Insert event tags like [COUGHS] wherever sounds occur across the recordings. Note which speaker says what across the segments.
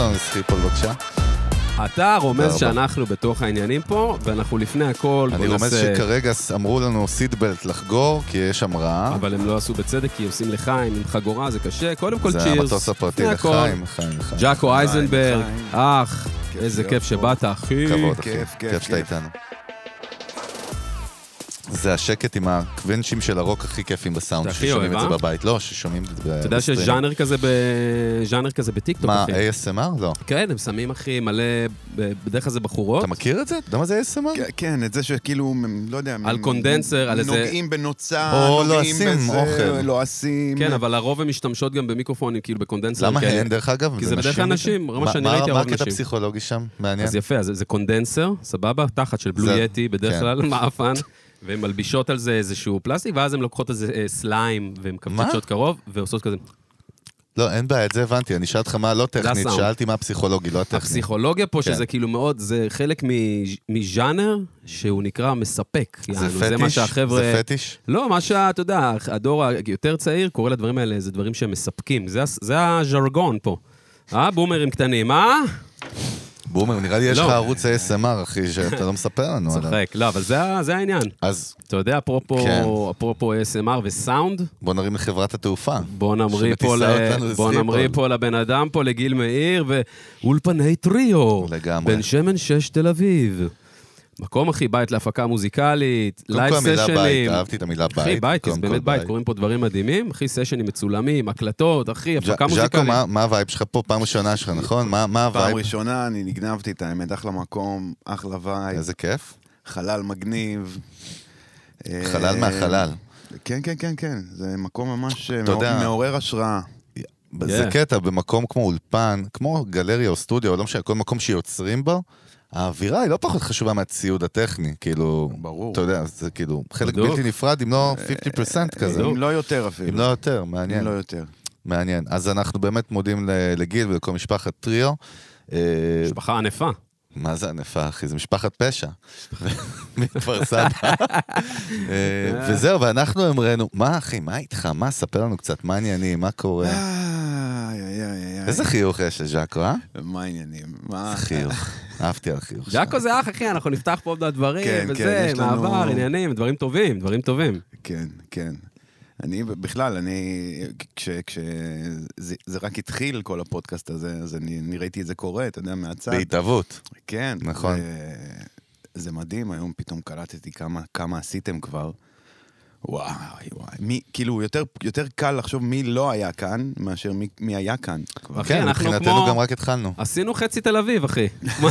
Speaker 1: ארז חיפול, בבקשה.
Speaker 2: אתה רומז
Speaker 1: תודה רבה.
Speaker 2: שאנחנו בתוך העניינים פה, ואנחנו לפני הכל,
Speaker 1: אני
Speaker 2: בוא
Speaker 1: רומז
Speaker 2: נעשה-
Speaker 1: שכרגע ס- אמרו לנו סיטבלט לחגור, כי יש המראה.
Speaker 2: אבל הם לא עשו בצדק, כי עושים לחיים עם חגורה, זה קשה. קודם כל צ'ירס.
Speaker 1: זה המטוס הפרטי
Speaker 2: לפני הכל.
Speaker 1: לחיים, חיים, חיים.
Speaker 2: ג'אקו אייזנברג,
Speaker 3: חיים.
Speaker 2: אח, איזה
Speaker 3: להיות
Speaker 2: כיף
Speaker 3: פה.
Speaker 2: שבאת, אחי.
Speaker 1: כבוד, אחי.
Speaker 3: כיף, כיף,
Speaker 1: כיף שאתה
Speaker 3: כיף.
Speaker 1: איתנו. זה השקט עם הקוונצ'ים של הרוק הכי כיפים בסאונד,
Speaker 2: אתה הכי
Speaker 1: ששומעים את
Speaker 2: אוהב,
Speaker 1: זה
Speaker 2: אה?
Speaker 1: בבית. לא, ששומעים את זה
Speaker 2: אתה יודע שיש ז'אנר כזה ב- ז'אנר כזה בטיקטוק,
Speaker 1: מה,
Speaker 2: אחי.
Speaker 1: ASMR? לא.
Speaker 2: כן, הם שמים, אחי, מלא, ב- בדרך כלל זה בחורות.
Speaker 1: אתה מכיר את זה? אתה יודע מה זה ASMR?
Speaker 3: כן, כן, את זה שכאילו, מ- לא יודע,
Speaker 2: על
Speaker 3: מ-
Speaker 2: קונדנסר, על איזה-
Speaker 3: נוגעים בנוצה,
Speaker 1: או
Speaker 3: נוגעים
Speaker 1: לועשים,
Speaker 3: בזה, לא
Speaker 1: אוכל.
Speaker 3: לועשים.
Speaker 2: כן, אבל לרוב הן משתמשות גם במיקרופונים, כאילו בקונדנסר.
Speaker 1: למה
Speaker 2: כאלה.
Speaker 1: הן, דרך אגב?
Speaker 2: כי זה בדרך כלל נשים, רוב מה שאני
Speaker 1: מה-
Speaker 2: ראיתי,
Speaker 1: מה
Speaker 2: הרוב
Speaker 1: הקטע
Speaker 2: נשים.
Speaker 1: הפסיכולוגי שם? מעניין.
Speaker 2: אז יפה, אז זה קונדנסר, סבבה? תחת של בלו
Speaker 1: כן. זה-
Speaker 2: יטי, בדרך
Speaker 1: כן.
Speaker 2: כלל [LAUGHS] מעפן, והן מלבישות על זה איזשהו פלסטיק, ואז הן לוקחות איזה אה, סליים, והן מקפצצות קרוב, ועושות כזה.
Speaker 1: לא, אין בעיה, את זה הבנתי. אני אשאל אותך מה לא טכנית,
Speaker 2: הסאונד.
Speaker 1: שאלתי מה הפסיכולוגי, לא הטכני.
Speaker 2: הפסיכולוגיה פה,
Speaker 1: כן.
Speaker 2: שזה כאילו מאוד, זה חלק מ- מז'אנר שהוא נקרא מספק.
Speaker 1: זה
Speaker 2: יענו,
Speaker 1: פטיש?
Speaker 2: זה מה שהחבר'ה...
Speaker 1: זה פטיש?
Speaker 2: לא, מה שאתה יודע, הדור היותר צעיר קורא לדברים האלה, זה דברים שמספקים. זה, הס- זה הז'רגון פה. אה, בומרים קטנים, אה?
Speaker 1: בומר, נראה לי יש
Speaker 2: לא.
Speaker 1: לך ערוץ ASMR, אחי, שאתה לא מספר לנו עליו.
Speaker 2: צוחק. לא, אבל זה, ה- זה העניין.
Speaker 1: אז
Speaker 2: אתה יודע, אפרופו,
Speaker 1: כן.
Speaker 2: אפרופו ASMR וסאונד,
Speaker 1: בוא נרים לחברת התעופה.
Speaker 2: בוא נמריא פה, ל...
Speaker 1: שמטיסה אותנו
Speaker 2: בוא
Speaker 1: לסחיפול.
Speaker 2: נמריא פה לבן אדם פה, לגיל מאיר, ואולפני טריו.
Speaker 1: לגמרי.
Speaker 2: בן שמן 6 תל אביב. מקום, אחי, בית להפקה מוזיקלית,
Speaker 1: קודם
Speaker 2: לייב
Speaker 1: כל המילה בית,
Speaker 2: סשנים.
Speaker 1: אהבתי את המילה בית.
Speaker 2: אחי, בית,
Speaker 1: קודם
Speaker 2: זה
Speaker 1: כל
Speaker 2: באמת בית, קוראים פה דברים מדהימים, אחי, סשנים מצולמים, הקלטות, אחי,
Speaker 1: ז'ק-
Speaker 2: הפקה מוזיקלית.
Speaker 1: ז'קו, מה- מה הווייב שלך פה? פעם ראשונה שלך, נכון? מה מה
Speaker 3: פעם
Speaker 1: הווייב?
Speaker 3: ראשונה אני נגנבתי את האמת, אחלה מקום, אחלה וייב,
Speaker 1: איזה כיף.
Speaker 3: חלל מגניב. אה,
Speaker 1: חלל מהחלל.
Speaker 3: כן, כן, כן, כן, זה מקום ממש אה,
Speaker 1: אתה יודע-
Speaker 3: מעורר השראה.
Speaker 2: כן.
Speaker 1: זה קטע, במקום כמו אולפן, כמו גלריה או סטודיו, לא משנה, כל מקום שיוצרים בו, האווירה היא לא פחות חשובה מהציוד הטכני, כאילו...
Speaker 3: ברור.
Speaker 1: אתה יודע, זה כאילו חלק
Speaker 2: בדיוק.
Speaker 1: בלתי נפרד, אם לא
Speaker 2: אה,
Speaker 1: 50% כזה.
Speaker 3: אם לא יותר אפילו.
Speaker 1: אם לא יותר,
Speaker 3: אם
Speaker 1: מעניין.
Speaker 3: לא יותר.
Speaker 1: מעניין. אז אנחנו באמת מודים ל- לגיל ולכל משפחת טריו. אה,
Speaker 2: משפחה ענפה.
Speaker 1: מה זה ענפה, אחי? זה משפחת
Speaker 2: [LAUGHS]
Speaker 1: פשע. מכפר סבא. אה,
Speaker 2: [LAUGHS]
Speaker 1: וזהו, ואנחנו אמרנו, מה, אחי, מה איתך? מה, ספר לנו קצת, מה העניינים, מה קורה?
Speaker 2: אה.
Speaker 3: איי, איי, איי, איי.
Speaker 1: איזה חיוך יש לז'אקו, אה?
Speaker 3: מה העניינים? מה?
Speaker 1: חיוך. אהבתי על החיוך שלך.
Speaker 2: ג'אקו אה. זה אח, אחי, אנחנו נפתח פה עוד הדברים,
Speaker 3: כן,
Speaker 2: וזה,
Speaker 3: כן, יש לנו-
Speaker 2: מעבר, עניינים, דברים טובים, דברים טובים.
Speaker 3: כן, כן. אני בכלל, אני, כש... כש זה, זה רק התחיל, כל הפודקאסט הזה, אז אני, אני ראיתי את זה קורה, אתה יודע, מהצד.
Speaker 1: בהתהוות.
Speaker 3: כן.
Speaker 1: נכון.
Speaker 3: זה, זה מדהים, היום פתאום קלטתי כמה, כמה עשיתם כבר. וואי, וואי. מי, כאילו, יותר, יותר קל לחשוב מי לא היה כאן, מאשר מי, מי היה כאן. כבר.
Speaker 2: אחי,
Speaker 1: כן,
Speaker 2: אנחנו
Speaker 1: מבחינתנו
Speaker 2: כמו-
Speaker 1: גם רק התחלנו.
Speaker 2: עשינו חצי תל אביב,
Speaker 1: [LAUGHS]
Speaker 2: אחי. כמו-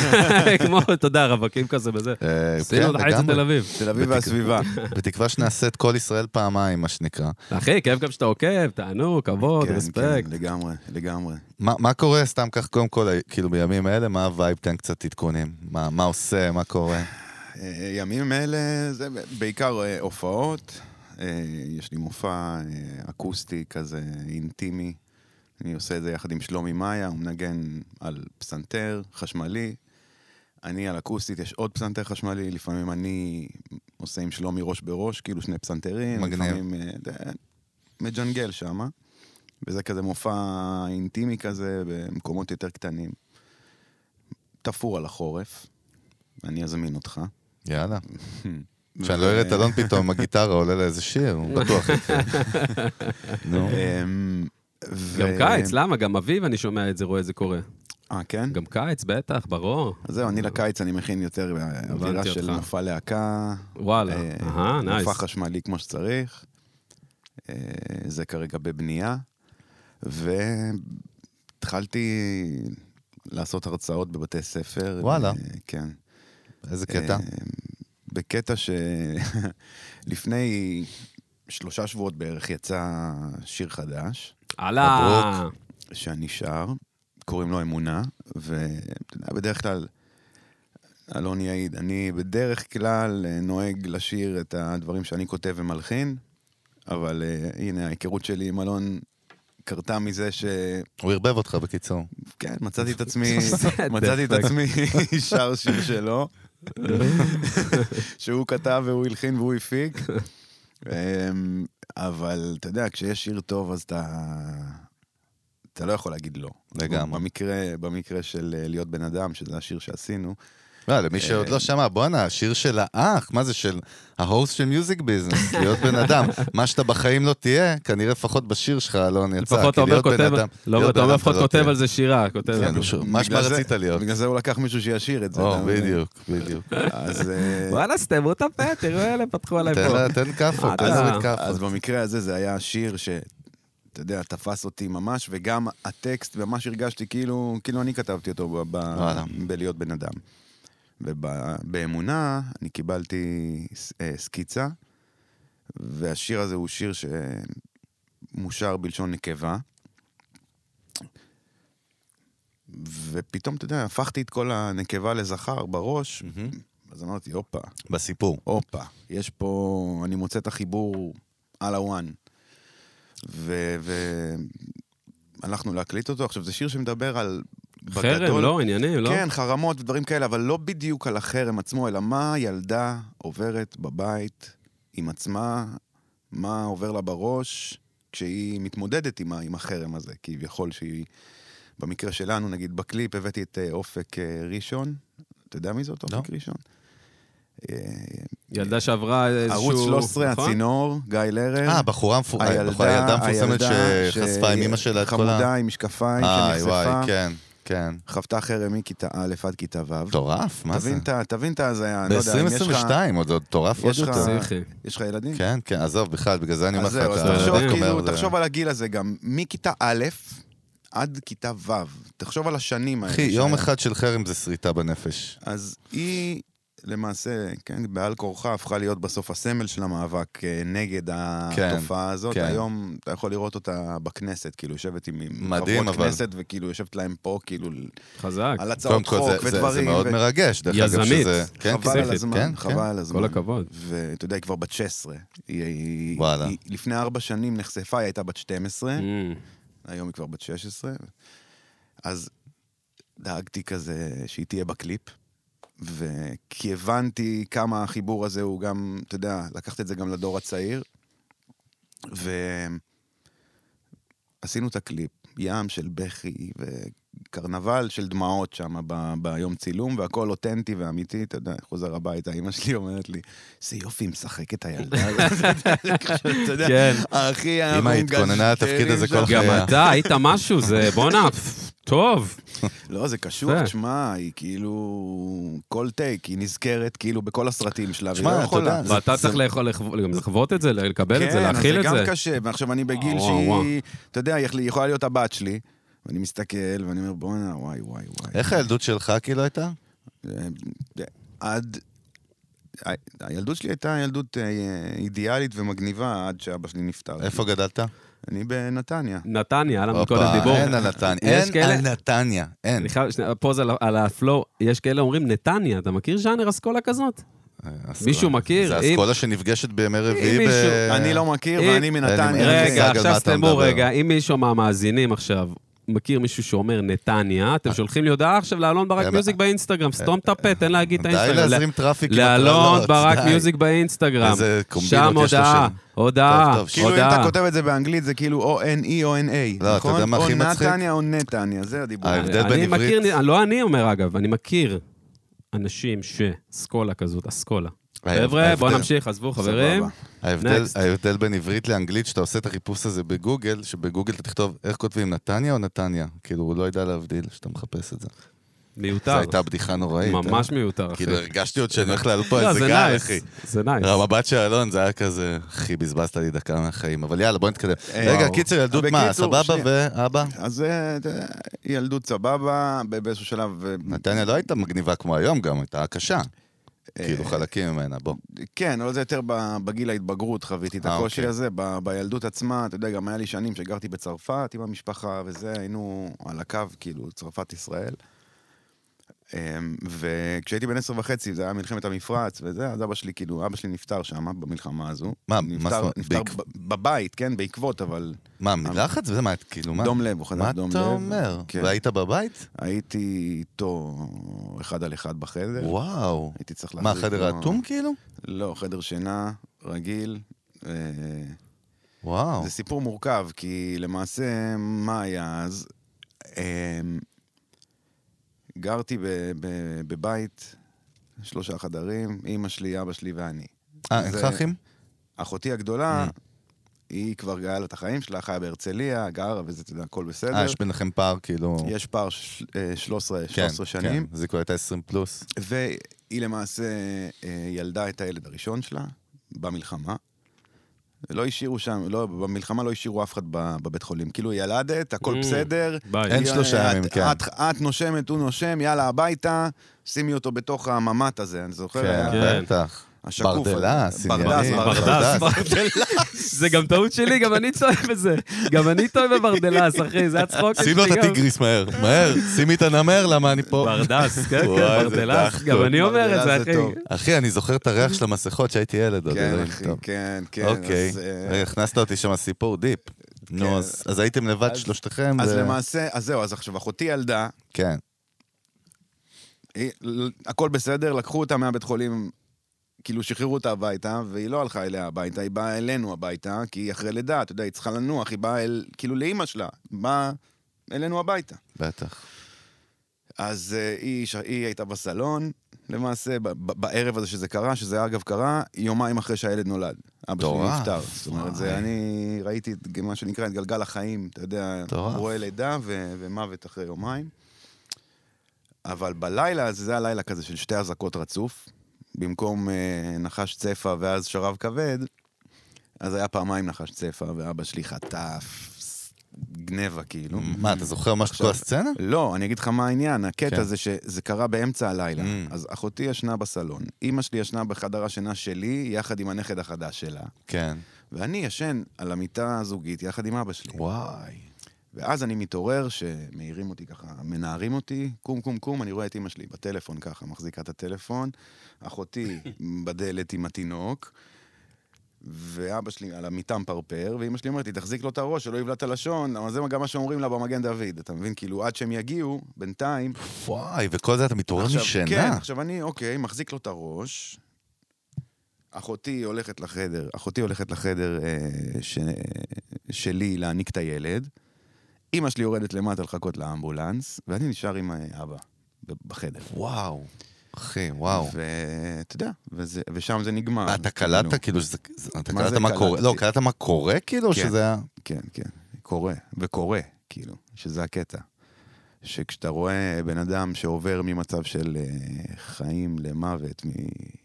Speaker 2: כמו, אתה יודע, רווקים כזה בזה.
Speaker 1: אה, כן,
Speaker 2: עשינו חצי
Speaker 1: לגמרי.
Speaker 2: תל אביב.
Speaker 3: תל אביב והסביבה.
Speaker 1: בתקווה שנעשה את כל ישראל פעמיים, מה שנקרא.
Speaker 2: אחי, כיף גם שאתה עוקב, תענוג, כבוד,
Speaker 3: כן,
Speaker 2: רספקט.
Speaker 3: כן, לגמרי, לגמרי.
Speaker 1: מה מה קורה, סתם כך, קודם כל, כאילו בימים אלה, מה הווייב? תן קצת עדכונים. מה מה עושה, מה קורה?
Speaker 3: אה, ימים אלה זה בעיקר אה, הופעות. אה, יש לי מופע אה, אקוסטי כזה אינטימי. אני עושה את זה יחד עם שלומי מאיה, הוא מנגן על פסנתר חשמלי. אני על אקוסטית, יש עוד פסנתר חשמלי, לפעמים אני עושה עם שלומי ראש בראש, כאילו שני פסנתרים.
Speaker 1: מגניב.
Speaker 3: לפעמים אה, זה- מג'נגל שמה. וזה כזה מופע אינטימי כזה, במקומות יותר קטנים. תפור על החורף. אני אזמין אותך.
Speaker 1: יאללה. כשאני לא אראה את אלון פתאום עם הגיטרה עולה לאיזה שיר, הוא בטוח יצא. נו.
Speaker 3: אמ,
Speaker 1: כן,
Speaker 3: ו-
Speaker 2: גם קיץ, למה? גם אביב, אני שומע את זה, רואה את זה קורה.
Speaker 3: אה, כן?
Speaker 2: גם קיץ, בטח, ברור.
Speaker 3: אז זהו, אני לקיץ אני מכין יותר אווירה של
Speaker 2: אותך.
Speaker 3: מופע להקה.
Speaker 2: וואלה,
Speaker 3: אה,
Speaker 2: אהה, נייס.
Speaker 3: מופע חשמלי כמו שצריך. אה, זה כרגע בבנייה. והתחלתי לעשות הרצאות בבתי ספר.
Speaker 1: וואלה.
Speaker 3: אה, כן.
Speaker 1: איזה קטע?
Speaker 3: אה, בקטע [LAUGHS] שלפני שלושה שבועות בערך יצא שיר חדש.
Speaker 2: הלאה. [LAUGHS]
Speaker 1: מברוק.
Speaker 3: שאני שר, קוראים לו אמונה, ואתה יודע, בדרך כלל, אלון יעיד, אני בדרך כלל אה, נוהג לשיר את הדברים שאני כותב ומלחין, אבל uh, הנה, ההיכרות שלי עם אלון קרתה מזה ש...
Speaker 1: הוא ערבב אותך בקיצור.
Speaker 3: כן, מצאתי את עצמי,
Speaker 2: בסדר.
Speaker 3: מצאתי את עצמי [LAUGHS] שר שיר שלו, שהוא כתב והוא הלחין והוא הפיק. אמ, אבל אתה יודע, כשיש שיר טוב, אז אתה... אתה לא יכול להגיד לא.
Speaker 1: לגמרי.
Speaker 3: במקרה, במקרה של אה, להיות בן אדם, שזה השיר שעשינו,
Speaker 1: לא, למי שעוד לא שמע, בואנה, השיר של האח, מה זה, של ההוסט של מיוזיק ביזנס, להיות בן אדם. מה שאתה בחיים לא תהיה, כנראה לפחות בשיר שלך, אלון, יצא.
Speaker 2: לפחות
Speaker 1: כי
Speaker 2: תומר
Speaker 1: להיות בן
Speaker 2: כותב,
Speaker 1: אדם-
Speaker 2: לא,
Speaker 1: להיות בן
Speaker 2: תומר
Speaker 1: אדם
Speaker 2: לפחות
Speaker 1: אתה לא
Speaker 2: כותב
Speaker 1: תהיה.
Speaker 2: על זה שירה, כותב.
Speaker 1: כן, הוא ש- מה
Speaker 3: בגלל זה-
Speaker 1: שרצית להיות.
Speaker 3: בגלל זה הוא לקח מישהו שישיר את זה.
Speaker 1: או,
Speaker 3: אתה מבין?
Speaker 1: בדיוק, בדיוק.
Speaker 3: אז, אה,
Speaker 2: וואלה, סתמו את הפה, תראו אלה, פתחו עליי
Speaker 1: תן
Speaker 2: פה.
Speaker 1: לה- תן כאפות,
Speaker 2: אתה-
Speaker 1: תן זווית
Speaker 3: אה, אז
Speaker 1: כאפות.
Speaker 3: במקרה הזה זה היה שיר ש... אתה יודע, תפס אותי ממש, וגם הטקסט, ממש הרגשתי כאילו, כאילו אני כתבתי אותו ב- ב-
Speaker 1: וואלה.
Speaker 3: בלהיות בן אדם. ובאמונה, אני קיבלתי ס- אה, סקיצה, והשיר הזה הוא שיר שמושר בלשון נקבה. ופתאום, אתה יודע, הפכתי את כל הנקבה לזכר בראש, אז אמרתי, הופה,
Speaker 1: בסיפור.
Speaker 3: הופה, יש פה, אני מוצא את החיבור על הוואן. והלכנו להקליט אותו. עכשיו, זה שיר שמדבר על...
Speaker 2: חרם, לא, עניינים, לא?
Speaker 3: כן, חרמות ודברים כאלה, אבל לא בדיוק על החרם עצמו, אלא מה ילדה עוברת בבית עם עצמה, מה עובר לה בראש כשהיא מתמודדת עם, ה- עם החרם הזה, כביכול שהיא... במקרה שלנו, נגיד בקליפ, הבאתי את אה, אופק אה, ראשון. אתה יודע מי זאת
Speaker 1: לא.
Speaker 3: אופק ראשון? אה,
Speaker 2: ילדה שעברה איזשהו...
Speaker 3: ערוץ 13,
Speaker 2: נכון?
Speaker 3: הצינור, גיא לרר.
Speaker 1: אה, הבחורה המפו- הילדה המפורסמת
Speaker 3: הילדה
Speaker 1: שחשפה עם אימא שלה את כל ה...
Speaker 3: חמודה עם משקפיים
Speaker 1: איי,
Speaker 3: שנחשפה,
Speaker 1: וואי, כן, כן.
Speaker 3: חוותה חרם מכיתה א' עד כיתה ו'.
Speaker 1: מטורף, מה זה?
Speaker 3: תבין את ה- תבין את ההזיה, אני לא יודע, אם יש לך...
Speaker 1: ב-2022, עוד עוד מטורף עוד
Speaker 3: יש לך-
Speaker 1: יותר.
Speaker 2: פסיכי.
Speaker 3: יש לך ילדים?
Speaker 1: כן, כן, עזוב, בכלל, בגלל זה אני אומר
Speaker 3: אז
Speaker 1: לך,
Speaker 3: זהו, אז
Speaker 1: אתה-
Speaker 3: תחשוב,
Speaker 1: אתה
Speaker 3: כאילו,
Speaker 1: אומר, אה, זה-
Speaker 3: תחשוב על הגיל הזה גם, מכיתה א' עד כיתה ו'. תחשוב על השנים האלה.
Speaker 1: אחי, יום
Speaker 3: שהיה.
Speaker 1: אחד של חרם זה שריטה בנפש.
Speaker 3: אז היא למעשה, כן, בעל כורחה הפכה להיות בסוף הסמל של המאבק אה, נגד התופעה הזאת.
Speaker 1: כן.
Speaker 3: היום אתה יכול לראות אותה בכנסת, כאילו יושבת עם עם
Speaker 1: מדהים,
Speaker 3: חברות
Speaker 1: אבל- אוקיי,
Speaker 3: כנסת, וכאילו יושבת להם פה, כאילו,
Speaker 2: חזק.
Speaker 3: על
Speaker 1: קודם
Speaker 3: הצעות
Speaker 1: כל,
Speaker 3: חוק
Speaker 1: זה- זה- זה
Speaker 3: ודברים.
Speaker 1: מאוד
Speaker 3: ו-
Speaker 1: מרגש, דרך אגב,
Speaker 2: יזמית.
Speaker 1: שזה... כן,
Speaker 3: חבל
Speaker 1: כן,
Speaker 3: על הזמן,
Speaker 1: כן, כן.
Speaker 3: חבל על הזמן.
Speaker 2: כל הכבוד.
Speaker 3: ואתה יודע, היא כבר בת 16. היא- היא-
Speaker 1: וואלה.
Speaker 3: היא לפני ארבע שנים נחשפה, היא הייתה בת
Speaker 1: אה?
Speaker 3: 12.
Speaker 2: Mm.
Speaker 3: היום היא כבר בת 16. אז דאגתי כזה שהיא תהיה בקליפ, וכי הבנתי כמה החיבור הזה הוא גם, אתה יודע, לקחת את זה גם לדור הצעיר, ועשינו את הקליפ, ים של בכי וקרנבל של דמעות שם ב- ביום צילום, והכל אותנטי ואמיתי, אתה יודע, חוזר הביתה, אמא שלי אומרת לי, זה יופי, משחקת הילדה הזאת. [LAUGHS] אתה
Speaker 1: אה?
Speaker 3: יודע,
Speaker 2: כן.
Speaker 3: אחי, אנחנו
Speaker 1: אמא, התכוננה לתפקיד
Speaker 3: מגשטרים
Speaker 1: הזה כל
Speaker 3: שם.
Speaker 1: החיים.
Speaker 2: גם
Speaker 1: היה.
Speaker 2: אתה היית משהו, זה בואנה, פ- טוב.
Speaker 3: לא, זה קשור,
Speaker 2: יפה.
Speaker 3: תשמע, היא כאילו... כל טייק, היא נזכרת כאילו בכל הסרטים שלה, והיא
Speaker 1: תשמע,
Speaker 3: לא
Speaker 1: אתה
Speaker 3: יכולה.
Speaker 1: יודע, זה-
Speaker 2: ואתה צריך לאכול- לחו- גם לחוות את זה, לקבל את זה,
Speaker 3: כן, אז
Speaker 2: להכיל את
Speaker 3: זה
Speaker 2: זה.
Speaker 3: גם קשה, ועכשיו אני בגיל
Speaker 2: וואו, וואו.
Speaker 3: שהיא... אתה יודע, היא היא יכולה להיות הבת שלי. ואני מסתכל, ואני אומר, בואנה, וואי, וואי, וואי.
Speaker 1: איך הילדות שלך כאילו הייתה?
Speaker 3: אה, עד... ה- הילדות שלי הייתה ילדות אה, אידיאלית ומגניבה עד שאבא שלי נפטר.
Speaker 1: איפה גדלת?
Speaker 3: אני בנתניה.
Speaker 2: נתניה, היה לנו
Speaker 1: הופה,
Speaker 2: קודם דיבור.
Speaker 1: אין על נתניה,
Speaker 2: יש
Speaker 1: אין
Speaker 2: כאלה-
Speaker 1: על נתניה, אין.
Speaker 2: אני חייב, שנייה, פוז על ה- על הפלואו, יש כאלה אומרים נתניה, אתה מכיר ז'אנר אסכולה כזאת?
Speaker 1: אסכולה.
Speaker 2: מישהו מכיר?
Speaker 1: זה
Speaker 2: אם-
Speaker 1: אסכולה שנפגשת בימי רביעי ב...
Speaker 2: מישהו-
Speaker 3: אני לא מכיר,
Speaker 2: אה,
Speaker 3: ואני מנתניה.
Speaker 1: אין לי
Speaker 2: רגע,
Speaker 1: מושג על
Speaker 2: עכשיו
Speaker 1: מה אתה
Speaker 2: סתמו
Speaker 1: מדבר.
Speaker 2: רגע, אם מישהו מהמאזינים עכשיו מכיר מישהו שאומר נתניה, אתם שולחים לי הודעה עכשיו לאלון ברק
Speaker 1: אה,
Speaker 2: מיוזיק באינסטגרם, סתום את הפה, תן להגיד את
Speaker 1: די
Speaker 2: האינסטגרם.
Speaker 1: להזרים טראפיק עם
Speaker 2: לאלון
Speaker 1: הטרלות,
Speaker 2: ברק
Speaker 1: די.
Speaker 2: מיוזיק באינסטגרם.
Speaker 1: איזה קומבינות
Speaker 2: שם
Speaker 1: יש לו
Speaker 2: הודעה,
Speaker 1: שם.
Speaker 2: הודעה,
Speaker 1: טוב, טוב,
Speaker 3: כאילו אם אתה
Speaker 2: הודעה.
Speaker 3: כותב את זה באנגלית, זה כאילו או N-E או N-A,
Speaker 1: לא, אתה
Speaker 3: נכון?
Speaker 1: יודע מה הכי מצחיק?
Speaker 3: או נתניה או נתניה, זה הדיבור.
Speaker 1: אה, ההבדל
Speaker 2: אני
Speaker 1: בין עברית-
Speaker 2: מכיר, לא אני אומר אגב, אני מכיר אנשים שאסכולה כזאת, אסכולה.
Speaker 1: ההבדל-
Speaker 2: חבר'ה, בואו
Speaker 1: ההבדל-
Speaker 2: נמשיך, עזבו
Speaker 3: סבבה.
Speaker 2: חברים.
Speaker 1: ההבדל,
Speaker 2: Next.
Speaker 1: ההבדל בין עברית לאנגלית, שאתה עושה את החיפוש הזה בגוגל, שבגוגל אתה תכתוב איך כותבים נתניה או נתניה. כאילו, הוא לא ידע להבדיל כשאתה מחפש את זה. זו
Speaker 2: מיותר.
Speaker 1: הייתה בדיחה נוראית.
Speaker 2: ממש
Speaker 1: אה?
Speaker 2: מיותר, אחי.
Speaker 1: כאילו, הרגשתי עוד שאני הולך לעלות פה
Speaker 2: לא,
Speaker 1: איזה
Speaker 2: זה
Speaker 1: גל,
Speaker 2: נייס,
Speaker 1: אחי.
Speaker 2: זה נייס.
Speaker 1: המבט של אלון זה היה כזה, אחי, בזבזת לי דקה מהחיים, אבל יאללה, בוא נתקדם. רגע,
Speaker 2: וואו.
Speaker 1: קיצר, ילדות
Speaker 3: אה, בקיצור,
Speaker 1: מה, סבבה
Speaker 3: שנייה.
Speaker 1: ואבא?
Speaker 3: אז אה, אתה יודע, ילדות סבבה, ב- באיזשהו שלב... אה,
Speaker 1: נתניה לא הייתה מגניבה כמו היום גם, הייתה קשה.
Speaker 3: אה,
Speaker 1: כאילו, חלקים ממנה, בוא.
Speaker 3: כן, אבל זה יותר ב- בגיל ההתבגרות חוויתי את
Speaker 1: אה,
Speaker 3: הקושי
Speaker 1: אוקיי.
Speaker 3: הזה. ב- בילדות עצמה, אתה יודע, גם היה לי שנים שגרתי בצרפת עם המשפחה וזה, היינו על הקו, כאילו, צרפת-ישראל. אמ, וכשהייתי בן עשר וחצי, זה היה מלחמת המפרץ וזה, אז אבא שלי, כאילו, אבא שלי נפטר שם, במלחמה הזו.
Speaker 1: מה, מה
Speaker 3: נפטר-
Speaker 1: זאת אומרת?
Speaker 3: נפטר
Speaker 1: בעקב-
Speaker 3: ב- בבית, כן, בעקבות, אבל...
Speaker 1: מה, מלחץ? וזה מה, כאילו, מה?
Speaker 3: דום לב, הוא חדש
Speaker 1: מה
Speaker 3: דום לב.
Speaker 1: אתה אומר?
Speaker 3: כן.
Speaker 1: והיית בבית?
Speaker 3: הייתי איתו אחד על אחד בחדר.
Speaker 1: וואו.
Speaker 3: הייתי צריך
Speaker 1: מה,
Speaker 3: להחזיק לא,
Speaker 1: חדר
Speaker 3: לו-
Speaker 1: אטום כאילו?
Speaker 3: לא, חדר שינה, רגיל. אה,
Speaker 1: וואו.
Speaker 3: זה סיפור מורכב, כי למעשה, מה היה אז? אמ, גרתי ב- ב- בבית, שלושה חדרים, אימא שלי, אבא שלי ואני.
Speaker 1: אה, אין לך
Speaker 3: זה-
Speaker 1: אחים?
Speaker 3: אחותי
Speaker 1: אה.
Speaker 3: הגדולה, היא כבר גאה לה את החיים שלה, חיה בהרצליה, גרה וזה, אתה יודע, הכל
Speaker 1: אה,
Speaker 3: בסדר.
Speaker 1: יש ביניכם פער, כאילו...
Speaker 3: יש פער של- אה, 13
Speaker 1: כן,
Speaker 3: 13 שנים.
Speaker 1: כן, זה כבר הייתה 20 פלוס.
Speaker 3: והיא למעשה אה, ילדה את הילד הראשון שלה במלחמה. לא השאירו שם, לא, במלחמה לא השאירו אף אחד ב- בבית חולים. כאילו ילדת, הכל
Speaker 2: Mm,
Speaker 3: בסדר.
Speaker 1: אין
Speaker 2: ביי.
Speaker 3: היא- אה,
Speaker 1: שלושה
Speaker 3: את-
Speaker 1: ימים, כן.
Speaker 3: את, את נושמת, הוא נושם, יאללה הביתה, שימי אותו בתוך הממ"ט הזה, אני זוכר.
Speaker 1: כן,
Speaker 3: היה
Speaker 2: כן.
Speaker 1: בטח.
Speaker 3: השקוף. אה,
Speaker 1: ברדלס,
Speaker 3: ברדס,
Speaker 1: עניינים.
Speaker 3: ברדס.
Speaker 2: ברדס, [LAUGHS] זה גם טעות שלי, גם אני צועק בזה. גם אני טועה בברדלס, אחי, זה הצחוק שלי
Speaker 1: שים לו
Speaker 2: גם.
Speaker 1: את הטיגריס מהר, מהר, שימי את הנמר, למה אני פה?
Speaker 2: ברדס, כן, כן,
Speaker 1: וואי, זה
Speaker 2: ברדלס.
Speaker 1: דחקות.
Speaker 2: גם אני אומר את זה,
Speaker 3: ברדלס זה
Speaker 2: אחי.
Speaker 3: טוב.
Speaker 1: אחי, אני זוכר את הריח של המסכות שהייתי ילד עוד.
Speaker 3: כן,
Speaker 1: אלוהים,
Speaker 3: אחי,
Speaker 1: טוב.
Speaker 3: כן, כן.
Speaker 1: אוקיי,
Speaker 3: אז, אה, כן,
Speaker 1: רגע, הכנסת אותי שם סיפור דיפ. נו, אז אז הייתם לבד
Speaker 3: אז-
Speaker 1: שלושתכם?
Speaker 3: אז
Speaker 1: ו-
Speaker 3: למעשה, אז זהו, אז עכשיו אחותי ילדה,
Speaker 1: כן.
Speaker 3: היא- ל- הכל בסדר, לקחו אותה מהבית חולים, כאילו שחררו אותה הביתה, והיא לא הלכה אליה הביתה, היא באה אלינו הביתה, כי היא אחרי לידה, אתה יודע, היא צריכה לנוח, היא באה אל, כאילו לאימא שלה, באה אלינו הביתה.
Speaker 1: בטח.
Speaker 3: אז uh, היא, ש... היא הייתה בסלון, למעשה, ב- ב- בערב הזה שזה קרה, שזה אגב קרה, יומיים אחרי שהילד נולד. אבא שלי
Speaker 1: מטורף,
Speaker 3: נפטר. זאת אומרת, זה,
Speaker 1: וואי.
Speaker 3: אני ראיתי את, מה שנקרא את גלגל החיים, אתה יודע,
Speaker 1: מטורף.
Speaker 3: רואה לידה ו... ומוות אחרי יומיים. אבל בלילה, הזה, זה הלילה כזה של שתי אזעקות רצוף. במקום אה, נחש צפה ואז שרב כבד, אז היה פעמיים נחש צפה, ואבא שלי חטף גנבה, כאילו.
Speaker 1: מה, אתה זוכר משהו כל הסצנה?
Speaker 3: לא, אני אגיד לך מה העניין, הקטע
Speaker 1: כן.
Speaker 3: כן. זה שזה קרה באמצע הלילה.
Speaker 1: Mm.
Speaker 3: אז אחותי ישנה בסלון, אימא שלי ישנה בחדר השינה שלי, יחד עם הנכד החדש שלה,
Speaker 1: כן.
Speaker 3: ואני ישן על המיטה הזוגית יחד עם אבא שלי.
Speaker 1: וואי.
Speaker 3: ואז אני מתעורר שמעירים אותי ככה, מנערים אותי, קום, קום, קום, אני רואה את אימא שלי בטלפון ככה, מחזיקה את הטלפון, אחותי בדלת עם התינוק, ואבא שלי על המיטה מפרפר, ואימא שלי אומרת לי, תחזיק לו את הראש, שלא יבלע את הלשון, למה זה גם מה שאומרים לה במגן דוד, אתה מבין? כאילו, עד שהם יגיעו, בינתיים...
Speaker 1: וואי, וכל זה אתה מתעורר
Speaker 3: עכשיו, כן,
Speaker 1: משינה.
Speaker 3: עכשיו אני, אוקיי, מחזיק לו את הראש, אחותי הולכת לחדר, אחותי הולכת לחדר אה, ש... שלי להעניק את הילד, אימא שלי יורדת למטה לחכות לאמבולנס, ואני נשאר עם אה, אבא ב- בחדר.
Speaker 1: וואו. אחי, וואו.
Speaker 3: ואתה יודע, וזה, ושם זה נגמר.
Speaker 1: אתה
Speaker 3: כאילו.
Speaker 1: קלטת כאילו שזה... זה- אתה
Speaker 3: מה
Speaker 1: קלטת
Speaker 3: זה
Speaker 1: מה קורה?
Speaker 3: קלטתי?
Speaker 1: לא, קלטת מה קורה כאילו? או
Speaker 3: כן.
Speaker 1: שזה היה...
Speaker 3: כן, כן, קורה, וקורה, כאילו, שזה הקטע. שכשאתה רואה בן אדם שעובר ממצב של אה, חיים למוות, מ-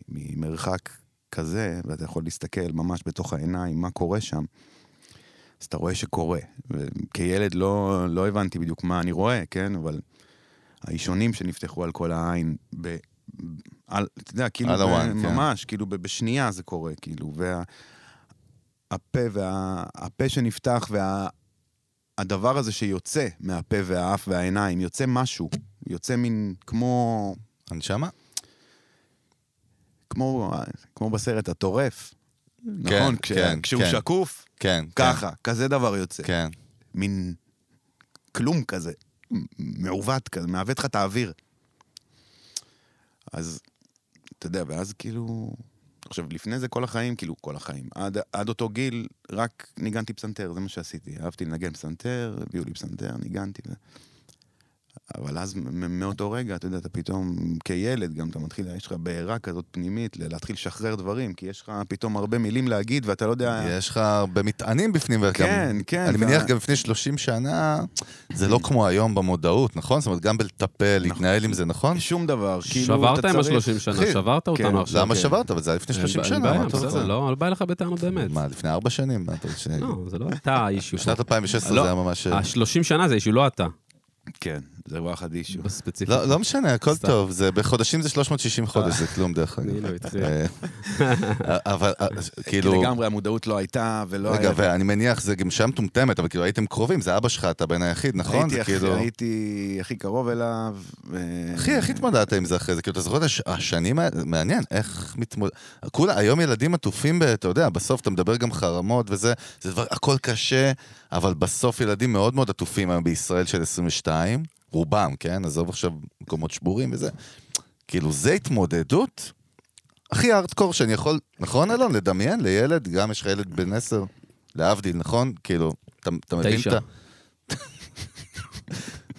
Speaker 3: ממרחק כזה, ואתה יכול להסתכל ממש בתוך העיניים מה קורה שם, אז אתה רואה שקורה. כילד לא, לא הבנתי בדיוק מה אני רואה, כן? אבל האישונים שנפתחו על כל העין, ב, על, אתה יודע, כאילו,
Speaker 1: על
Speaker 3: ב,
Speaker 1: הוואן, כן.
Speaker 3: ממש, כאילו, ב, בשנייה זה קורה, כאילו, וה... הפה, וה... הפה שנפתח וה... הדבר הזה שיוצא מהפה והאף והעיניים, יוצא משהו, יוצא מין כמו,
Speaker 1: הנשמה?
Speaker 3: כמו, כמו בסרט הטורף.
Speaker 1: כן,
Speaker 3: נכון? כש...
Speaker 1: כן,
Speaker 3: כשהוא
Speaker 1: כן.
Speaker 3: שקוף,
Speaker 1: כן. כן,
Speaker 3: ככה, כזה דבר יוצא.
Speaker 1: כן.
Speaker 3: מין כלום כזה, מ- מעוות כזה, מעוות לך את האוויר. אז, אתה יודע, ואז כאילו... עכשיו, לפני זה כל החיים, כאילו, כל החיים. עד, עד אותו גיל, רק ניגנתי פסנתר, זה מה שעשיתי. אהבתי לנגן פסנתר, הביאו לי פסנתר, ניגנתי. ו... אבל אז, מ- מאותו רגע, אתה יודע, אתה פתאום, כילד גם, אתה מתחיל, יש לך בעירה כזאת פנימית, ל- להתחיל לשחרר דברים, כי יש לך פתאום הרבה מילים להגיד, ואתה לא יודע...
Speaker 1: יש לך הרבה מטענים בפנים, וגם...
Speaker 3: כן, כן,
Speaker 1: אני
Speaker 3: וה-
Speaker 1: מניח גם לפני 30 שנה, זה לא כמו היום במודעות, נכון? זאת אומרת, גם בלטפל, להתנהל עם זה, נכון?
Speaker 3: שום דבר, כאילו, אתה צריך...
Speaker 2: שברת עם ה-30 שנה,
Speaker 1: אחי,
Speaker 2: שברת
Speaker 3: כן,
Speaker 2: אותנו עכשיו.
Speaker 1: למה
Speaker 3: כן.
Speaker 1: שברת? אבל זה היה לפני 30 שנה, מה אתה רוצה?
Speaker 2: לא בא לך בטענות באמת.
Speaker 1: מה, לפני 4 שנים? מה אתה רוצה?
Speaker 2: לא, זה לא אתה האישיו.
Speaker 1: בשנת 2016
Speaker 2: לא,
Speaker 1: זה היה ממש... אה,
Speaker 3: אה,
Speaker 2: ה-30 שנה זה אישיו, לא אתה.
Speaker 3: כן, זה וואחד אישו.
Speaker 2: בספציפי.
Speaker 1: לא, לא משנה, הכל
Speaker 2: סתם.
Speaker 1: טוב, זה בחודשים זה 360 חודש, זה כלום דרך אגב.
Speaker 2: אני לא התחיל.
Speaker 1: אה, אבל אה,
Speaker 3: כאילו...
Speaker 1: כאילו,
Speaker 3: כי לגמרי המודעות לא הייתה ולא
Speaker 1: רגע,
Speaker 3: היה...
Speaker 1: ואני מניח זה גם שם מטומטמת, אבל כאילו הייתם קרובים, זה אבא שלך, אתה בן היחיד, נכון?
Speaker 3: הייתי,
Speaker 1: זה
Speaker 3: הכי-
Speaker 1: כאילו...
Speaker 3: הייתי הכי קרוב אליו. ו-
Speaker 1: אחי, איך התמודדת עם זה אחרי זה? כאילו, אתה זוכר את הש- השנים האלה? מעניין, איך מתמודד... כולה, היום ילדים עטופים ב... אתה יודע, בסוף אתה מדבר גם חרמות וזה, זה דבר, הכל קשה, אבל בסוף ילדים מאוד מאוד עטופים היום בישראל של 22, רובם, כן? עזוב עכשיו מקומות שבורים וזה. כאילו, זה התמודדות הכי הארדקור שאני יכול, נכון אלון? לדמיין לילד, גם יש לך ילד בן 10. להבדיל, נכון? כאילו, אתה אתה מבין את
Speaker 2: תשע.
Speaker 1: ה...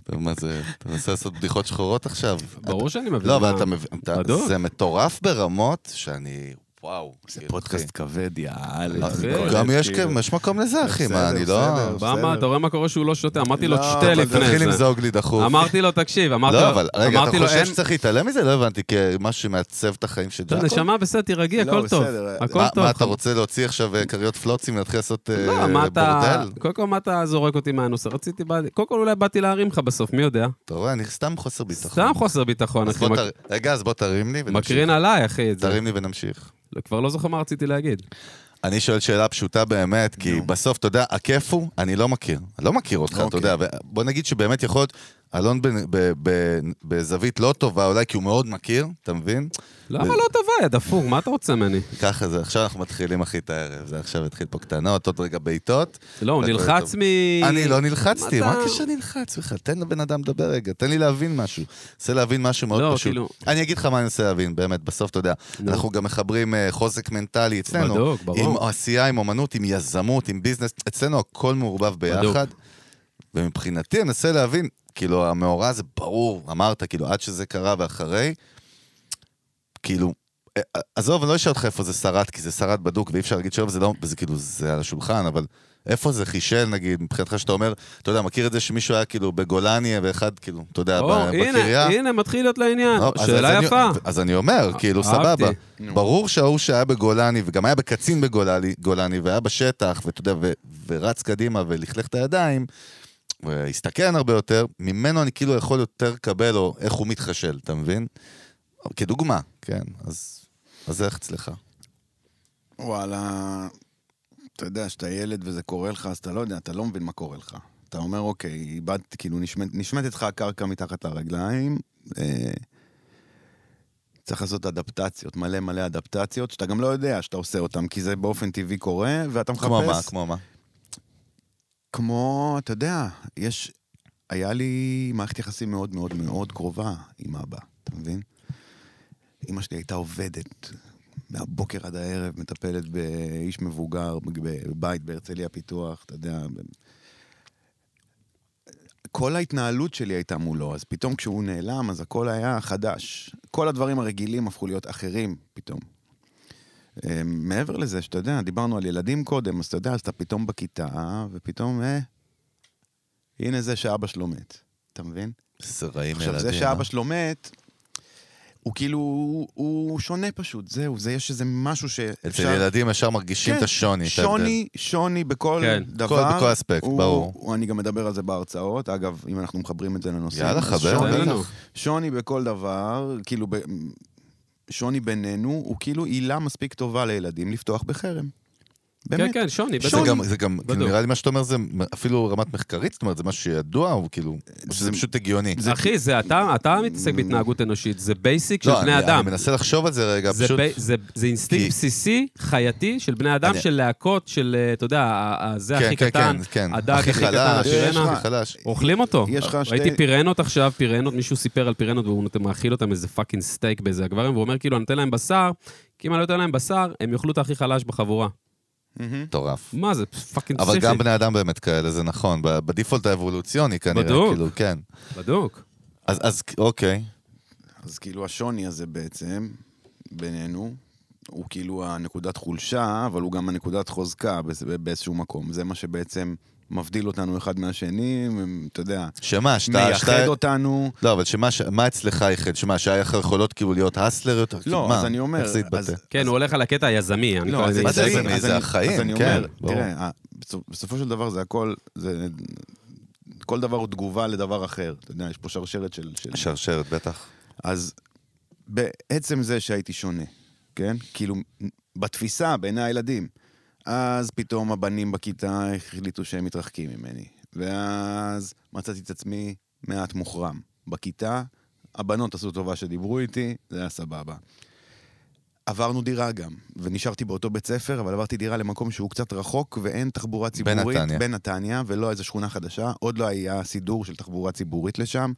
Speaker 1: אתה מה זה, אתה מנסה לעשות בדיחות שחורות עכשיו?
Speaker 2: ברור שאני מבין. אה,
Speaker 1: לא, אבל
Speaker 2: מה-
Speaker 1: אתה מבין, אתה-
Speaker 2: בדוק.
Speaker 1: זה מטורף ברמות שאני, וואו.
Speaker 3: זה
Speaker 1: כאילו,
Speaker 3: פודקאסט כבד, יאללה.
Speaker 1: אחי.
Speaker 2: כבד,
Speaker 1: גם
Speaker 3: כאילו.
Speaker 1: יש כאן- יש מקום לזה, אחי, מה,
Speaker 3: בסדר,
Speaker 1: אני לא...
Speaker 3: בסדר.
Speaker 2: במה, אתה רואה מה קורה שהוא לא שותה? אמרתי לו,
Speaker 3: לא,
Speaker 2: תשתה
Speaker 1: אבל תתחיל
Speaker 2: לפני זה.
Speaker 1: למזוג לי דחוף.
Speaker 2: אמרתי לו, תקשיב, אמרתי לו,
Speaker 1: לא, אבל רגע,
Speaker 2: אמרתי
Speaker 1: אתה
Speaker 2: לו,
Speaker 1: חושב
Speaker 2: אין-
Speaker 1: שצריך להתעלם מזה? לא הבנתי, כמשהו שמעצב את החיים של
Speaker 2: טוב,
Speaker 1: ג'אקו?
Speaker 2: נשמה, בסדר, תירגעי,
Speaker 3: לא,
Speaker 2: הכל טוב.
Speaker 3: בסדר,
Speaker 2: הכל
Speaker 1: מה-
Speaker 2: טוב.
Speaker 1: מה, אתה רוצה להוציא עכשיו אה, כריות פלוצים ולהתחיל לעשות אה,
Speaker 2: לא, מה אתה...
Speaker 1: בורדל?
Speaker 2: קודם כל, מה אתה זורק אותי מהנושא? רציתי... בא- קודם כל, אולי באתי להרים לך בסוף, מי יודע?
Speaker 1: אתה רואה, אני סתם חוסר ביטחון.
Speaker 2: סתם חוסר ביטחון,
Speaker 1: אז
Speaker 2: אחי.
Speaker 1: בוא
Speaker 2: מק-
Speaker 1: תר- רגע, אז בוא תרים לי ונמשיך.
Speaker 2: מקרין עליי, אחי, את זה.
Speaker 1: תרים לי ונמשיך.
Speaker 2: לא, כבר לא זוכר מה רציתי להגיד.
Speaker 1: אני שואל שאלה פשוטה באמת, כי
Speaker 3: נו.
Speaker 1: בסוף, אתה יודע, הכיף הוא, אני לא מכיר. אני לא מכיר אותך, אתה
Speaker 3: אוקיי.
Speaker 1: יודע. בוא נגיד שבאמת יכול להיות, אלון בנ- ב- ב- בזווית לא טובה אולי, כי הוא מאוד מכיר, אתה מבין?
Speaker 2: למה לא טובה, יא דפור? מה אתה רוצה ממני?
Speaker 1: ככה זה, עכשיו אנחנו מתחילים, אחי, את הערב. זה עכשיו התחיל פה קטנות, עוד רגע בעיטות.
Speaker 2: לא, הוא
Speaker 1: הכל
Speaker 2: נלחץ
Speaker 1: טוב.
Speaker 2: מ...
Speaker 1: אני לא נלחצתי,
Speaker 2: אתה-
Speaker 1: מה הקשר נלחץ בכלל? תן לבן אדם לדבר רגע, תן לי להבין משהו. רוצה להבין משהו
Speaker 2: לא,
Speaker 1: מאוד פשוט.
Speaker 2: כאילו-
Speaker 1: אני אגיד לך מה אני רוצה להבין, באמת, בסוף, אתה יודע,
Speaker 2: נו.
Speaker 1: אנחנו גם מחברים אה, חוזק מנטלי אצלנו.
Speaker 2: בדוק, ברור.
Speaker 1: עם עשייה, עם אומנות, עם יזמות, עם ביזנס, אצלנו הכל מעורבב ביחד. ומבחינתי, אני מנסה להבין, כאילו, המאורע זה ברור, אמרת, כאילו, עד שזה קרה ואחרי, כאילו, אה, עזוב, אני לא אשאל אותך איפה זה שרד, כי זה שרד בדוק, ואי אפשר להגיד שלא, וזה לא, וזה כאילו, זה על השולחן, אבל איפה זה חישל, נגיד, מבחינתך שאתה אומר, אתה יודע, מכיר את זה שמישהו היה כאילו בגולני, ואחד, כאילו, אתה יודע,
Speaker 2: או,
Speaker 1: ב- בקריה?
Speaker 2: הנה, הנה, מתחיל להיות לעניין.
Speaker 1: לא, אז- אז
Speaker 2: אה, שאלה
Speaker 1: אני-
Speaker 2: יפה. אה,
Speaker 1: אז אני אומר, כאילו, סבבה.
Speaker 2: אהבתי.
Speaker 3: נו.
Speaker 1: ברור שההוא שהיה בגולני, וגם היה בקצין בגולני, גולני, והיה בשטח, ואתה יודע, ו- ורץ קדימה ולכלך את הידיים, והסתכן הרבה יותר, ממנו אני כאילו יכול יותר לקבל, או איך הוא מתחשל, אתה מבין? כדוגמה, כן, אז... אז איך אצלך?
Speaker 3: וואלה, אתה יודע, כשאתה ילד וזה קורה לך, אז אתה לא יודע, אתה לא מבין מה קורה לך. אתה אומר, אוקיי, איבדת, כאילו, נשמט- נשמטת לך הקרקע מתחת לרגליים, אה, צריך לעשות אדפטציות, מלא מלא אדפטציות, שאתה גם לא יודע שאתה עושה אותן, כי זה באופן טבעי קורה, ואתה מחפש...
Speaker 1: כמו מה? כמו מה?
Speaker 3: כמו, אתה יודע, יש... היה לי מערכת יחסים מאוד מאוד מאוד קרובה עם אבא, אתה מבין? אמא שלי הייתה עובדת מהבוקר עד הערב, מטפלת באיש מבוגר בבית בהרצליה פיתוח, אתה יודע. כל ההתנהלות שלי הייתה מולו, אז פתאום כשהוא נעלם, אז הכל היה חדש. כל הדברים הרגילים הפכו להיות אחרים פתאום. אה, מעבר לזה, שאתה יודע, דיברנו על ילדים קודם, אז אתה יודע, אז אתה פתאום בכיתה, ופתאום, אה, הנה זה שאבא שלו מת. אתה מבין?
Speaker 1: זה רעים ילדים. אה?
Speaker 3: עכשיו, זה שאבא שלו מת, הוא כאילו, הוא שונה פשוט, זהו, זה יש איזה משהו
Speaker 1: אצל
Speaker 3: שאפשר...
Speaker 1: ילדים ישר מרגישים את השוני. את ההבדל.
Speaker 3: כן, שוני, שוני בכל
Speaker 2: כן.
Speaker 3: דבר.
Speaker 1: כל- בכל אספקט,
Speaker 3: הוא-
Speaker 1: ברור.
Speaker 3: הוא- אני גם מדבר על זה בהרצאות, אגב, אם אנחנו מחברים את זה לנושאים.
Speaker 1: יאללה,
Speaker 3: אז
Speaker 1: חבר,
Speaker 3: שוני-
Speaker 1: בטח.
Speaker 2: תן לנו.
Speaker 3: שוני בכל דבר, כאילו, ב... שוני בינינו, הוא כאילו עילה מספיק טובה לילדים לפתוח בחרם.
Speaker 2: כן,
Speaker 3: באמת.
Speaker 2: כן, שוני,
Speaker 1: זה
Speaker 2: בטח.
Speaker 1: גם, זה גם, כאילו,
Speaker 2: בדוק.
Speaker 1: נראה לי מה שאתה אומר זה אפילו רמת מחקרית, זאת אומרת, זה משהו שידוע, או כאילו, או שזה פשוט הגיוני.
Speaker 2: אחי, זה אתה, אתה מתעסק בהתנהגות אנושית, זה בייסיק של
Speaker 1: לא,
Speaker 2: בני
Speaker 1: אני-
Speaker 2: אדם.
Speaker 1: אני מנסה לחשוב על זה רגע,
Speaker 2: זה,
Speaker 1: פשוט...
Speaker 2: בי, זה, זה אינסטינקט
Speaker 1: כי-
Speaker 2: בסיסי, חייתי, של בני אדם,
Speaker 1: אני-
Speaker 2: של להקות, של, אה, אתה יודע, ה- ה- זה
Speaker 1: כן,
Speaker 2: הכי
Speaker 1: כן,
Speaker 2: קטן,
Speaker 1: כן, כן.
Speaker 2: הדג הכי קטן,
Speaker 1: חלש,
Speaker 2: השירנה.
Speaker 1: הכי חלש.
Speaker 2: אוכלים אותו.
Speaker 3: יש לך שתי-
Speaker 2: ראיתי פירנות עכשיו, פירנות, מישהו סיפר על פירנות, והוא נותן- מאכיל אותם איזה פאקינג סטייק באיזה הגברים, והוא אומר, כאילו, אני נותן להם בשר, כי אם אני לא אתן להם בשר, הם יאכלו את הכי חלש בחבורה.
Speaker 3: מהמם.
Speaker 1: מטורף.
Speaker 2: מה זה, פאקינג
Speaker 1: אבל
Speaker 2: פסיכי.
Speaker 1: גם בני אדם באמת כאלה, זה נכון. ב- בדיפולט האבולוציוני כנראה,
Speaker 2: בדוק.
Speaker 1: כאילו, כן.
Speaker 2: בדוק.
Speaker 1: אז- אז אוקיי.
Speaker 3: אז כאילו השוני הזה בעצם, בינינו, הוא כאילו הנקודת חולשה, אבל הוא גם הנקודת חוזקה באיז- באיזשהו מקום. זה מה שבעצם מבדיל אותנו אחד מהשני, הם, אתה יודע,
Speaker 1: שמה, שאתה...
Speaker 3: מייחד
Speaker 1: שאתה-
Speaker 3: אותנו.
Speaker 1: לא, אבל שמה, ש- מה אצלך יחד? שמה, שהיה לך יכולות כאילו להיות האסלר יותר? כאילו,
Speaker 3: לא,
Speaker 1: מה?
Speaker 3: אז אני אומר,
Speaker 1: איך זה התבטא?
Speaker 3: אז-
Speaker 2: כן, הוא הולך על הקטע היזמי. אני
Speaker 3: לא,
Speaker 2: כבר-
Speaker 3: אז
Speaker 2: אני-
Speaker 1: מה זה
Speaker 3: אז
Speaker 1: יזמי?
Speaker 3: אני- אז
Speaker 1: זה
Speaker 3: אני-
Speaker 1: החיים,
Speaker 3: אז אני
Speaker 1: כן,
Speaker 3: אומר,
Speaker 1: ברור.
Speaker 3: תראה, ה- בסופ- בסופו של דבר זה הכל, זה... כל דבר הוא תגובה לדבר אחר. אתה יודע, יש פה שרשרת של... של-
Speaker 1: שרשרת, בטח.
Speaker 3: אז בעצם זה שהייתי שונה, כן? כאילו, בתפיסה, בעיני הילדים. אז פתאום הבנים בכיתה החליטו שהם מתרחקים ממני. ואז מצאתי את עצמי מעט מוחרם. בכיתה, הבנות עשו טובה שדיברו איתי, זה היה סבבה. עברנו דירה גם, ונשארתי באותו בית ספר, אבל עברתי דירה למקום שהוא קצת רחוק ואין תחבורה ציבורית.
Speaker 1: בנתניה.
Speaker 3: בנתניה, ולא איזה שכונה חדשה. עוד לא היה סידור של תחבורה ציבורית לשם.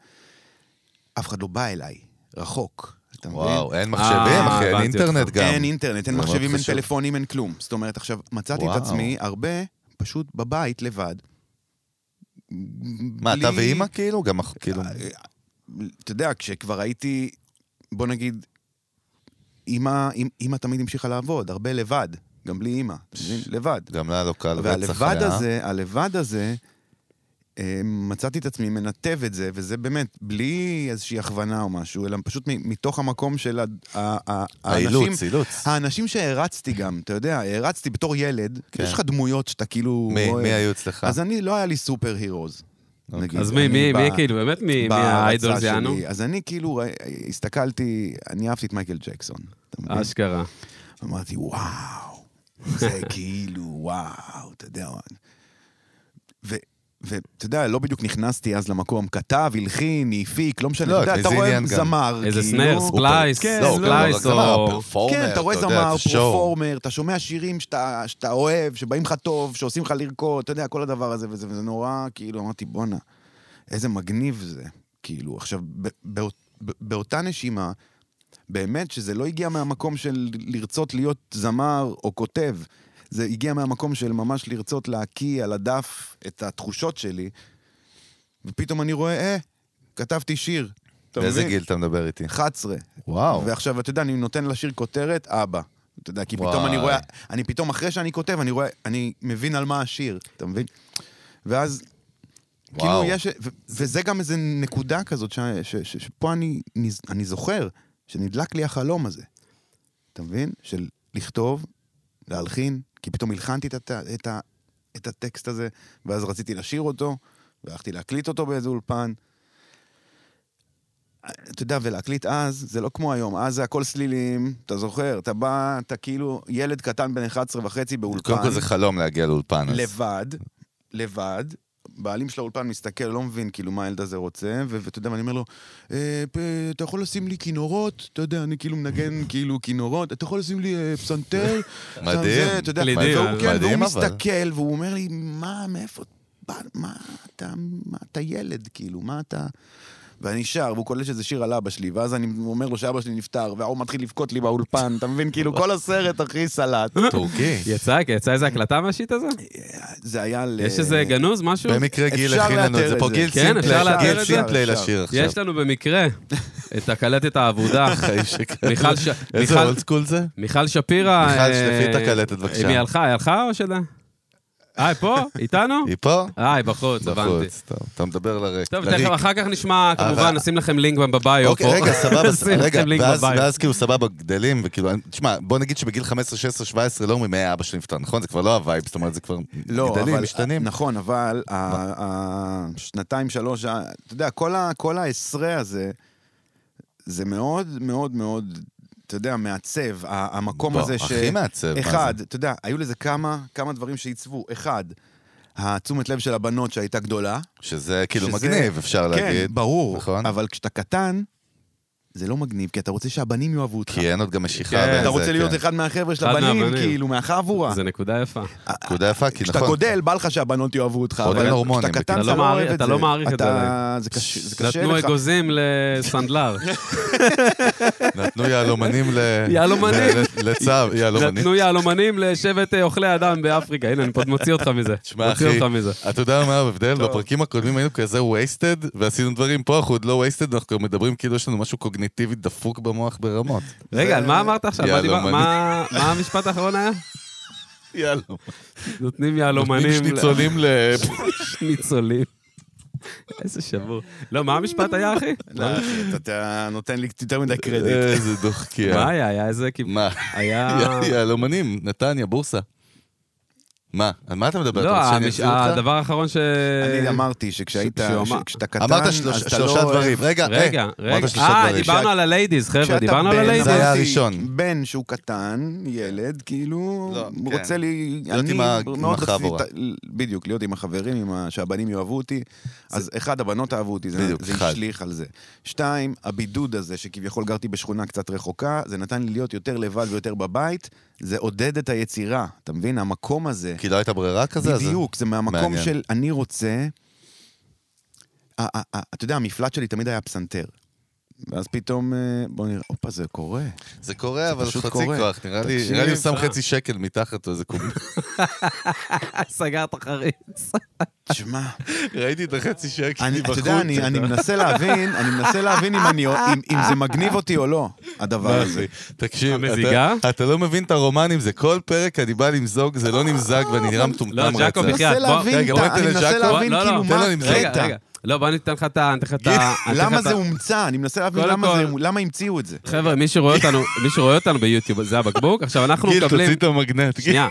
Speaker 3: אף אחד לא בא אליי, רחוק. אתה מבין?
Speaker 1: וואו, אין מחשבים, אחי, אין
Speaker 2: אה, הבנתי
Speaker 1: אינטרנט
Speaker 2: אותך.
Speaker 1: גם.
Speaker 3: אין אינטרנט, אין
Speaker 1: זה מאוד
Speaker 3: מחשבים, אין
Speaker 1: חשוב.
Speaker 3: טלפונים, אין כלום. זאת אומרת, עכשיו, מצאתי את
Speaker 1: וואו.
Speaker 3: עצמי הרבה פשוט בבית לבד.
Speaker 1: מה, אתה ואימא כאילו? גם אח- כאילו...
Speaker 3: אה, אתה יודע, כשכבר הייתי, בוא נגיד, אימא, אימא תמיד המשיכה לעבוד, הרבה לבד, גם בלי אימא, אתה מבין? לבד.
Speaker 1: גם לה לא קל רצח
Speaker 3: והלבד
Speaker 1: היה.
Speaker 3: הזה, הלבד הזה, אה, מצאתי את עצמי מנתב את זה, וזה באמת, בלי איזושהי הכוונה או משהו, אלא פשוט מ- מתוך המקום של ה- ה- ה- האנשים, אה,
Speaker 1: האילוץ, אילוץ.
Speaker 3: האנשים שהערצתי גם, אתה יודע, הערצתי בתור ילד,
Speaker 1: כן.
Speaker 3: יש לך דמויות שאתה כאילו...
Speaker 1: מי
Speaker 3: אוהב.
Speaker 1: מי היו אוקיי. אצלך?
Speaker 3: אז אני, לא היה לי סופר הירוז. נגיד.
Speaker 2: אז מי,
Speaker 3: אני
Speaker 2: מי,
Speaker 3: ב-
Speaker 2: מי, כאילו, באמת, מי מי
Speaker 3: בהערצה
Speaker 2: האיידול זה אנו?
Speaker 3: שלי. אז אני כאילו ראי- הסתכלתי, אני אהבתי את מייקל ג'קסון. אתה מבין?
Speaker 2: אשכרה.
Speaker 3: אמרתי, וואו,
Speaker 1: [LAUGHS]
Speaker 3: זה כאילו, וואו, אתה יודע. ו- ואתה יודע, לא בדיוק נכנסתי אז למקום, כתב, הלחין, הפיק, לא משנה,
Speaker 1: לא,
Speaker 3: אתה יודע,
Speaker 1: זה
Speaker 3: אתה רואה
Speaker 1: עניין גם.
Speaker 3: זמר,
Speaker 2: איזה
Speaker 3: כאילו.
Speaker 2: סנר,
Speaker 1: הוא
Speaker 2: ספלייס,
Speaker 1: פר- לא, הוא גם
Speaker 2: ספלייס,
Speaker 1: לא רק זמר,
Speaker 2: או...
Speaker 1: פרפורמר,
Speaker 3: כן, אתה רואה
Speaker 1: יודע,
Speaker 3: זמר,
Speaker 1: זה שואו.
Speaker 3: פרפורמר, אתה שומע שירים שאתה, שאתה אוהב, שבאים לך טוב, שעושים לך לרקוד, אתה יודע, כל הדבר הזה, וזה, וזה נורא, כאילו, אמרתי, בואנה, איזה מגניב זה. כאילו, עכשיו, ב, בא, ב, באותה נשימה, באמת שזה לא הגיע מהמקום של לרצות להיות זמר או כותב, זה הגיע מהמקום של ממש לרצות להקיא על הדף את התחושות שלי, ופתאום אני רואה, אה, כתבתי שיר. אתה
Speaker 1: באיזה
Speaker 3: מבין?
Speaker 1: גיל אתה מדבר איתי?
Speaker 3: 11.
Speaker 1: וואו.
Speaker 3: ועכשיו, אתה יודע, אני נותן לשיר כותרת, אבא. אתה יודע, כי פתאום
Speaker 1: וואי.
Speaker 3: אני רואה, אני פתאום אחרי שאני כותב, אני רואה, אני מבין על מה השיר, אתה מבין? ואז,
Speaker 1: וואו.
Speaker 3: כאילו יש, ו- וזה גם איזה נקודה כזאת, ש- ש- ש- שפה אני נז- אני זוכר, שנדלק לי החלום הזה, אתה מבין? של לכתוב, להלחין, כי פתאום הלחנתי את הת- את ה- את הטקסט הזה, ואז רציתי לשיר אותו, והלכתי להקליט אותו באיזה אולפן. אתה יודע, ולהקליט אז, זה לא כמו היום, אז זה הכל סלילים, אתה זוכר, אתה בא, אתה כאילו ילד קטן בן 11 וחצי באולפן,
Speaker 1: קודם כל זה חלום להגיע לאולפן. אז-
Speaker 3: לבד, לבד, בעלים של האולפן מסתכל, לא מבין כאילו מה הילד הזה רוצה, ו- ואתה יודע, ואני אומר לו, אה, פ- אתה יכול לשים לי כינורות? אתה יודע, אני כאילו
Speaker 1: [LAUGHS]
Speaker 3: מנגן כאילו כינורות, אתה יכול לשים לי אה, פסנתר?
Speaker 1: מדהים.
Speaker 3: זה, אתה יודע,
Speaker 2: קלידים,
Speaker 3: והוא- כן, והוא
Speaker 1: מדהים, אבל.
Speaker 3: מסתכל, והוא אומר לי, מה, מאיפה, בא- מה אתה, מה אתה ילד, כאילו, מה אתה... ואני שר, והוא קולט שזה שיר על אבא שלי, ואז אני אומר לו שאבא שלי נפטר, והוא מתחיל לבכות לי באולפן, אתה מבין? כאילו, כל הסרט, אחי,
Speaker 1: [LAUGHS]
Speaker 3: סלט. [LAUGHS]
Speaker 1: טורקי.
Speaker 2: יצא יצא איזה הקלטה מהשיט הזה?
Speaker 3: זה היה ל...
Speaker 2: יש איזה גנוז, משהו?
Speaker 1: אה, במקרה גיל
Speaker 3: אפשר
Speaker 1: הכין לנו את
Speaker 3: לאתר
Speaker 1: זה.
Speaker 3: את
Speaker 1: פה
Speaker 3: זה.
Speaker 1: גיל
Speaker 2: כן,
Speaker 1: סינפלי,
Speaker 2: אפשר לאתר
Speaker 1: גיל
Speaker 2: את זה.
Speaker 1: סינפלי
Speaker 3: אפשר,
Speaker 1: לשיר עכשיו. [LAUGHS]
Speaker 2: יש לנו במקרה את הקלטת האבודה. מיכל ש-
Speaker 1: איזה
Speaker 2: מיכל-
Speaker 1: אולד סקול זה?
Speaker 2: מיכל שפירא...
Speaker 1: מיכל,
Speaker 2: אה,
Speaker 1: שלפי את הקלטת, בבקשה.
Speaker 2: אם היא הלכה, היא הלכה או שלה? אה, היא פה? איתנו?
Speaker 1: היא פה?
Speaker 2: אה, היא בחוץ, הבנתי.
Speaker 1: בחוץ. טוב, אתה מדבר לריק.
Speaker 2: טוב,
Speaker 1: לריק.
Speaker 2: תכף, אחר כך נשמע, כמובן,
Speaker 1: אבל-
Speaker 2: נשים לכם לינק גם בביו.
Speaker 1: אוקיי,
Speaker 2: פה.
Speaker 1: רגע, סבבה, ס-
Speaker 2: [LAUGHS] נשים
Speaker 1: רגע,
Speaker 2: לכם לינק
Speaker 1: ואז-
Speaker 2: בביו.
Speaker 1: ואז כאילו סבבה, גדלים, וכאילו, אני- תשמע, בוא נגיד שבגיל 15, 16, 17 לא אומרים, אה, אבא שלי נפטר, נכון? זה כבר לא הווייב, זאת אומרת, זה כבר
Speaker 3: לא,
Speaker 1: גדלים,
Speaker 3: אבל-
Speaker 1: משתנים.
Speaker 3: נכון, אבל ה- ה- השנתיים, שלוש, ה- אתה יודע, כל ה- כל העשרה הזה, זה מאוד מאוד מאוד, אתה יודע, מעצב, ה- המקום
Speaker 1: בוא,
Speaker 3: הזה ש...
Speaker 1: הכי מעצב, מה זה?
Speaker 3: אחד, אתה יודע, היו לזה כמה, כמה דברים שעיצבו. אחד, התשומת לב של הבנות שהייתה גדולה.
Speaker 1: שזה כאילו
Speaker 3: שזה-
Speaker 1: מגניב, אפשר להגיד.
Speaker 3: כן, ברור.
Speaker 1: נכון?
Speaker 3: אבל כשאתה קטן, זה לא מגניב, כי אתה רוצה שהבנים יאהבו אותך.
Speaker 1: כי אין עוד גם משיכה.
Speaker 2: כן.
Speaker 1: בין
Speaker 3: אתה
Speaker 1: זה,
Speaker 3: רוצה להיות
Speaker 1: כן.
Speaker 3: אחד מהחבר'ה של
Speaker 2: אחד
Speaker 3: הבנים,
Speaker 2: מהבנים.
Speaker 3: כאילו, מהחבורה.
Speaker 2: זה נקודה יפה.
Speaker 1: נקודה יפה, כי
Speaker 3: כשאתה
Speaker 1: נכון.
Speaker 3: גדל, בא לך שהבנות יאהבו אותך.
Speaker 1: עוד
Speaker 3: אבל
Speaker 1: אין הורמונים,
Speaker 3: כשאתה
Speaker 1: בקיצור.
Speaker 3: קטן,
Speaker 2: אתה
Speaker 3: אתה
Speaker 2: לא
Speaker 3: לא
Speaker 2: מעריך-
Speaker 3: אוהב את
Speaker 2: אתה
Speaker 3: זה.
Speaker 2: לא מעריך את זה
Speaker 3: אתה- זה קשה- זה קשה
Speaker 2: נתנו
Speaker 3: לך.
Speaker 2: אגוזים
Speaker 1: [LAUGHS]
Speaker 2: לסנדלר.
Speaker 1: נתנו יהלומנים ל...
Speaker 2: [LAUGHS] יהלומנים.
Speaker 1: ל- לצו, יהלומנים.
Speaker 2: נתנו יהלומנים לשבט אה, אוכלי אדם באפריקה. הנה, אני פה מוציא אותך
Speaker 1: [LAUGHS]
Speaker 2: מזה.
Speaker 1: תשמע,
Speaker 2: מוציא
Speaker 1: אחי,
Speaker 2: אותך מזה.
Speaker 1: אתה יודע מה ההבדל?
Speaker 3: [LAUGHS] טוב.
Speaker 1: בפרקים הקודמים היינו כזה וייסטד, ועשינו דברים פה, אנחנו עוד לא וייסטד, אנחנו כבר מדברים כאילו יש לנו משהו קוגניטיבי דפוק במוח
Speaker 3: [LAUGHS]
Speaker 1: ברמות.
Speaker 2: רגע, על מה אמרת עכשיו? מה דיבר-
Speaker 1: יהלומנים.
Speaker 2: מה מה המשפט
Speaker 1: [LAUGHS]
Speaker 2: האחרון היה?
Speaker 1: יהלומנים.
Speaker 2: נותנים יהלומנים
Speaker 1: שניצולים ל...
Speaker 2: [LAUGHS] ניצולים. איזה שבור. לא, מה המשפט היה,
Speaker 1: [LAUGHS]
Speaker 2: אחי?
Speaker 3: לא, אתה- אתה נותן לי יותר מדי [LAUGHS] קרדיט.
Speaker 2: אה,
Speaker 3: אה.
Speaker 1: איזה דוחקיה.
Speaker 2: מה היה? היה
Speaker 1: [LAUGHS]
Speaker 2: איזה כאילו...
Speaker 1: מה?
Speaker 2: היה...
Speaker 1: יה- יהלומנים, נתניה, בורסה. מה? על מה אתה מדבר?
Speaker 2: לא,
Speaker 1: אתה רוצה שאני
Speaker 2: המש-
Speaker 1: אחזיר אותך?
Speaker 2: הדבר האחרון ש...
Speaker 3: אני אמרתי שכשהיית,
Speaker 2: כשהוא אה, אמר-
Speaker 3: כשאתה קטן,
Speaker 1: אמרת
Speaker 3: אז
Speaker 1: שלוש-
Speaker 3: אתה
Speaker 1: שלושה
Speaker 3: לא אוהב-
Speaker 1: דברים. רגע, אה,
Speaker 2: רגע, רגע.
Speaker 1: אמרת שלושה
Speaker 2: אה,
Speaker 1: דברים.
Speaker 2: דיברנו על הליידיז, חבר'ה,
Speaker 3: כשאתה
Speaker 2: דיברנו על
Speaker 3: בן,
Speaker 2: הליידיז.
Speaker 1: זה
Speaker 2: [LAUGHS]
Speaker 1: היה
Speaker 3: אמרתי,
Speaker 1: הראשון.
Speaker 3: בן שהוא קטן, ילד, כאילו,
Speaker 1: לא,
Speaker 3: הוא
Speaker 1: כן.
Speaker 3: רוצה לי...
Speaker 1: להיות
Speaker 3: אני
Speaker 1: עם ה- עם
Speaker 3: מאוד רציתי...
Speaker 1: החבורה.
Speaker 3: את- בדיוק, להיות עם החברים, עם ה- שהבנים יאהבו אותי. אז אחד, הבנות אהבו אותי, זה
Speaker 1: בדיוק,
Speaker 3: זה
Speaker 1: אחד.
Speaker 3: השליך על זה. שתיים, הבידוד הזה, שכביכול גרתי בשכונה קצת רחוקה, זה נתן לי להיות יותר לבד ויותר בבית, זה עודד את היצירה, אתה מבין? המקום הזה.
Speaker 1: כי לא הייתה ברירה כזה? אז-
Speaker 3: בדיוק, זה מהמקום
Speaker 1: מעניין.
Speaker 3: של אני רוצה... ה- ה- ה- אתה יודע, המפלט שלי תמיד היה פסנתר. ואז פתאום, אה, בוא נראה, הופה, זה קורה.
Speaker 1: זה קורה, אבל
Speaker 3: פשוט
Speaker 1: חצי
Speaker 3: קורה.
Speaker 1: כוח, נראה לי
Speaker 3: תקשיב,
Speaker 1: נראה לי הוא שם
Speaker 2: אה.
Speaker 1: חצי שקל מתחת או איזה קום.
Speaker 2: סגר את החריץ.
Speaker 1: [LAUGHS]
Speaker 3: תשמע,
Speaker 1: [LAUGHS] ראיתי את החצי שקל
Speaker 3: אני- אתה
Speaker 1: מבחוץ.
Speaker 3: יודע, אני אני מנסה להבין, אני מנסה להבין אם אני- אם- אם זה מגניב אותי או לא, הדבר הזה.
Speaker 1: אחי, תקשיב,
Speaker 2: המזיגה?
Speaker 1: אתה- אתה לא מבין את הרומן עם זה, כל פרק אני בא למזוג, זה לא נמזג ואני נראה
Speaker 2: לא,
Speaker 1: מטומטם
Speaker 2: ג'אקוב,
Speaker 1: רצח.
Speaker 2: בחייאת,
Speaker 3: מנסה
Speaker 2: בוא,
Speaker 3: להבין,
Speaker 1: רגע,
Speaker 3: את ה-
Speaker 1: בוא
Speaker 3: אני
Speaker 1: ניתן
Speaker 3: מנסה
Speaker 1: לג'אקו.
Speaker 3: להבין
Speaker 2: לא, לא,
Speaker 3: כאילו
Speaker 1: תן
Speaker 3: מה
Speaker 1: לו למזוג.
Speaker 2: רגע,
Speaker 3: הקטע.
Speaker 2: רגע. לא, בוא ניתן לך את ה... ניתן לך את ה- אני אתן לך
Speaker 3: למה
Speaker 2: את
Speaker 3: זה
Speaker 2: ה-
Speaker 3: הומצא? אני מנסה להבין
Speaker 2: קודם
Speaker 3: למה
Speaker 2: כל-
Speaker 3: זה- למה המציאו את זה.
Speaker 2: חבר'ה, מי שרואה אותנו, מי שרואה אותנו ביוטיוב, זה הבקבוק. עכשיו, אנחנו
Speaker 1: גיל, תוציא
Speaker 2: מקבלים...
Speaker 1: את המגנט. גיל.
Speaker 2: שנייה.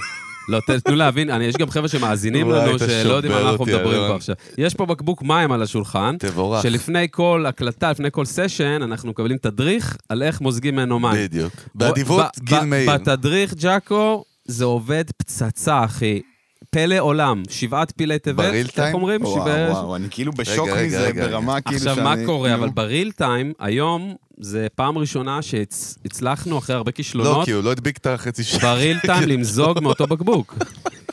Speaker 2: לא, ת- תנו להבין, אני- יש גם חבר'ה שמאזינים
Speaker 1: וואי,
Speaker 2: לנו,
Speaker 1: אתה
Speaker 2: שלא יודעים על
Speaker 1: שובר
Speaker 2: מה אנחנו
Speaker 1: אותי,
Speaker 2: מדברים
Speaker 1: אלון.
Speaker 2: פה עכשיו. יש פה בקבוק מים על השולחן,
Speaker 1: תבורך.
Speaker 2: שלפני כל הקלטה, לפני כל סשן, אנחנו מקבלים תדריך על איך מוזגים ממנו מים.
Speaker 1: בדיוק. באדיבות,
Speaker 2: ב-
Speaker 1: גיל
Speaker 2: ב-
Speaker 1: מאיר.
Speaker 2: בתדריך, ג'אקו, זה עובד פצצה, אחי. פלא עולם, שבעת פילי תבל.
Speaker 1: בריל
Speaker 2: איך
Speaker 1: טיים?
Speaker 2: אומרים?
Speaker 3: וואו,
Speaker 2: שבע-
Speaker 3: וואו, אני כאילו בשוק
Speaker 1: רגע,
Speaker 3: מזה,
Speaker 1: רגע,
Speaker 3: ברמה כאילו שאני...
Speaker 2: עכשיו, מה קורה?
Speaker 3: נו.
Speaker 2: אבל בריל טיים, היום זה פעם ראשונה שהצלחנו, אחרי הרבה
Speaker 1: לא,
Speaker 2: כישלונות,
Speaker 1: כי הוא לא הדביק את החצי שקל.
Speaker 2: בריל טיים למזוג מאותו בקבוק.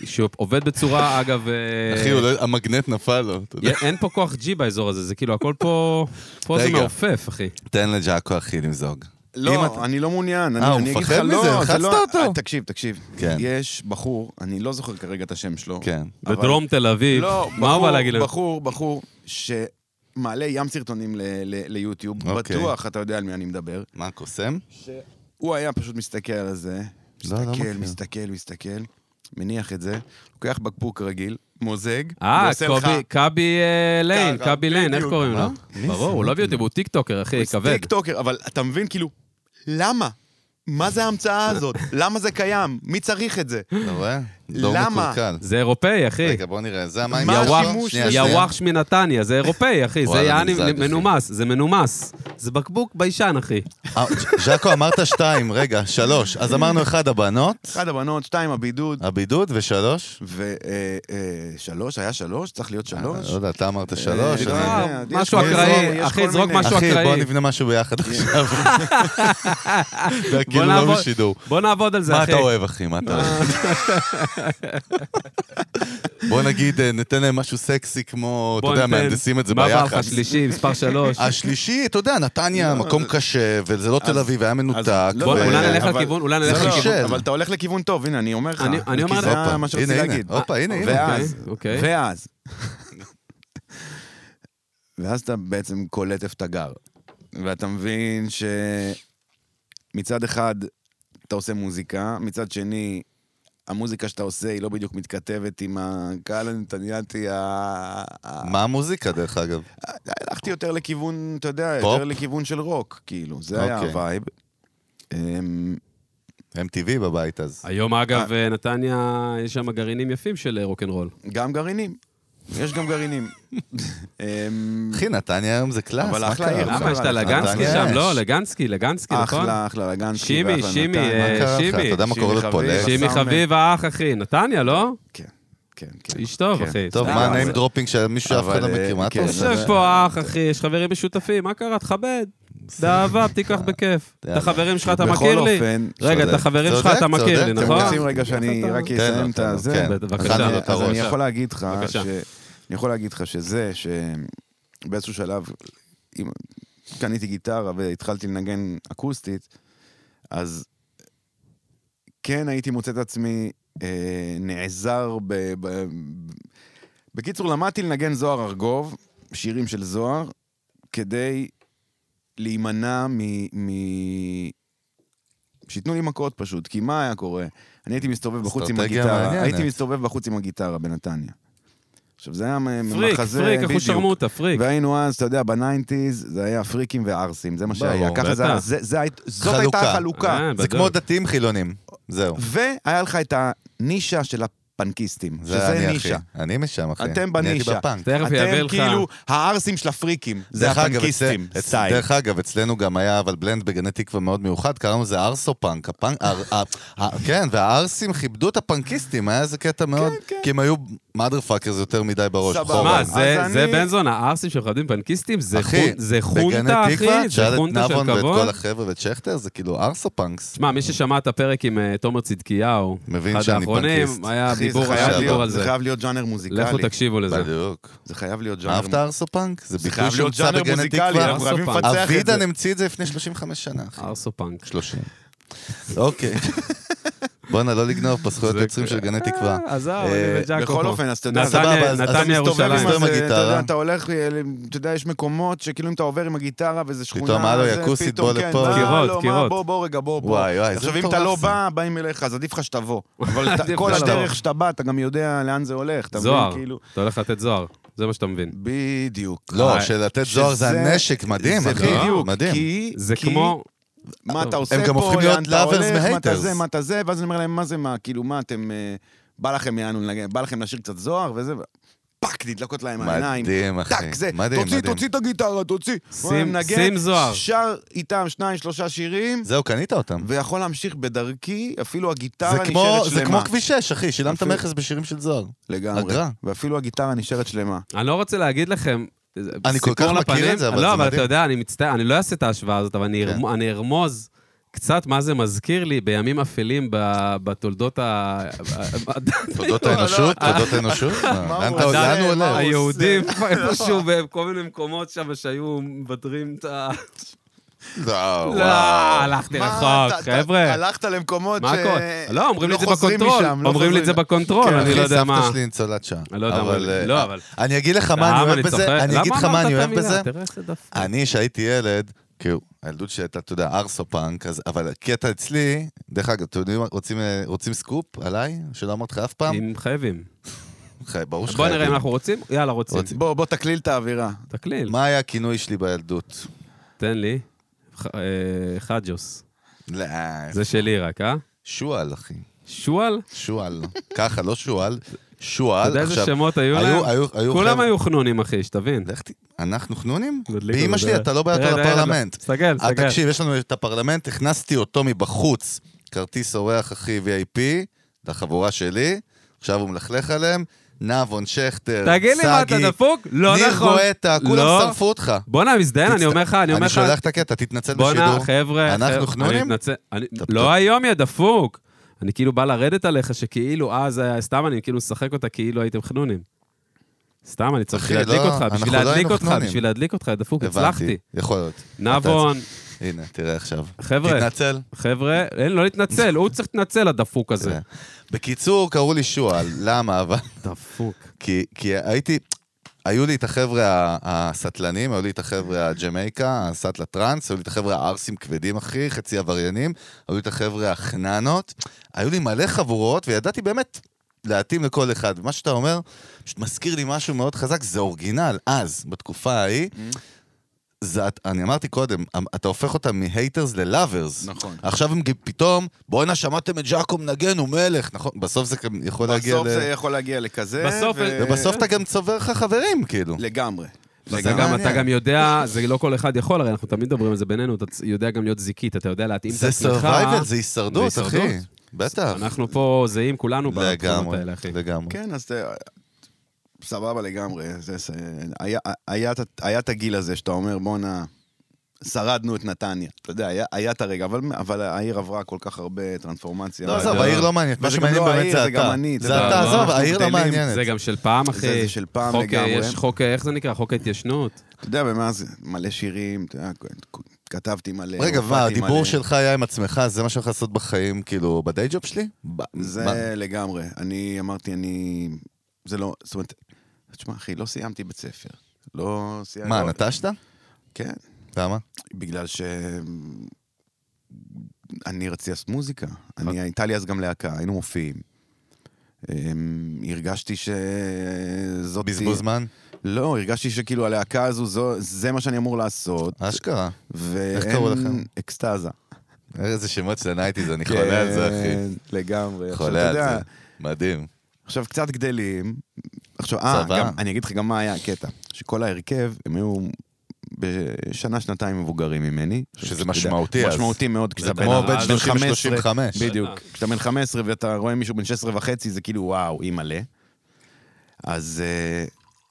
Speaker 2: שהוא עובד בצורה, אגב... אה,
Speaker 1: [LAUGHS] אחי, הוא לא- המגנט נפל לו, אתה יודע.
Speaker 2: י- אין פה כוח G באזור הזה, זה כאילו הכל פה... פה זה
Speaker 1: רגע.
Speaker 2: מעופף, אחי.
Speaker 1: תן לג'אקו, אחי, למזוג. אם
Speaker 3: לא,
Speaker 1: אתה-
Speaker 3: אני לא מעוניין.
Speaker 1: אה,
Speaker 3: אני-
Speaker 1: הוא
Speaker 3: אני אגיד לך,
Speaker 1: מפחד
Speaker 3: לא,
Speaker 1: מזה,
Speaker 3: זה
Speaker 1: הלחצת
Speaker 3: לא-
Speaker 1: אותו.
Speaker 3: אה, תקשיב, תקשיב.
Speaker 1: כן.
Speaker 3: יש בחור, אני לא זוכר כרגע את השם שלו.
Speaker 1: כן.
Speaker 3: אבל-
Speaker 2: בדרום תל אביב,
Speaker 3: לא,
Speaker 2: מה הוא בא להגיד
Speaker 3: בחור,
Speaker 2: לנו?
Speaker 3: בחור, בחור, שמעלה ים סרטונים ל- ל- ליוטיוב,
Speaker 1: אוקיי.
Speaker 3: בטוח אתה יודע על מי אני מדבר.
Speaker 1: מה, קוסם?
Speaker 3: הוא היה פשוט מסתכל על זה,
Speaker 1: לא, לא
Speaker 3: מסתכל,
Speaker 1: מכיר.
Speaker 3: מסתכל, מסתכל, מניח את זה, לוקח בקבוק רגיל, מוזג,
Speaker 2: אה,
Speaker 3: ועושה לך-
Speaker 2: קובי, קאבי אה, ליין,
Speaker 3: ככה,
Speaker 2: קאבי ליין, איך
Speaker 3: בדיוק.
Speaker 2: קוראים לו?
Speaker 1: אה, מי
Speaker 2: ברור,
Speaker 1: זה?
Speaker 2: הוא לא ביוטיוב, הוא טיקטוקר, אחי, כבד.
Speaker 3: טיקטוקר, אבל אתה מבין, כאילו, למה? מה זה ההמצאה הזאת? למה זה קיים? מי צריך את זה?
Speaker 1: אתה רואה? דור
Speaker 3: למה?
Speaker 1: מקולקל.
Speaker 2: זה אירופאי, אחי.
Speaker 1: רגע, בוא נראה, זה המים.
Speaker 3: מה
Speaker 1: יוואח,
Speaker 3: השימוש
Speaker 1: שנייה,
Speaker 3: לזה?
Speaker 1: שנייה.
Speaker 2: יוואחש מנתניה, זה אירופאי, אחי.
Speaker 1: [LAUGHS]
Speaker 2: זה
Speaker 1: וואלה,
Speaker 2: יעני
Speaker 1: נמזג, אחי.
Speaker 2: מנומס, זה מנומס. זה בקבוק ביישן, אחי.
Speaker 1: אה, ז'אקו, אמרת שתיים, רגע, שלוש.
Speaker 2: [LAUGHS]
Speaker 1: אז אמרנו אחד הבנות,
Speaker 3: אחת הבנות, שתיים, הבידוד,
Speaker 1: הבידוד ושלוש.
Speaker 3: ושלוש, היה שלוש? צריך להיות שלוש?
Speaker 1: לא יודע, אתה אמרת שלוש.
Speaker 3: לא,
Speaker 1: אני-
Speaker 3: אה,
Speaker 2: אה,
Speaker 3: יש
Speaker 2: משהו
Speaker 1: כל מיני-
Speaker 2: אקראי,
Speaker 3: יש
Speaker 2: אחי,
Speaker 3: כל
Speaker 2: זרוק
Speaker 3: מיני.
Speaker 2: משהו
Speaker 1: אחי, בוא
Speaker 2: אקראי.
Speaker 1: נבנה משהו
Speaker 2: [LAUGHS]
Speaker 1: ביחד עכשיו. זה
Speaker 2: בוא
Speaker 1: כאילו לא
Speaker 2: נעבוד-
Speaker 1: בשידור.
Speaker 2: בוא נעבוד על זה,
Speaker 1: מה
Speaker 2: אחי.
Speaker 1: אתה אוהב, אחי? מה אתה
Speaker 2: [LAUGHS]
Speaker 1: אוהב? בוא נגיד, אה, ניתן להם משהו סקסי כמו, אתה
Speaker 2: בוא
Speaker 1: יודע,
Speaker 2: ניתן-
Speaker 1: מהנדסים את זה
Speaker 2: מה בא
Speaker 1: ביחד. אה,
Speaker 2: לך,
Speaker 1: [LAUGHS]
Speaker 2: שלישי, מספר שלוש?
Speaker 1: השלישי, אתה יודע, נתניה, מקום קשה, וזה לא תל אביב, היה מנותק.
Speaker 3: לא,
Speaker 2: בוא,
Speaker 1: ו-
Speaker 3: אבל-
Speaker 2: אולי נלך על
Speaker 3: אבל-
Speaker 2: כיוון- אולי
Speaker 3: זה
Speaker 1: נלך על
Speaker 3: לא,
Speaker 1: כיוון.
Speaker 3: אבל אתה הולך לכיוון טוב, הנה, אני אומר לך.
Speaker 2: אני- אני אומר
Speaker 3: כי
Speaker 2: לך-
Speaker 3: זה מה שרציתי
Speaker 1: הנה, הנה,
Speaker 3: להגיד.
Speaker 1: הופה, הנה, הנה.
Speaker 3: ואז,
Speaker 2: אוקיי.
Speaker 3: ואז, [LAUGHS] ואז אתה בעצם קולט איפה אתה גר. ואתה מבין שמצד אחד אתה עושה מוזיקה, מצד שני, המוזיקה שאתה עושה היא לא בדיוק מתכתבת עם הקהל הנתניאתי ה... ה-
Speaker 1: מה המוזיקה, דרך אגב?
Speaker 3: הלכתי יותר לכיוון, אתה יודע,
Speaker 1: פופ?
Speaker 3: יותר לכיוון של רוק, כאילו, זה היה
Speaker 1: אוקיי.
Speaker 3: הווייב. אמ,
Speaker 1: MTV בבית אז.
Speaker 2: היום, אגב,
Speaker 1: אה.
Speaker 2: נתניה, יש שם גרעינים יפים של אה, רוקנרול.
Speaker 3: גם גרעינים. יש
Speaker 2: [LAUGHS]
Speaker 3: גם גרעינים. אמ,
Speaker 1: אחי, נתניה היום זה קלאס,
Speaker 3: אבל
Speaker 1: מה
Speaker 3: אחלה
Speaker 1: קרה?
Speaker 3: עיר,
Speaker 1: למה?
Speaker 2: למה, יש את הלגנסקי
Speaker 1: אה, נתניה
Speaker 2: שם?
Speaker 1: יש.
Speaker 2: לא, לגנסקי, לגנסקי, נכון?
Speaker 3: אחלה, אחלה, לגנסקי.
Speaker 2: שימי,
Speaker 3: ואחלה
Speaker 2: שימי,
Speaker 3: נתניה.
Speaker 1: מה
Speaker 2: אה,
Speaker 1: קרה לך? אתה
Speaker 2: שימי,
Speaker 1: יודע מה קורה
Speaker 3: שימי
Speaker 1: לפולג?
Speaker 3: חביב.
Speaker 2: שימי
Speaker 3: סאונד.
Speaker 2: חביב האח, אחי, נתניה, לא?
Speaker 3: כן, כן, כן.
Speaker 2: איש טוב,
Speaker 3: כן.
Speaker 2: אחי.
Speaker 1: טוב,
Speaker 2: סתם,
Speaker 1: מה
Speaker 2: זה-
Speaker 1: הניים דרופינג שמישהו שאף אחד
Speaker 3: אבל,
Speaker 1: לא מכיר? מה
Speaker 3: אה,
Speaker 1: אתה
Speaker 3: כן,
Speaker 1: עושה?
Speaker 2: יושב פה אח, אחי, יש חברים משותפים, מה קרה? תכבד. באהבה, תיקח בכיף. את
Speaker 1: יאללה.
Speaker 2: החברים שלך אתה
Speaker 3: בכל
Speaker 2: מכיר לי?
Speaker 3: אופן,
Speaker 2: רגע, את
Speaker 1: צודק,
Speaker 2: החברים שלך
Speaker 1: צודק,
Speaker 2: אתה מכיר לי,
Speaker 1: צודק,
Speaker 3: אתם
Speaker 2: נכון?
Speaker 3: רוצים רגע שאני רק
Speaker 1: תן לו,
Speaker 3: אסיים את
Speaker 1: תן לו,
Speaker 3: הזה?
Speaker 1: כן. אכל
Speaker 2: בבקשה,
Speaker 3: אז
Speaker 1: לו
Speaker 3: אני-
Speaker 1: את
Speaker 3: אז
Speaker 1: הראש.
Speaker 3: אני יכול להגיד לך,
Speaker 2: בבקשה.
Speaker 3: ש... אני יכול להגיד לך שזה, שבאיזשהו שלב, אם קניתי גיטרה והתחלתי לנגן אקוסטית, אז כן הייתי מוצא את עצמי אה, נעזר ב... ב... בקיצור, למדתי לנגן זוהר ארגוב, שירים של זוהר, כדי להימנע מ... מ... שייתנו לי מכות פשוט, כי מה היה קורה? אני הייתי מסתובב בחוץ עם
Speaker 1: אסטרטגיה
Speaker 3: הגיטרה,
Speaker 1: מעניינת.
Speaker 3: הייתי מסתובב בחוץ עם הגיטרה בנתניה. עכשיו, זה היה מחזה,
Speaker 2: פריק, פריק, איך הוא
Speaker 3: בדיוק.
Speaker 2: שרמוטה, פריק.
Speaker 3: והיינו אז, אתה יודע, בניינטיז, זה היה פריקים וערסים, זה מה
Speaker 1: ברור,
Speaker 3: שהיה. ככה זה היה,
Speaker 2: בטח.
Speaker 3: זה- זה היית- זאת
Speaker 1: חלוקה.
Speaker 3: הייתה החלוקה.
Speaker 2: אה,
Speaker 1: זה
Speaker 2: בדוק.
Speaker 1: כמו דתיים חילונים, זהו.
Speaker 3: והיה לך את הנישה של הפנקיסטים,
Speaker 1: זה
Speaker 3: שזה
Speaker 1: אני, אחי.
Speaker 3: נישה.
Speaker 1: אני משם, אחי.
Speaker 3: אתם
Speaker 1: אני הייתי
Speaker 3: בנישה.
Speaker 1: בפאנק.
Speaker 2: תכף יעביר
Speaker 3: אתם
Speaker 2: לך.
Speaker 3: כאילו הערסים של הפריקים, זה
Speaker 1: דרך אגב,
Speaker 3: הפנקיסטים,
Speaker 1: אצל- אצ-
Speaker 3: סטייל.
Speaker 1: דרך אגב, אצלנו גם היה אבל בלנד בגני תקווה מאוד מיוחד, קראנו לזה ארסו פאנק. הפאנק- הר- ה- ה- כן, והערסים כיבדו את הפאנקיסטים, היה איזה קטע מאוד,
Speaker 3: כן.
Speaker 1: כי הם היו mother fucker זה יותר מדי בראש.
Speaker 3: סבבה.
Speaker 1: חורן.
Speaker 2: מה,
Speaker 3: אז
Speaker 2: זה,
Speaker 3: אני-
Speaker 2: זה בן זונה, הערסים שמכבדים פנקיסטים, זה,
Speaker 1: אחי,
Speaker 2: חונ, זה
Speaker 1: בגני
Speaker 2: חונטה,
Speaker 1: תקווה,
Speaker 2: אחי, זה
Speaker 1: תשאל את
Speaker 2: חונטה של
Speaker 1: נבון ואת כל
Speaker 2: כבוד.
Speaker 1: החבר'ה ואת שכטר, זה כאילו ארסה פאנקס.
Speaker 2: תשמע, מי ששמע את הפרק עם אה, תומר צדקיהו,
Speaker 1: מבין
Speaker 2: אחד
Speaker 1: שאני
Speaker 2: האחרונים,
Speaker 1: פנקיסט.
Speaker 2: היה
Speaker 3: אחי, זה
Speaker 2: דיבור
Speaker 3: חייב
Speaker 2: היה
Speaker 1: לשעבר.
Speaker 2: דיבור
Speaker 3: להיות-
Speaker 2: על
Speaker 3: זה
Speaker 2: זה.
Speaker 3: חייב להיות ז'אנר מוזיקלי.
Speaker 2: לכו תקשיבו לזה.
Speaker 1: בדיוק.
Speaker 3: זה חייב להיות ז'אנר.
Speaker 1: אהבת ארסה פאנק? זה
Speaker 3: זה
Speaker 1: ביטוי
Speaker 3: חייב להיות
Speaker 1: שהומצא
Speaker 3: ז'אנר
Speaker 1: בגני
Speaker 3: מוזיקלי,
Speaker 1: תקווה.
Speaker 3: אנחנו חייבים
Speaker 2: ארסופאנק.
Speaker 3: לפצח את
Speaker 1: אבידן
Speaker 3: זה.
Speaker 1: המציא את זה לפני 35 שנה, אחי.
Speaker 2: ארסו פאנק.
Speaker 1: 30. אוקיי. בואנה, לא לגנוב בזכויות
Speaker 2: זה-
Speaker 1: יוצרים של גני תקווה.
Speaker 2: אה, עזוב,
Speaker 1: אה,
Speaker 2: אני וג'אקו.
Speaker 3: בכל
Speaker 2: פה.
Speaker 3: אופן, אז אתה יודע,
Speaker 2: נתניה-
Speaker 1: סבבה, אז- אז
Speaker 2: נתניה
Speaker 1: אתה מסתובב עם
Speaker 2: ירושלים.
Speaker 1: זה
Speaker 3: אז,
Speaker 1: עם
Speaker 3: אתה יודע,
Speaker 1: הגיטרה.
Speaker 3: אתה הולך, אה, אתה יודע, יש מקומות שכאילו אם אתה עובר עם הגיטרה וזה שכונה,
Speaker 1: פתאום, הלו,
Speaker 3: זה
Speaker 1: יקוסית,
Speaker 3: פתאום,
Speaker 1: בוא
Speaker 3: כן,
Speaker 1: לפה.
Speaker 3: בא,
Speaker 2: קירות,
Speaker 3: לא, מה,
Speaker 2: קירות.
Speaker 3: בוא, בוא רגע, בוא, בוא.
Speaker 1: וואי, וואי, זה
Speaker 3: עכשיו, אם
Speaker 1: מטורף
Speaker 3: אתה לא
Speaker 1: זה.
Speaker 3: בא, באים אליך, אז עדיף
Speaker 2: [LAUGHS]
Speaker 3: לך שתבוא. אבל אתה-
Speaker 2: עדיף
Speaker 3: כל
Speaker 2: לך
Speaker 3: הדרך
Speaker 2: לבוא.
Speaker 3: שאתה בא, אתה גם יודע לאן זה הולך. אתה מבין,
Speaker 2: זוהר,
Speaker 3: כאילו-
Speaker 2: אתה הולך לתת זוהר, זה מה שאתה מבין.
Speaker 3: בדיוק.
Speaker 1: לא,
Speaker 2: אה,
Speaker 1: שלתת זוהר זה
Speaker 3: שזה-
Speaker 1: הנשק, מדהים,
Speaker 3: זה
Speaker 1: אחי.
Speaker 3: בדיוק,
Speaker 1: מדהים.
Speaker 3: כי...
Speaker 2: זה
Speaker 3: כי-
Speaker 2: כמו,
Speaker 3: מה
Speaker 2: טוב.
Speaker 3: אתה עושה פה,
Speaker 1: הם גם הופכים להיות
Speaker 3: לאן אתה
Speaker 1: lovers
Speaker 3: הולך, מה אתה
Speaker 1: מ-haters.
Speaker 3: זה, מה אתה זה, ואז אני אומר להם, מה זה, מה, כאילו, מה אתם, אה, בא לכם, יענו, לנגן- בא לכם לשיר קצת זוהר וזה, ו- פאק, נדלקות להם העיניים.
Speaker 1: מדהים, אחי.
Speaker 3: טאק, זה,
Speaker 1: מדהים,
Speaker 3: תוציא,
Speaker 1: מדהים.
Speaker 3: תוציא את הגיטרה, תוציא.
Speaker 2: שים-
Speaker 3: והם מנגן,
Speaker 2: שים זוהר.
Speaker 3: שר איתם שניים, שלושה שירים,
Speaker 1: זהו, קנית אותם.
Speaker 3: ויכול להמשיך בדרכי, אפילו
Speaker 1: זה
Speaker 3: הגיטרה
Speaker 2: אה,
Speaker 1: כמו-
Speaker 3: נשארת
Speaker 1: זה
Speaker 3: שלמה.
Speaker 1: כמו כביש 6, אחי, שילמת
Speaker 3: אפילו-
Speaker 1: מכס בשירים של זוהר.
Speaker 2: לא,
Speaker 3: לגמרי.
Speaker 1: אגרה.
Speaker 3: ואפילו הגיטרה נשארת שלמה.
Speaker 2: אני לא רוצה להגיד לכם, זה
Speaker 1: אני כל
Speaker 2: סיפור
Speaker 1: כך מכיר
Speaker 2: לפנים.
Speaker 1: את זה, אבל
Speaker 2: לא,
Speaker 1: זה
Speaker 2: אבל אתה
Speaker 1: מדהים.
Speaker 2: יודע, אני מצטער, אני לא אעשה את ההשוואה הזאת, אבל אני
Speaker 1: כן.
Speaker 2: ארמו- אני ארמוז קצת מה זה מזכיר לי בימים אפלים ב- בתולדות ה...
Speaker 1: תודות
Speaker 2: לא,
Speaker 1: האנושות,
Speaker 2: אה,
Speaker 1: תודות האנושות. מה, לאן
Speaker 3: הוא
Speaker 1: אתה-
Speaker 3: עשה?
Speaker 1: לאן הוא
Speaker 3: מה הוא
Speaker 1: הולך?
Speaker 3: עשה?
Speaker 2: היהודים,
Speaker 1: אה,
Speaker 2: [LAUGHS] איפשהו בכל מיני מקומות שם שהיו מבדרים את ה...
Speaker 1: לא, אה,
Speaker 2: לא,
Speaker 1: וואו.
Speaker 2: הלכתי
Speaker 3: מה,
Speaker 2: רחוק,
Speaker 3: אתה- אתה-
Speaker 2: חבר'ה.
Speaker 3: הלכת למקומות
Speaker 2: מה הכל?
Speaker 3: ש...
Speaker 2: לא, אומרים לי את זה
Speaker 3: אה, חוזרים
Speaker 2: בקונטרול.
Speaker 3: משם, לא
Speaker 2: אומרים לי את זה
Speaker 3: חוזרים.
Speaker 2: בקונטרול,
Speaker 3: כן,
Speaker 2: אני
Speaker 1: אחי,
Speaker 2: לא יודע מה.
Speaker 1: סבתא שלי ניצולת שואה.
Speaker 2: אני לא יודע מה
Speaker 1: אבל...
Speaker 2: זה.
Speaker 1: אה,
Speaker 2: לא, אבל-
Speaker 1: אני אגיד לך מה אני
Speaker 2: למה
Speaker 1: אוהב
Speaker 2: צוחק?
Speaker 1: בזה, אני אגיד
Speaker 2: למה
Speaker 1: לך מה
Speaker 2: אמרת
Speaker 1: אני
Speaker 2: את
Speaker 1: אוהב
Speaker 2: המילה?
Speaker 1: בזה.
Speaker 2: תראה איזה דפוק.
Speaker 1: אני, כשהייתי ילד, כאילו, הילדות שהייתה, אתה יודע, ארסו פאנק, אז- אבל הקטע אצלי, דרך אגב, אתם יודעים מה, רוצים, אה, רוצים סקופ עליי? שלא אמרתי לך אף פעם?
Speaker 2: אם חייבים.
Speaker 1: חי- ברור
Speaker 2: בוא
Speaker 1: שחייבים.
Speaker 2: נראה אם אנחנו רוצים. יאללה, רוצים.
Speaker 1: רוצים.
Speaker 3: בוא, בוא תקליל את האווירה.
Speaker 2: תקליל.
Speaker 1: מה היה הכינוי שלי בילדות?
Speaker 2: תן לי. ח- אה, חג'וס.
Speaker 1: לא,
Speaker 2: זה שלי רק, אה?
Speaker 1: שועל, אחי.
Speaker 2: שועל?
Speaker 1: שועל. ככה, לא שועל.
Speaker 2: אתה
Speaker 1: שועל.
Speaker 2: יודע איזה
Speaker 1: עכשיו,
Speaker 2: שמות היו להם? כולם
Speaker 1: חבר'ה-
Speaker 2: היו חנונים, אחי, שתבין.
Speaker 1: לך ת- אנחנו חנונים?
Speaker 2: מדליק
Speaker 1: באמא
Speaker 2: אותו,
Speaker 1: שלי,
Speaker 2: תראה.
Speaker 1: אתה לא בא
Speaker 2: תראה,
Speaker 1: יותר
Speaker 2: תראה,
Speaker 1: לפרלמנט.
Speaker 2: תסתכל,
Speaker 1: אה,
Speaker 2: תסתכל.
Speaker 1: תקשיב, יש לנו את הפרלמנט, הכנסתי אותו מבחוץ, כרטיס אורח אחי VIP, לחבורה שלי, עכשיו הוא מלכלך עליהם, נבון, שכטר, סגי,
Speaker 2: תגיד לי מה, אתה דפוק? לא
Speaker 1: ניר
Speaker 2: נכון.
Speaker 1: גואטה, כולם
Speaker 2: לא.
Speaker 1: שרפו אותך.
Speaker 2: בואנה, מזדיין, אני אומר לך, אני אומר
Speaker 1: אני
Speaker 2: לך...
Speaker 1: שולח את הקטע, תתנצל
Speaker 2: בואנה,
Speaker 1: בשידור.
Speaker 2: חבר'ה.
Speaker 1: אנחנו
Speaker 2: חבר'ה,
Speaker 1: חנונים?
Speaker 2: אני מתנצל. אני-
Speaker 1: אתה
Speaker 2: לא
Speaker 1: בטוח?
Speaker 2: היום, יא דפוק. אני כאילו בא לרדת עליך, שכאילו, אה, זה היה סתם, אני כאילו משחק אותה כאילו הייתם חנונים. סתם, אני צריך
Speaker 1: אחי,
Speaker 2: בשביל להדליק
Speaker 1: לא,
Speaker 2: אותך,
Speaker 1: אנחנו
Speaker 2: בשביל
Speaker 1: לא
Speaker 2: להדליק
Speaker 1: היינו
Speaker 2: אותך,
Speaker 1: חנונים.
Speaker 2: בשביל להדליק אותך, יא דפוק,
Speaker 1: הבנתי,
Speaker 2: הצלחתי.
Speaker 1: יכול להיות.
Speaker 2: נבון,
Speaker 1: הנה, תראה עכשיו.
Speaker 2: חבר'ה.
Speaker 1: תתנצל.
Speaker 2: חבר'ה, אין, לא להתנצל, הוא צריך להתנצל, הדפוק הזה.
Speaker 1: תראה. בקיצור, קראו לי שועל, למה? אבל...
Speaker 2: דפוק.
Speaker 1: כי, כי הייתי, היו לי את החבר'ה ה- הסטלנים, היו לי את החבר'ה הג'מייקה, הסטלה טראנס, היו לי את החבר'ה הערסים כבדים, אחי, חצי עבריינים, היו לי את החבר'ה החננות, היו לי מלא חבורות, וידעתי באמת להתאים לכל אחד. מה שאתה אומר, פשוט מזכיר לי משהו מאוד חזק, זה אורגינל, אז, בתקופה ההיא. זה, את- אני אמרתי קודם, אתה הופך אותם מהייטרס ללאברס.
Speaker 3: נכון.
Speaker 1: עכשיו הם ג- פתאום, בואנה, שמעתם את ג'אקו מנגן, הוא מלך, נכון? בסוף זה גם יכול להגיע ל...
Speaker 3: בסוף זה אה, יכול להגיע לכזה.
Speaker 2: בסוף-
Speaker 3: ו-
Speaker 1: ובסוף אתה גם צובר לך חברים, כאילו.
Speaker 3: לגמרי.
Speaker 2: זה גם,
Speaker 1: מעניין.
Speaker 2: אתה גם יודע, זה לא כל אחד יכול, הרי אנחנו תמיד מדברים על זה בינינו, אתה צ- יודע גם להיות זיקית, אתה יודע להתאים את
Speaker 1: זה
Speaker 2: עצמך.
Speaker 1: survival, זה הישרדות,
Speaker 2: זה
Speaker 1: אחי.
Speaker 2: הישרדות.
Speaker 1: בטח.
Speaker 2: אנחנו פה זהים כולנו בתחומות
Speaker 1: לגמרי,
Speaker 2: האלה, אחי.
Speaker 1: לגמרי.
Speaker 3: כן, אז זה- סבבה לגמרי. זה- זה- היה- היה את- היה את הגיל הזה שאתה אומר, בואנה, שרדנו את נתניה. אתה יודע, היה- היה את הרגע, אבל- אבל העיר עברה כל כך הרבה טרנספורמציה.
Speaker 1: לא,
Speaker 2: זה
Speaker 1: עזוב,
Speaker 2: לא.
Speaker 1: העיר לא מעניינת, מה
Speaker 3: וזה גם
Speaker 1: שמעניין
Speaker 3: לא
Speaker 1: באמת
Speaker 3: העיר,
Speaker 1: זה
Speaker 3: זה גם
Speaker 1: אתה.
Speaker 3: אני, אתה
Speaker 1: זה
Speaker 2: יודע,
Speaker 1: אתה,
Speaker 2: לא,
Speaker 1: עזוב,
Speaker 2: אנחנו
Speaker 1: העיר לא
Speaker 3: גדלים,
Speaker 1: מעניינת.
Speaker 2: זה גם של פעם, אחי.
Speaker 3: זה של פעם
Speaker 2: חוק, אה,
Speaker 3: לגמרי.
Speaker 2: אוקיי, יש חוק, איך זה נקרא? חוק ההתיישנות.
Speaker 3: אתה יודע, ומאז מלא שירים, אתה יודע, כתבתי מלא.
Speaker 1: רגע,
Speaker 3: הופעתי
Speaker 1: מה,
Speaker 3: מלא.
Speaker 1: הדיבור שלך היה עם עצמך, זה מה שאני הולך לעשות בחיים, כאילו, בדיי ג'וב שלי? ב- מה-
Speaker 3: זה לגמרי. אני אמרתי, אני... זה לא... זאת אומרת, תשמע, אחי, לא סיימתי בית ספר. לא סיימתי...
Speaker 1: מה,
Speaker 3: לא-
Speaker 1: נטשת?
Speaker 3: כן.
Speaker 1: למה?
Speaker 3: בגלל ש... אני רציתי לעשות מוזיקה.
Speaker 1: אוקיי.
Speaker 3: אני, הייתה לי אז גם להקה, היינו מופיעים. אמ, הרגשתי שזאת...
Speaker 1: בזבוז זמן?
Speaker 3: לא, הרגשתי שכאילו הלהקה הזו, זו, זה מה שאני אמור לעשות.
Speaker 1: אשכרה.
Speaker 3: ואין...
Speaker 1: קראו לכם?
Speaker 3: אקסטזה.
Speaker 1: איזה שמות של הנייטיז, אני חולה על זה, אחי.
Speaker 3: כן, לגמרי. עכשיו, כן, אתה
Speaker 1: חולה על
Speaker 3: יודע,
Speaker 1: זה. מדהים.
Speaker 3: עכשיו קצת גדלים. עכשיו, אה,
Speaker 1: צבא.
Speaker 3: גם, אני אגיד לך גם מה היה הקטע. שכל ההרכב, הם היו בשנה, שנתיים מבוגרים ממני.
Speaker 1: שזה
Speaker 3: שאתה יודע,
Speaker 1: משמעותי אז.
Speaker 3: משמעותי מאוד, כי
Speaker 1: זה
Speaker 3: אתה בן
Speaker 1: כמו
Speaker 3: ארבע,
Speaker 1: בין
Speaker 3: בן
Speaker 1: 30
Speaker 3: 15,
Speaker 1: ל-35. אה.
Speaker 3: בדיוק. כשאתה בן 15 ואתה רואה מישהו בן 16 וחצי, זה כאילו, וואו, אימא'לה. אז... אה,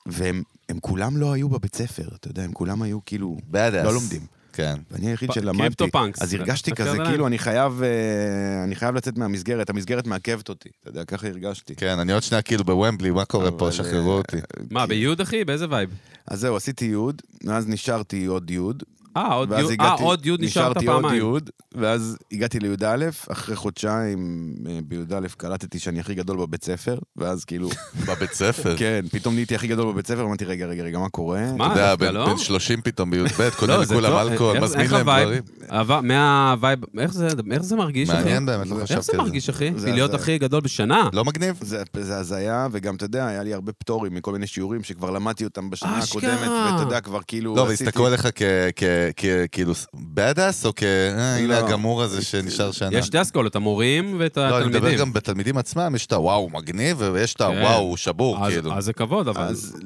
Speaker 3: והם הם כולם לא היו בבית ספר, אתה יודע, הם כולם היו כאילו...
Speaker 1: badass.
Speaker 3: לא לומדים.
Speaker 1: כן.
Speaker 3: ואני היחיד
Speaker 2: פ-
Speaker 3: שלמדתי,
Speaker 2: קריפטו-פאנקס.
Speaker 3: אז הרגשתי
Speaker 2: אתה
Speaker 3: כזה,
Speaker 2: יודע?
Speaker 3: כאילו, אני חייב, אה, אני חייב לצאת מהמסגרת, המסגרת מעכבת אותי, אתה יודע, ככה הרגשתי.
Speaker 1: כן, אני עוד שנייה כאילו בוומבלי, מה קורה פה?
Speaker 3: אבל,
Speaker 1: שחררו
Speaker 3: אה,
Speaker 1: אותי.
Speaker 2: מה, ביוד, אחי? באיזה וייב?
Speaker 3: אז זהו, עשיתי יוד, ואז נשארתי עוד יוד.
Speaker 2: אה, עוד
Speaker 3: ואז
Speaker 2: יוד, אה,
Speaker 3: הגעתי-
Speaker 2: עוד יוד נשארת
Speaker 3: נשארתי עוד
Speaker 2: פעמיים.
Speaker 3: יוד, ואז הגעתי לי"א, אחרי חודשיים אה, בי"א קלטתי שאני הכי גדול בבית ספר,
Speaker 2: [LAUGHS]
Speaker 3: ואז כאילו,
Speaker 1: בבית ספר.
Speaker 3: כן, פתאום נהייתי הכי גדול בבית ספר, אמרתי, רגע, רגע, רגע, מה קורה?
Speaker 2: מה,
Speaker 1: אתה יודע,
Speaker 2: דווקא
Speaker 1: בן
Speaker 2: לא?
Speaker 1: בן 30 פתאום בי"ב, קונה
Speaker 2: [LAUGHS] לא, זה
Speaker 1: לכולם
Speaker 2: לא-
Speaker 1: אלכוהול,
Speaker 2: איך-
Speaker 1: מזמין
Speaker 2: איך
Speaker 1: להם
Speaker 2: הווייב?
Speaker 1: דברים.
Speaker 2: הווייב- מהווייב, איך זה- איך זה מרגיש, אחי?
Speaker 1: מעניין באמת, לא
Speaker 2: איך זה
Speaker 1: חשבתי על זה.
Speaker 2: מרגיש, אחי?
Speaker 3: זה-
Speaker 2: להיות
Speaker 3: זה-
Speaker 2: הכי גדול בשנה?
Speaker 1: לא מגניב?
Speaker 3: זה, זה הזיה, וגם, אתה יודע, היה לי הרבה פטורים מכל מיני שיעורים שכבר למדתי אותם בשנה
Speaker 2: אשכרה.
Speaker 3: הקודמת, ואתה יודע, כבר כאילו
Speaker 1: לא, והסתכלו עליך כ- כ- כ- כאילו בדאס, או כ... אה, הנה
Speaker 3: לא.
Speaker 1: הגמור הזה שנשאר שנה.
Speaker 2: יש שתי אסכולות, המורים ואת
Speaker 1: לא, אני מדבר
Speaker 2: התלמידים.
Speaker 1: גם בתלמידים עצמם, יש את הוואו מגניב, ויש את
Speaker 2: כן.
Speaker 1: הוואו הוא שבור,
Speaker 2: אז-
Speaker 1: כאילו.
Speaker 2: אז זה כבוד, אבל.
Speaker 3: אז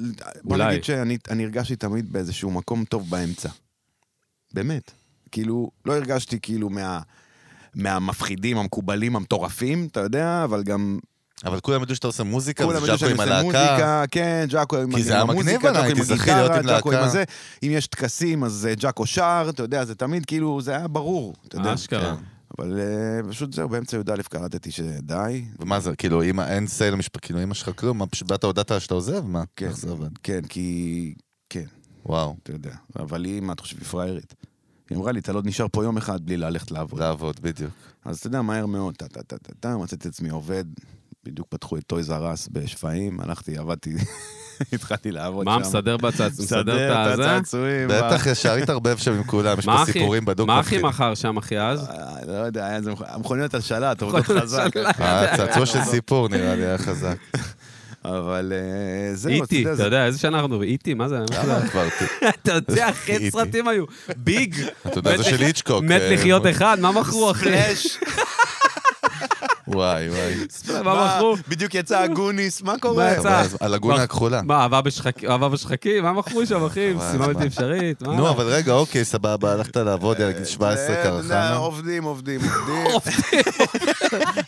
Speaker 3: בוא
Speaker 2: אולי.
Speaker 3: נגיד שאני אני הרגשתי תמיד באיזשהו מקום טוב באמצע. באמת. כאילו, לא הרגשתי כאילו מה... מהמפחידים, המקובלים, המטורפים, אתה יודע, אבל גם
Speaker 1: אבל כולם ידעו שאתה עושה מוזיקה,
Speaker 3: כולם ידעו
Speaker 1: וז'אקו
Speaker 3: שאני
Speaker 1: כן, עם
Speaker 3: עושה
Speaker 1: הלהקה.
Speaker 3: מוזיקה, כן, ג'אקו עם
Speaker 1: כי זה היה
Speaker 3: עם המוזיקה,
Speaker 1: מגניב עליי,
Speaker 3: ג'אקו עם
Speaker 1: כי זכיתי להיות עם
Speaker 3: הגיטרה, ג'אקו עם
Speaker 1: להקה.
Speaker 3: הזה. אם יש טקסים, אז אה, ג'אקו שר, אתה יודע, זה תמיד כאילו, זה היה ברור, אתה יודע.
Speaker 2: אשכרה.
Speaker 3: כן. אבל אה, פשוט זהו, באמצע י"א קלטתי שדי,
Speaker 1: ומה זה, כאילו, אמא, אין סייל למשפחה, כאילו, אמא שלך כלום, מה, פשוט באת, הודעת שאתה עוזב? מה?
Speaker 3: כן.
Speaker 1: איך זה עובד?
Speaker 3: כן, כי... כן.
Speaker 1: וואו,
Speaker 3: אתה יודע. אבל היא, מה, אתה חושב, היא פראיירית? היא אמרה לי, אתה לא נשאר פה יום אחד בלי ללכת לעבוד.
Speaker 1: לעבוד, בדיוק.
Speaker 3: אז אתה יודע, מהר מאוד, טה-טה-טה-טה, מצאתי את עצמי עובד, בדיוק פתחו את טויז ארס בשפיים, הלכתי, עבדתי, [LAUGHS] התחלתי לעבוד שם.
Speaker 2: מה, מסדר בצד, מסדר את הזה?
Speaker 3: הצעצועים.
Speaker 1: בטח ישר התערבב שם עם כולם, יש
Speaker 2: מה
Speaker 1: פה
Speaker 2: הכי-
Speaker 1: סיפורים בדוק.
Speaker 2: מה הכי מכר שם, אחי, אז?
Speaker 3: אה, לא יודע, היה איזה... המכוניות על שלט, עובדות
Speaker 2: מכוניות
Speaker 3: חזק.
Speaker 2: על שלט.
Speaker 1: אה, צעצוע של סיפור נראה לי היה
Speaker 2: [LAUGHS]
Speaker 1: חזק.
Speaker 3: אבל אה, זהו,
Speaker 2: איטי,
Speaker 3: יודע,
Speaker 2: E אתה
Speaker 3: זה-
Speaker 2: יודע, איזה שנה אנחנו? איטי, מה זה?
Speaker 1: למה כבר? ת-
Speaker 2: אתה יודע, אחי,
Speaker 1: איטי.
Speaker 2: איזה סרטים היו. ביג.
Speaker 1: אתה יודע, זה
Speaker 2: מת
Speaker 1: של
Speaker 2: לח-
Speaker 1: היצ'קוק.
Speaker 2: מת
Speaker 1: אה,
Speaker 2: לחיות אחד, מה מכרו, אחי?
Speaker 1: וואי, וואי.
Speaker 2: מה מכרו?
Speaker 3: בדיוק יצא הגוניס, מה
Speaker 2: מה
Speaker 3: קורה?
Speaker 2: יצא?
Speaker 1: אבל אז- הלגונה
Speaker 2: מה-
Speaker 1: הכחולה.
Speaker 2: מה, אהבה בשחק- אהבה בשחקים? מה מכרו שם, אחי?
Speaker 1: מה?
Speaker 2: משימה בלתי אפשרית? מה?
Speaker 1: נו, אבל רגע, אוקיי, סבבה, הלכת
Speaker 2: אה,
Speaker 1: לעבוד, ילד, גיל 17
Speaker 3: זה, אתה יודע,
Speaker 1: קרחנה.
Speaker 3: עובדים, עובדים, עובדים.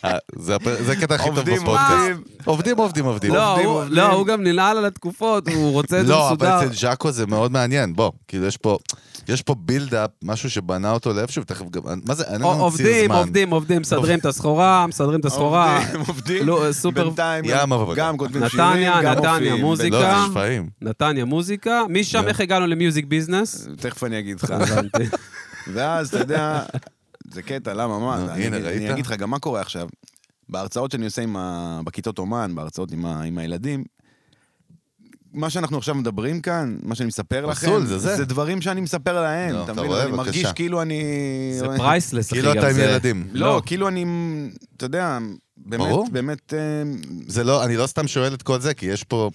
Speaker 1: אה, זה הפ- זה הקטע הכי טוב
Speaker 3: עובדים,
Speaker 1: בפודקאסט.
Speaker 3: עובדים.
Speaker 1: עובדים, עובדים, עובדים.
Speaker 2: לא,
Speaker 3: עובדים,
Speaker 2: הוא-
Speaker 3: עובדים.
Speaker 2: לא, הוא גם ננעל על התקופות, הוא רוצה את זה
Speaker 1: לא,
Speaker 2: מסודר.
Speaker 1: אבל אצל ז'אקו זה מאוד מעניין, בוא, כאילו יש פה, יש פה בילדאפ, משהו שבנה אותו לאיפשהו, תכף גם, מה זה, אין לנו ציר זמן.
Speaker 2: עובדים, עובדים, עובדים, מסדרים את הסחורה, מסדרים את הסחורה.
Speaker 3: עובדים, עובדים.
Speaker 2: לא, סופר-
Speaker 3: בינתיים
Speaker 1: ים
Speaker 3: גם-
Speaker 1: עבודה.
Speaker 3: גם כותבים
Speaker 2: נתניה,
Speaker 3: שירים, גם
Speaker 2: נתניה,
Speaker 3: מופיעים.
Speaker 2: מוזיקה.
Speaker 1: לא,
Speaker 2: עובדים.
Speaker 1: זה שפיים.
Speaker 2: נתניה מוזיקה, משם
Speaker 1: לא.
Speaker 2: איך הגענו למיוזיק
Speaker 1: [LAUGHS]
Speaker 2: ביזנס?
Speaker 3: ב- תכף אני אגיד לך.
Speaker 2: הבנתי.
Speaker 3: ואז אתה יודע, זה קטע, למה,
Speaker 1: נו,
Speaker 3: מה? אני
Speaker 1: הנה,
Speaker 3: אגיד-
Speaker 1: ראית?
Speaker 3: אני אגיד לך גם מה קורה עכשיו. בהרצאות שאני עושה עם ה... בכיתות אומן, בהרצאות עם, ה... עם הילדים, מה שאנחנו עכשיו מדברים כאן, מה שאני מספר לכם,
Speaker 1: פסול, זה זה.
Speaker 3: זה דברים שאני מספר להם,
Speaker 1: נו,
Speaker 3: אתה
Speaker 1: אתה
Speaker 3: מבין?
Speaker 1: רואה?
Speaker 3: אני מרגיש
Speaker 1: בבקשה.
Speaker 3: כאילו אני...
Speaker 2: זה פרייסלס, אחי.
Speaker 1: כאילו
Speaker 2: גם
Speaker 1: אתה עם
Speaker 2: זה-
Speaker 1: ילדים.
Speaker 3: לא, כאילו אני, אתה יודע, באמת,
Speaker 1: ברור.
Speaker 3: באמת, אה,
Speaker 1: זה לא, אני לא סתם שואל את כל זה, כי יש פה,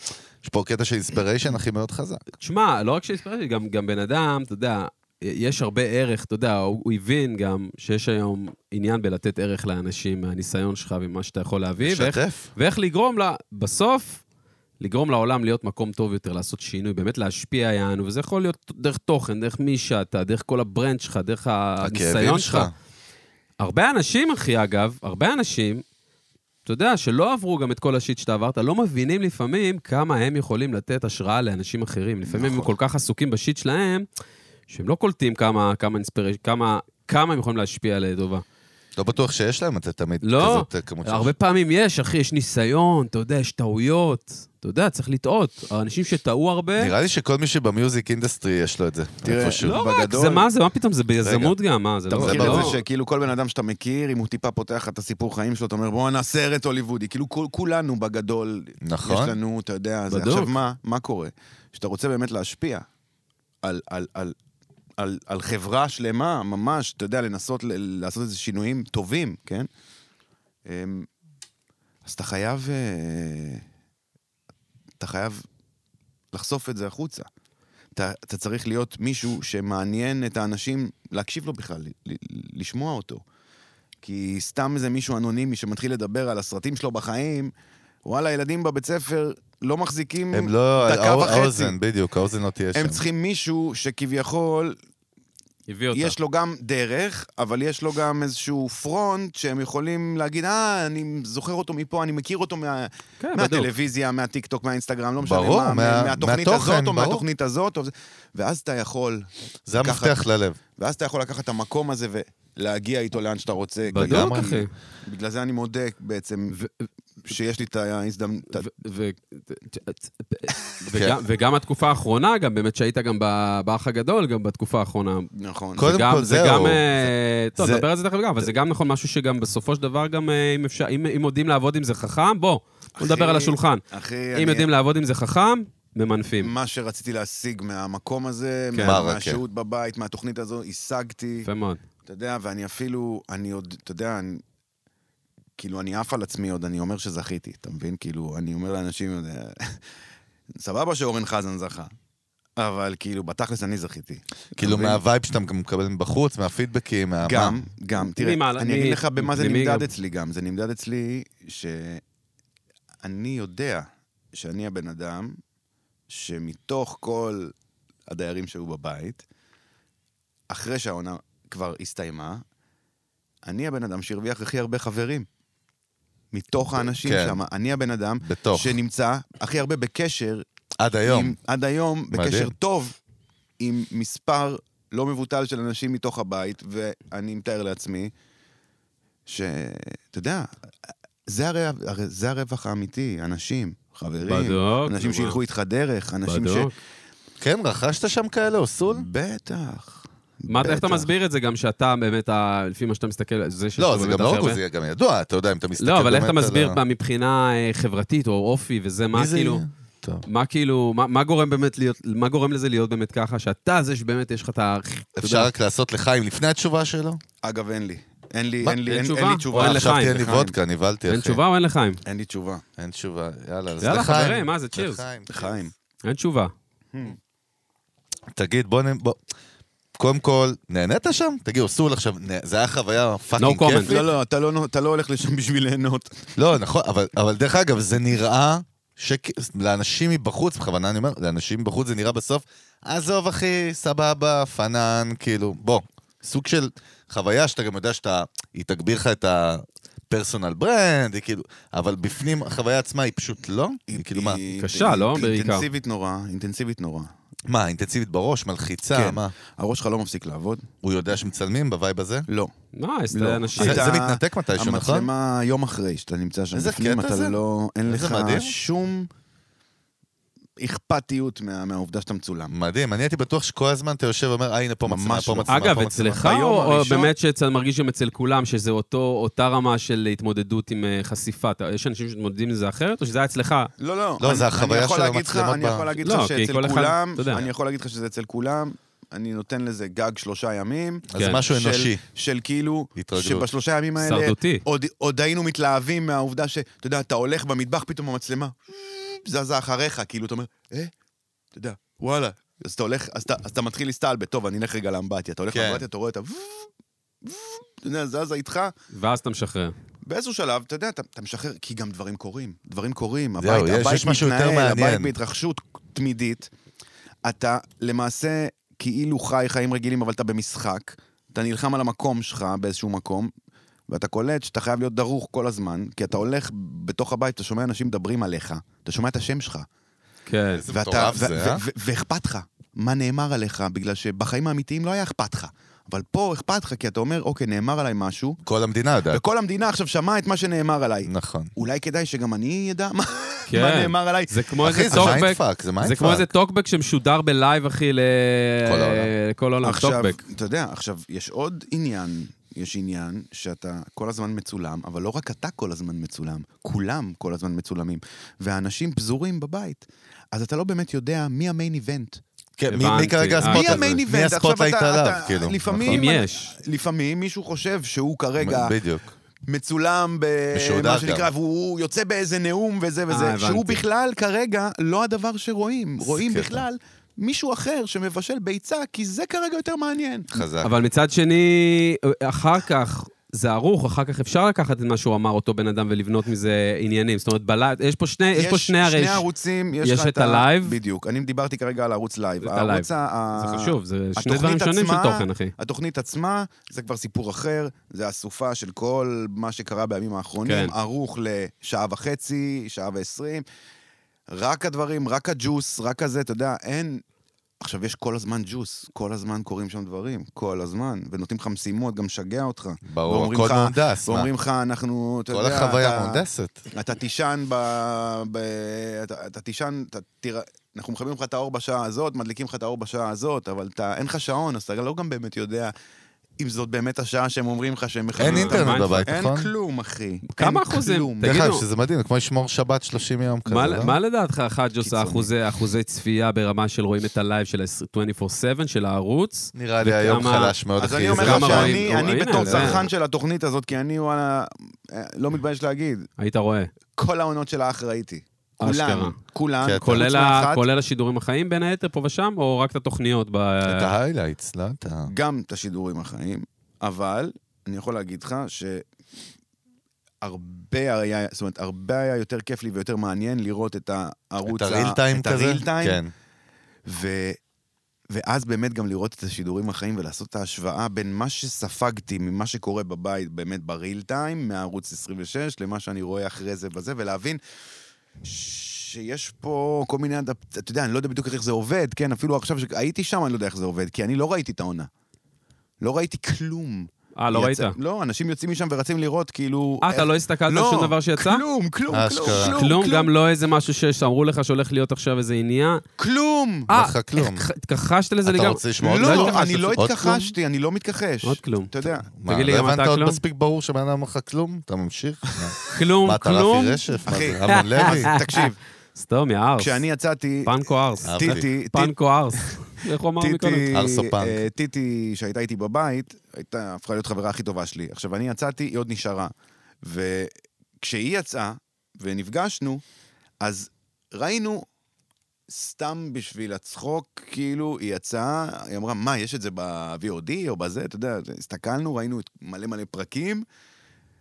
Speaker 1: יש פה קטע של אינספיריישן הכי מאוד חזק.
Speaker 2: תשמע, לא רק שהספרתי, גם, גם בן אדם, אתה יודע, יש הרבה ערך, אתה יודע, הוא, הוא הבין גם שיש היום עניין בלתת ערך לאנשים מהניסיון שלך וממה שאתה יכול להביא, ואיך,
Speaker 1: שתף.
Speaker 2: ואיך לגרום לה, בסוף, לגרום לעולם להיות מקום טוב יותר, לעשות שינוי, באמת להשפיע יענו, וזה יכול להיות דרך תוכן, דרך מי שאתה, דרך כל הברנד שלך, דרך הניסיון
Speaker 1: הכאבים
Speaker 2: שלך.
Speaker 1: שלך.
Speaker 2: הרבה אנשים, אחי, אגב, הרבה אנשים, אתה יודע, שלא עברו גם את כל השיט שאתה עברת, לא מבינים לפעמים כמה הם יכולים לתת השראה לאנשים אחרים. לפעמים הם כל כך עסוקים בשיט שלהם, שהם לא קולטים כמה, כמה, אינספירש, כמה, כמה הם יכולים להשפיע לטובה.
Speaker 1: לא בטוח שיש להם את זה תמיד.
Speaker 2: לא,
Speaker 1: כזאת אה, כמות של-
Speaker 2: הרבה פעמים יש, אחי, יש ניסיון, אתה יודע, יש טעויות. אתה יודע, צריך לטעות. האנשים שטעו הרבה...
Speaker 1: נראה לי שכל מי שבמיוזיק אינדסטרי יש לו את זה.
Speaker 3: תראה,
Speaker 1: איפשהו.
Speaker 2: לא רק,
Speaker 3: בגדול-
Speaker 2: זה מה זה, מה פתאום, זה ביזמות גם, מה, זה
Speaker 3: אתה
Speaker 2: לא...
Speaker 1: זה
Speaker 3: מכיר את
Speaker 1: ברור.
Speaker 3: זה שכאילו כל בן אדם שאתה מכיר, אם הוא טיפה פותח לך את הסיפור חיים שלו, אתה אומר, בואו נעשה סרט הוליוודי. כאילו כול- כולנו בגדול,
Speaker 1: נכון.
Speaker 3: יש לנו, אתה יודע, זה.
Speaker 2: בדוק.
Speaker 3: עכשיו מה, מה קורה? שאתה רוצה באמת להשפיע על, על, על, על, על חברה שלמה, ממש, אתה יודע, לנסות ל- לעשות איזה שינויים טובים, כן? אמ, אז אתה חייב, אה, אתה חייב לחשוף את זה החוצה. אתה, אתה צריך להיות מישהו שמעניין את האנשים להקשיב לו בכלל, ל, ל, לשמוע אותו. כי סתם איזה מישהו אנונימי שמתחיל לדבר על הסרטים שלו בחיים, וואלה, ילדים בבית ספר לא מחזיקים
Speaker 1: הם לא,
Speaker 3: דקה
Speaker 1: האו-
Speaker 3: וחצי.
Speaker 1: האוזן, בדיוק, האוזן לא תהיה שם.
Speaker 3: הם צריכים מישהו שכביכול
Speaker 2: הביא אותה.
Speaker 3: יש לו גם דרך, אבל יש לו גם איזשהו פרונט שהם יכולים להגיד, אה, אני זוכר אותו מפה, אני מכיר אותו מה...
Speaker 2: כן, בדיוק.
Speaker 3: מהטלוויזיה, מהטיקטוק, מהאינסטגרם, לא משנה
Speaker 1: ברור,
Speaker 3: מה,
Speaker 1: מה-
Speaker 3: מהתוכנית
Speaker 1: מהתוכן,
Speaker 3: הזאת או
Speaker 1: ברור.
Speaker 3: מהתוכנית הזאת, או זה- ואז אתה יכול,
Speaker 1: זה
Speaker 3: ככה.
Speaker 1: המפתח ללב.
Speaker 3: ואז אתה יכול לקחת את המקום הזה ולהגיע איתו לאן שאתה רוצה.
Speaker 2: בדיוק,
Speaker 1: לגמרי.
Speaker 2: אחי.
Speaker 3: בגלל זה אני מודה בעצם
Speaker 2: ו-
Speaker 3: שיש לי את ההזדמנות,
Speaker 2: ו- ו-
Speaker 3: כן.
Speaker 2: וגם- וגם התקופה האחרונה, גם באמת שהיית גם ב- באח הגדול, גם בתקופה האחרונה.
Speaker 3: נכון.
Speaker 1: קודם
Speaker 2: גם-
Speaker 1: כל,
Speaker 2: זה
Speaker 1: זהו.
Speaker 2: גם... אה, טוב,
Speaker 1: זה-
Speaker 2: נדבר על זה תכף גם, אבל זה גם נכון משהו שגם בסופו של דבר, גם אה, אם אפשר, אם אם יודעים לעבוד עם זה חכם, בוא, בוא נדבר
Speaker 3: אחי,
Speaker 2: על השולחן.
Speaker 3: אחי,
Speaker 2: אם
Speaker 3: אני-
Speaker 2: יודעים לעבוד עם זה חכם, ממנפים.
Speaker 3: מה שרציתי להשיג מהמקום הזה,
Speaker 2: כן.
Speaker 3: מה-
Speaker 1: מה,
Speaker 3: מהשהות בבית, מהתוכנית הזו, השגתי.
Speaker 2: יפה מאוד.
Speaker 3: אתה יודע, ואני אפילו, אני עוד, אתה יודע, אני, כאילו, אני עף על עצמי עוד, אני אומר שזכיתי, אתה מבין? כאילו, אני אומר לאנשים, "אה, [LAUGHS] סבבה שאורן חזן זכה, אבל כאילו, בתכלס אני זכיתי. אתה
Speaker 1: כאילו,
Speaker 3: מבין?
Speaker 1: מהווייב שאתה גם מקבל מבחוץ, מהפידבקים, מה...
Speaker 3: גם, גם, תראה,
Speaker 2: ממעלה-
Speaker 3: אני
Speaker 2: מ-
Speaker 3: אגיד לך במה זה
Speaker 2: פנימי
Speaker 3: נמדד
Speaker 2: גם.
Speaker 3: אצלי גם. זה נמדד אצלי שאני יודע שאני הבן אדם שמתוך כל הדיירים שהיו בבית, אחרי שהעונה כבר הסתיימה, אני הבן אדם שהרוויח הכי הרבה חברים. מתוך האנשים
Speaker 1: כן.
Speaker 3: שם, אני הבן אדם
Speaker 1: בתוך.
Speaker 3: שנמצא הכי הרבה בקשר
Speaker 1: עד היום.
Speaker 3: עם, עד היום,
Speaker 1: מדהים.
Speaker 3: בקשר טוב עם מספר לא מבוטל של אנשים מתוך הבית, ואני מתאר לעצמי שאתה יודע, זה, הרי, הרי, זה הרווח האמיתי, אנשים, חברים,
Speaker 2: בדוק,
Speaker 3: אנשים
Speaker 2: נו,
Speaker 3: שילכו איתך דרך, אנשים
Speaker 2: בדוק.
Speaker 3: ש...
Speaker 1: כן, רכשת שם כאלה אוסול?
Speaker 3: בטח.
Speaker 2: מה- איך אתה
Speaker 3: בטח.
Speaker 2: מסביר את זה גם שאתה באמת, ה- לפי מה שאתה מסתכל, זה שיש
Speaker 1: לא,
Speaker 2: לו
Speaker 1: זה
Speaker 2: באמת
Speaker 1: גם לא
Speaker 2: הכי
Speaker 1: רק הוא,
Speaker 2: הרבה-
Speaker 1: זה גם ידוע, אתה יודע, אם אתה מסתכל
Speaker 2: לא, אבל איך אתה
Speaker 1: באמת על
Speaker 2: מסביר
Speaker 1: ה-
Speaker 2: ב- מבחינה אה, חברתית או אופי וזה, מה
Speaker 1: מי זה
Speaker 2: כאילו...
Speaker 1: יהיה? טוב.
Speaker 2: מה כאילו, מה, מה גורם באמת להיות, מה גורם לזה להיות באמת ככה, שאתה זה שבאמת יש לך את ה... אתה
Speaker 1: אפשר
Speaker 2: יודע,
Speaker 1: רק לעשות לחיים לפני התשובה שלו? אה,
Speaker 3: אגב, אין לי. אין לי,
Speaker 2: מה?
Speaker 3: אין לי,
Speaker 2: אין
Speaker 3: אין,
Speaker 2: תשובה?
Speaker 3: אין לי
Speaker 2: או
Speaker 3: תשובה.
Speaker 2: אין
Speaker 1: עכשיו
Speaker 2: לחיים,
Speaker 1: תהיה לי וודקה, נבהלתי, אחי.
Speaker 2: אין תשובה או אין לחיים?
Speaker 3: אין לי תשובה.
Speaker 1: אין תשובה, יאללה. אז
Speaker 2: יאללה,
Speaker 1: לחיים.
Speaker 2: חברים, מה זה, צ'ירס.
Speaker 1: לחיים.
Speaker 2: [LAUGHS]
Speaker 3: חיים.
Speaker 2: אין תשובה.
Speaker 1: תגיד, בוא נ... בוא- קודם כל, נהנית שם? תגיד, אוסול עכשיו, נה- זה היה חוויה פאקינג
Speaker 2: No comment.
Speaker 1: כיפית?
Speaker 3: לא, לא, אתה לא, אתה לא הולך לשם בשביל ליהנות.
Speaker 1: לא, נכון, אבל, אבל דרך אגב, זה נראה שלאנשים מבחוץ, בכוונה אני אומר, לאנשים מבחוץ זה נראה בסוף, עזוב אחי, סבבה, פנן, כאילו, בוא, סוג של חוויה שאתה גם יודע שאתה, היא תגביר לך את הפרסונל ברנד, היא כאילו, אבל בפנים החוויה עצמה היא פשוט לא, היא כאילו מה,
Speaker 3: היא-
Speaker 2: קשה, לא?
Speaker 3: היא
Speaker 2: בעיקר.
Speaker 3: אינטנסיבית נורא, אינטנסיבית נורא.
Speaker 1: מה, אינטנסיבית בראש, מלחיצה,
Speaker 3: כן.
Speaker 1: מה,
Speaker 3: הראש שלך לא מפסיק לעבוד?
Speaker 1: הוא יודע שמצלמים בווייב הזה?
Speaker 3: לא.
Speaker 2: נייס,
Speaker 3: לא.
Speaker 2: לאנשים.
Speaker 1: זה-
Speaker 3: אתה-
Speaker 1: זה מתנתק מתישהו, נכון?
Speaker 3: המצלמה יום אחרי שאתה נמצא שם.
Speaker 1: איזה
Speaker 3: בפנים,
Speaker 1: קטע
Speaker 3: אתה
Speaker 1: זה?
Speaker 3: לא, אין
Speaker 1: איזה
Speaker 3: לך
Speaker 1: מדהים.
Speaker 3: שום אכפתיות מה- מהעובדה שאתה מצולם.
Speaker 1: מדהים, אני הייתי בטוח שכל הזמן אתה יושב ואומר, אה, הנה פה
Speaker 3: ממש
Speaker 1: מצלמה, פה
Speaker 3: לא.
Speaker 1: מצלמה, פה מצלמה.
Speaker 2: אגב, אצלך
Speaker 3: ביום
Speaker 2: או או
Speaker 3: הראשון-
Speaker 2: באמת שאתה מרגיש גם אצל כולם, שזה אותו, אותה רמה של התמודדות עם אה, חשיפה? אתה- יש אנשים שמתמודדים עם זה אחרת, או שזה היה אצלך?
Speaker 3: לא, לא.
Speaker 1: לא,
Speaker 3: אני-
Speaker 1: זה
Speaker 3: אני
Speaker 1: החוויה
Speaker 3: יכול
Speaker 1: של
Speaker 3: להגיד לך-
Speaker 1: המצלמות
Speaker 3: אני
Speaker 1: ב-
Speaker 3: יכול להגיד
Speaker 2: לא,
Speaker 3: לך
Speaker 2: כי כל
Speaker 3: שאצל
Speaker 2: אחד-
Speaker 3: כולם,
Speaker 2: אתה יודע.
Speaker 3: אני יכול להגיד לך שזה אצל כולם, אני נותן לזה גג שלושה ימים.
Speaker 1: אז
Speaker 2: כן.
Speaker 1: משהו
Speaker 3: של-
Speaker 1: אנושי.
Speaker 3: של כאילו,
Speaker 1: התרגלות.
Speaker 3: שבשלושה ימים האלה,
Speaker 2: הישרדותי.
Speaker 3: עוד, עוד היינו מתלהבים מהעובדה ש- אתה יודע, אתה הולך במטבח, פתאום המצלמה זזה אחריך, כאילו, אתה אומר, אה, אתה יודע, וואלה. אז אתה הולך, אז אתה, אז אתה מתחיל להסתלבט, טוב, אני אלך רגע לאמבטיה. אתה הולך
Speaker 1: כן.
Speaker 3: לאמבטיה, אתה רואה את ה... אתה יודע, זזה איתך,
Speaker 2: ואז אתה משחרר.
Speaker 3: באיזשהו שלב, אתה יודע, אתה, אתה משחרר, כי גם דברים קורים. דברים קורים,
Speaker 1: זהו,
Speaker 3: הבית,
Speaker 1: יש-
Speaker 3: הבית
Speaker 1: יש משהו יותר
Speaker 3: מתנהל, הבית
Speaker 1: מעניין.
Speaker 3: בהתרחשות תמידית. אתה למעשה כאילו חי חיים רגילים, אבל אתה במשחק. אתה נלחם על המקום שלך באיזשהו מקום, ואתה קולט שאתה חייב להיות דרוך כל הזמן, כי אתה הולך בתוך הבית, אתה שומע אנשים מדברים עליך, אתה שומע את השם שלך.
Speaker 2: כן.
Speaker 1: איזה
Speaker 3: ואתה-
Speaker 1: מטורף
Speaker 3: ו-
Speaker 1: זה,
Speaker 3: ו-
Speaker 1: אה?
Speaker 3: ו- ואכפת לך מה נאמר עליך, בגלל שבחיים האמיתיים לא היה אכפת לך. אבל פה אכפת לך, כי אתה אומר, אוקיי, נאמר עליי משהו,
Speaker 1: כל המדינה יודעת.
Speaker 3: וכל המדינה עכשיו שמעה את מה שנאמר עליי.
Speaker 1: נכון.
Speaker 3: אולי כדאי שגם אני אדע מה
Speaker 2: כן.
Speaker 3: מה נאמר עליי.
Speaker 2: זה כמו איזה
Speaker 1: אחי, זה
Speaker 2: טוקבק,
Speaker 1: מיינדפאק, זה
Speaker 2: זה כמו
Speaker 1: מיינדפאק.
Speaker 2: איזה טוקבק שמשודר בלייב, אחי, ל-
Speaker 1: כל העולם.
Speaker 2: לכל העולם.
Speaker 3: עכשיו,
Speaker 2: לא טוקבק.
Speaker 3: אתה יודע, עכשיו, יש עוד עניין, יש עניין שאתה כל הזמן מצולם, אבל לא רק אתה כל הזמן מצולם, כולם כל הזמן מצולמים, והאנשים פזורים בבית. אז אתה לא באמת יודע מי המיין איבנט.
Speaker 1: כן, מי-
Speaker 2: הבנתי.
Speaker 1: מי כרגע
Speaker 2: אה,
Speaker 1: הספוט
Speaker 2: מי
Speaker 1: הזה?
Speaker 3: המיין איבנט? עכשיו
Speaker 1: הספוטלייט
Speaker 3: אתה-
Speaker 1: עליו,
Speaker 3: אתה-
Speaker 1: כאילו.
Speaker 3: לפעמים-
Speaker 2: אם יש.
Speaker 3: לפעמים מישהו חושב שהוא כרגע
Speaker 1: נכון. בדיוק.
Speaker 3: מצולם
Speaker 1: משודר
Speaker 3: במה שנקרא,
Speaker 1: גם. אה,
Speaker 3: והוא יוצא באיזה נאום וזה וזה,
Speaker 2: הבנתי.
Speaker 3: שהוא בכלל כרגע לא הדבר שרואים. רואים
Speaker 1: קטע.
Speaker 3: בכלל מישהו אחר שמבשל ביצה, כי זה כרגע יותר מעניין.
Speaker 1: חזק.
Speaker 2: אבל מצד שני, אחר כך, זה ערוך, אחר כך אפשר לקחת את מה שהוא אמר, אותו בן אדם, ולבנות מזה עניינים. זאת אומרת, בלייב, יש פה שני, יש פה שני הרי...
Speaker 3: שני ערוצים, יש,
Speaker 2: יש
Speaker 3: לך
Speaker 2: את הלייב.
Speaker 3: בדיוק. אני דיברתי כרגע על ערוץ לייב.
Speaker 2: את הלייב.
Speaker 3: הערוץ ה...
Speaker 2: זה חשוב, זה שני
Speaker 3: התוכנית
Speaker 2: דברים שונים של
Speaker 3: עצמה-
Speaker 2: תוכן, אחי.
Speaker 3: התוכנית עצמה, זה כבר סיפור אחר, זה אסופה של כל מה שקרה בימים האחרונים,
Speaker 2: כן.
Speaker 3: ערוך לשעה וחצי, שעה ועשרים. רק הדברים, רק הג'וס, רק הזה, אתה יודע, אין... עכשיו, יש כל הזמן ג'וס, כל הזמן קורים שם דברים, כל הזמן, ונותנים לך משימות, גם משגע אותך.
Speaker 1: ברור,
Speaker 3: ואומרים
Speaker 1: הכל
Speaker 3: לך-
Speaker 1: מהונדס, מה?
Speaker 3: ואומרים לך, אנחנו, אתה
Speaker 1: כל
Speaker 3: יודע...
Speaker 1: החוויה
Speaker 3: אתה-
Speaker 1: מהונדסת.
Speaker 3: אתה תישן ב... ב... אתה, אתה תישן, אתה תראה... אנחנו מכבים לך את האור בשעה הזאת, מדליקים לך את האור בשעה הזאת, אבל אתה, אין לך שעון, אז אתה לא גם באמת יודע אם זאת באמת השעה שהם אומרים לך שהם מכבים.
Speaker 1: אין
Speaker 3: לך.
Speaker 1: אינטרנט
Speaker 2: מיינדפאק.
Speaker 1: בבית,
Speaker 3: אין
Speaker 1: נכון?
Speaker 3: כלום, אחי.
Speaker 2: כמה
Speaker 3: אין
Speaker 2: אחוזים?
Speaker 3: כלום.
Speaker 2: תגיד,
Speaker 1: דרך אגב,
Speaker 2: תגידו.
Speaker 1: שזה מדהים, זה כמו לשמור שבת 30 יום כזה,
Speaker 2: מה,
Speaker 1: לא?
Speaker 2: מה לדעתך, חאג' עושה
Speaker 3: קיצוני.
Speaker 2: אחוזי, אחוזי צפייה ברמה של רואים את הלייב של ה-24/7 של הערוץ?
Speaker 1: נראה לי היום
Speaker 2: וכמה-
Speaker 1: חלש מאוד,
Speaker 3: אז
Speaker 1: אחי.
Speaker 3: אני
Speaker 1: זה
Speaker 3: אומר
Speaker 1: לא
Speaker 3: לך
Speaker 2: כמה
Speaker 1: שם.
Speaker 2: רואים?
Speaker 3: שאני
Speaker 2: נו,
Speaker 3: אני
Speaker 2: הנה,
Speaker 3: בתור
Speaker 2: זה-
Speaker 3: צרכן של התוכנית הזאת, כי אני, וואלה, אה, לא מתבייש להגיד,
Speaker 2: היית רואה.
Speaker 3: כל העונות של האח ראיתי.
Speaker 2: אשכרה.
Speaker 3: כולן, כולן,
Speaker 1: כן,
Speaker 3: חוץ
Speaker 2: כולל, ה...
Speaker 3: מאחת.
Speaker 2: כולל השידורים החיים בין היתר פה ושם, או רק את התוכניות? ב...
Speaker 1: את ההיילייטס, לא את ה...
Speaker 3: גם את השידורים החיים, אבל אני יכול להגיד לך שהרבה היה, זאת אומרת, הרבה היה יותר כיף לי ויותר מעניין לראות את הערוץ...
Speaker 1: את הריל טיים כזה?
Speaker 3: את הריל טיים,
Speaker 1: כן.
Speaker 3: ו... ואז באמת גם לראות את השידורים החיים ולעשות את ההשוואה בין מה שספגתי ממה שקורה בבית באמת בריל טיים, מערוץ 26, למה שאני רואה אחרי זה בזה, ולהבין שיש פה כל מיני אדפט... אתה יודע, אני לא יודע בדיוק איך זה עובד, כן? אפילו עכשיו שהייתי שם, אני לא יודע איך זה עובד, כי אני לא ראיתי את העונה. לא ראיתי כלום.
Speaker 2: אה, לא
Speaker 3: יצא-
Speaker 2: ראית?
Speaker 3: לא, אנשים יוצאים משם ורצים לראות, כאילו...
Speaker 2: אה, אתה לא הסתכלת על שום דבר שיצא?
Speaker 3: כלום, כלום, כלום,
Speaker 1: אשכרה.
Speaker 3: כלום,
Speaker 2: כלום,
Speaker 3: כלום,
Speaker 2: גם לא איזה משהו שאמרו לך שהולך להיות עכשיו איזה עניין.
Speaker 3: כלום.
Speaker 2: אה,
Speaker 1: לך כלום.
Speaker 2: התכ- התכחשת לזה
Speaker 1: אתה
Speaker 2: לגמרי.
Speaker 1: רוצה לשמוע עוד כלום?
Speaker 3: לא,
Speaker 2: התכחשת.
Speaker 3: אני לא
Speaker 1: עוד כלום?
Speaker 3: התכחשתי, אני לא מתכחש.
Speaker 2: עוד כלום.
Speaker 3: אתה יודע,
Speaker 1: מה,
Speaker 2: תגיד לי,
Speaker 1: לא
Speaker 2: גם אתה
Speaker 1: הבנת עוד
Speaker 2: כלום?
Speaker 1: מספיק ברור שבן אדם אמר לך כלום? אתה ממשיך?
Speaker 2: כלום,
Speaker 1: מה, אתה
Speaker 2: כלום.
Speaker 1: רפי רשף? מה
Speaker 3: אחי.
Speaker 1: זה, אמנון לוי?
Speaker 3: תקשיב,
Speaker 2: סתום, יא ארס.
Speaker 3: כשאני יצאתי,
Speaker 2: פנקו ארס.
Speaker 1: אה,
Speaker 3: טיטי,
Speaker 1: אהבתי.
Speaker 3: טיטי-
Speaker 2: פנקו
Speaker 1: [LAUGHS]
Speaker 2: ארס. איך הוא אמר מקודם?
Speaker 3: טיטי,
Speaker 1: ארסו פאנק.
Speaker 3: אה, טיטי שהייתה איתי בבית, הייתה, הפכה להיות חברה הכי טובה שלי. עכשיו, אני יצאתי, היא עוד נשארה. וכשהיא יצאה, ונפגשנו, אז ראינו, סתם בשביל הצחוק, כאילו, היא יצאה, היא אמרה, מה, יש את זה ב-VOD או בזה? אתה יודע, הסתכלנו, ראינו את מלא מלא פרקים,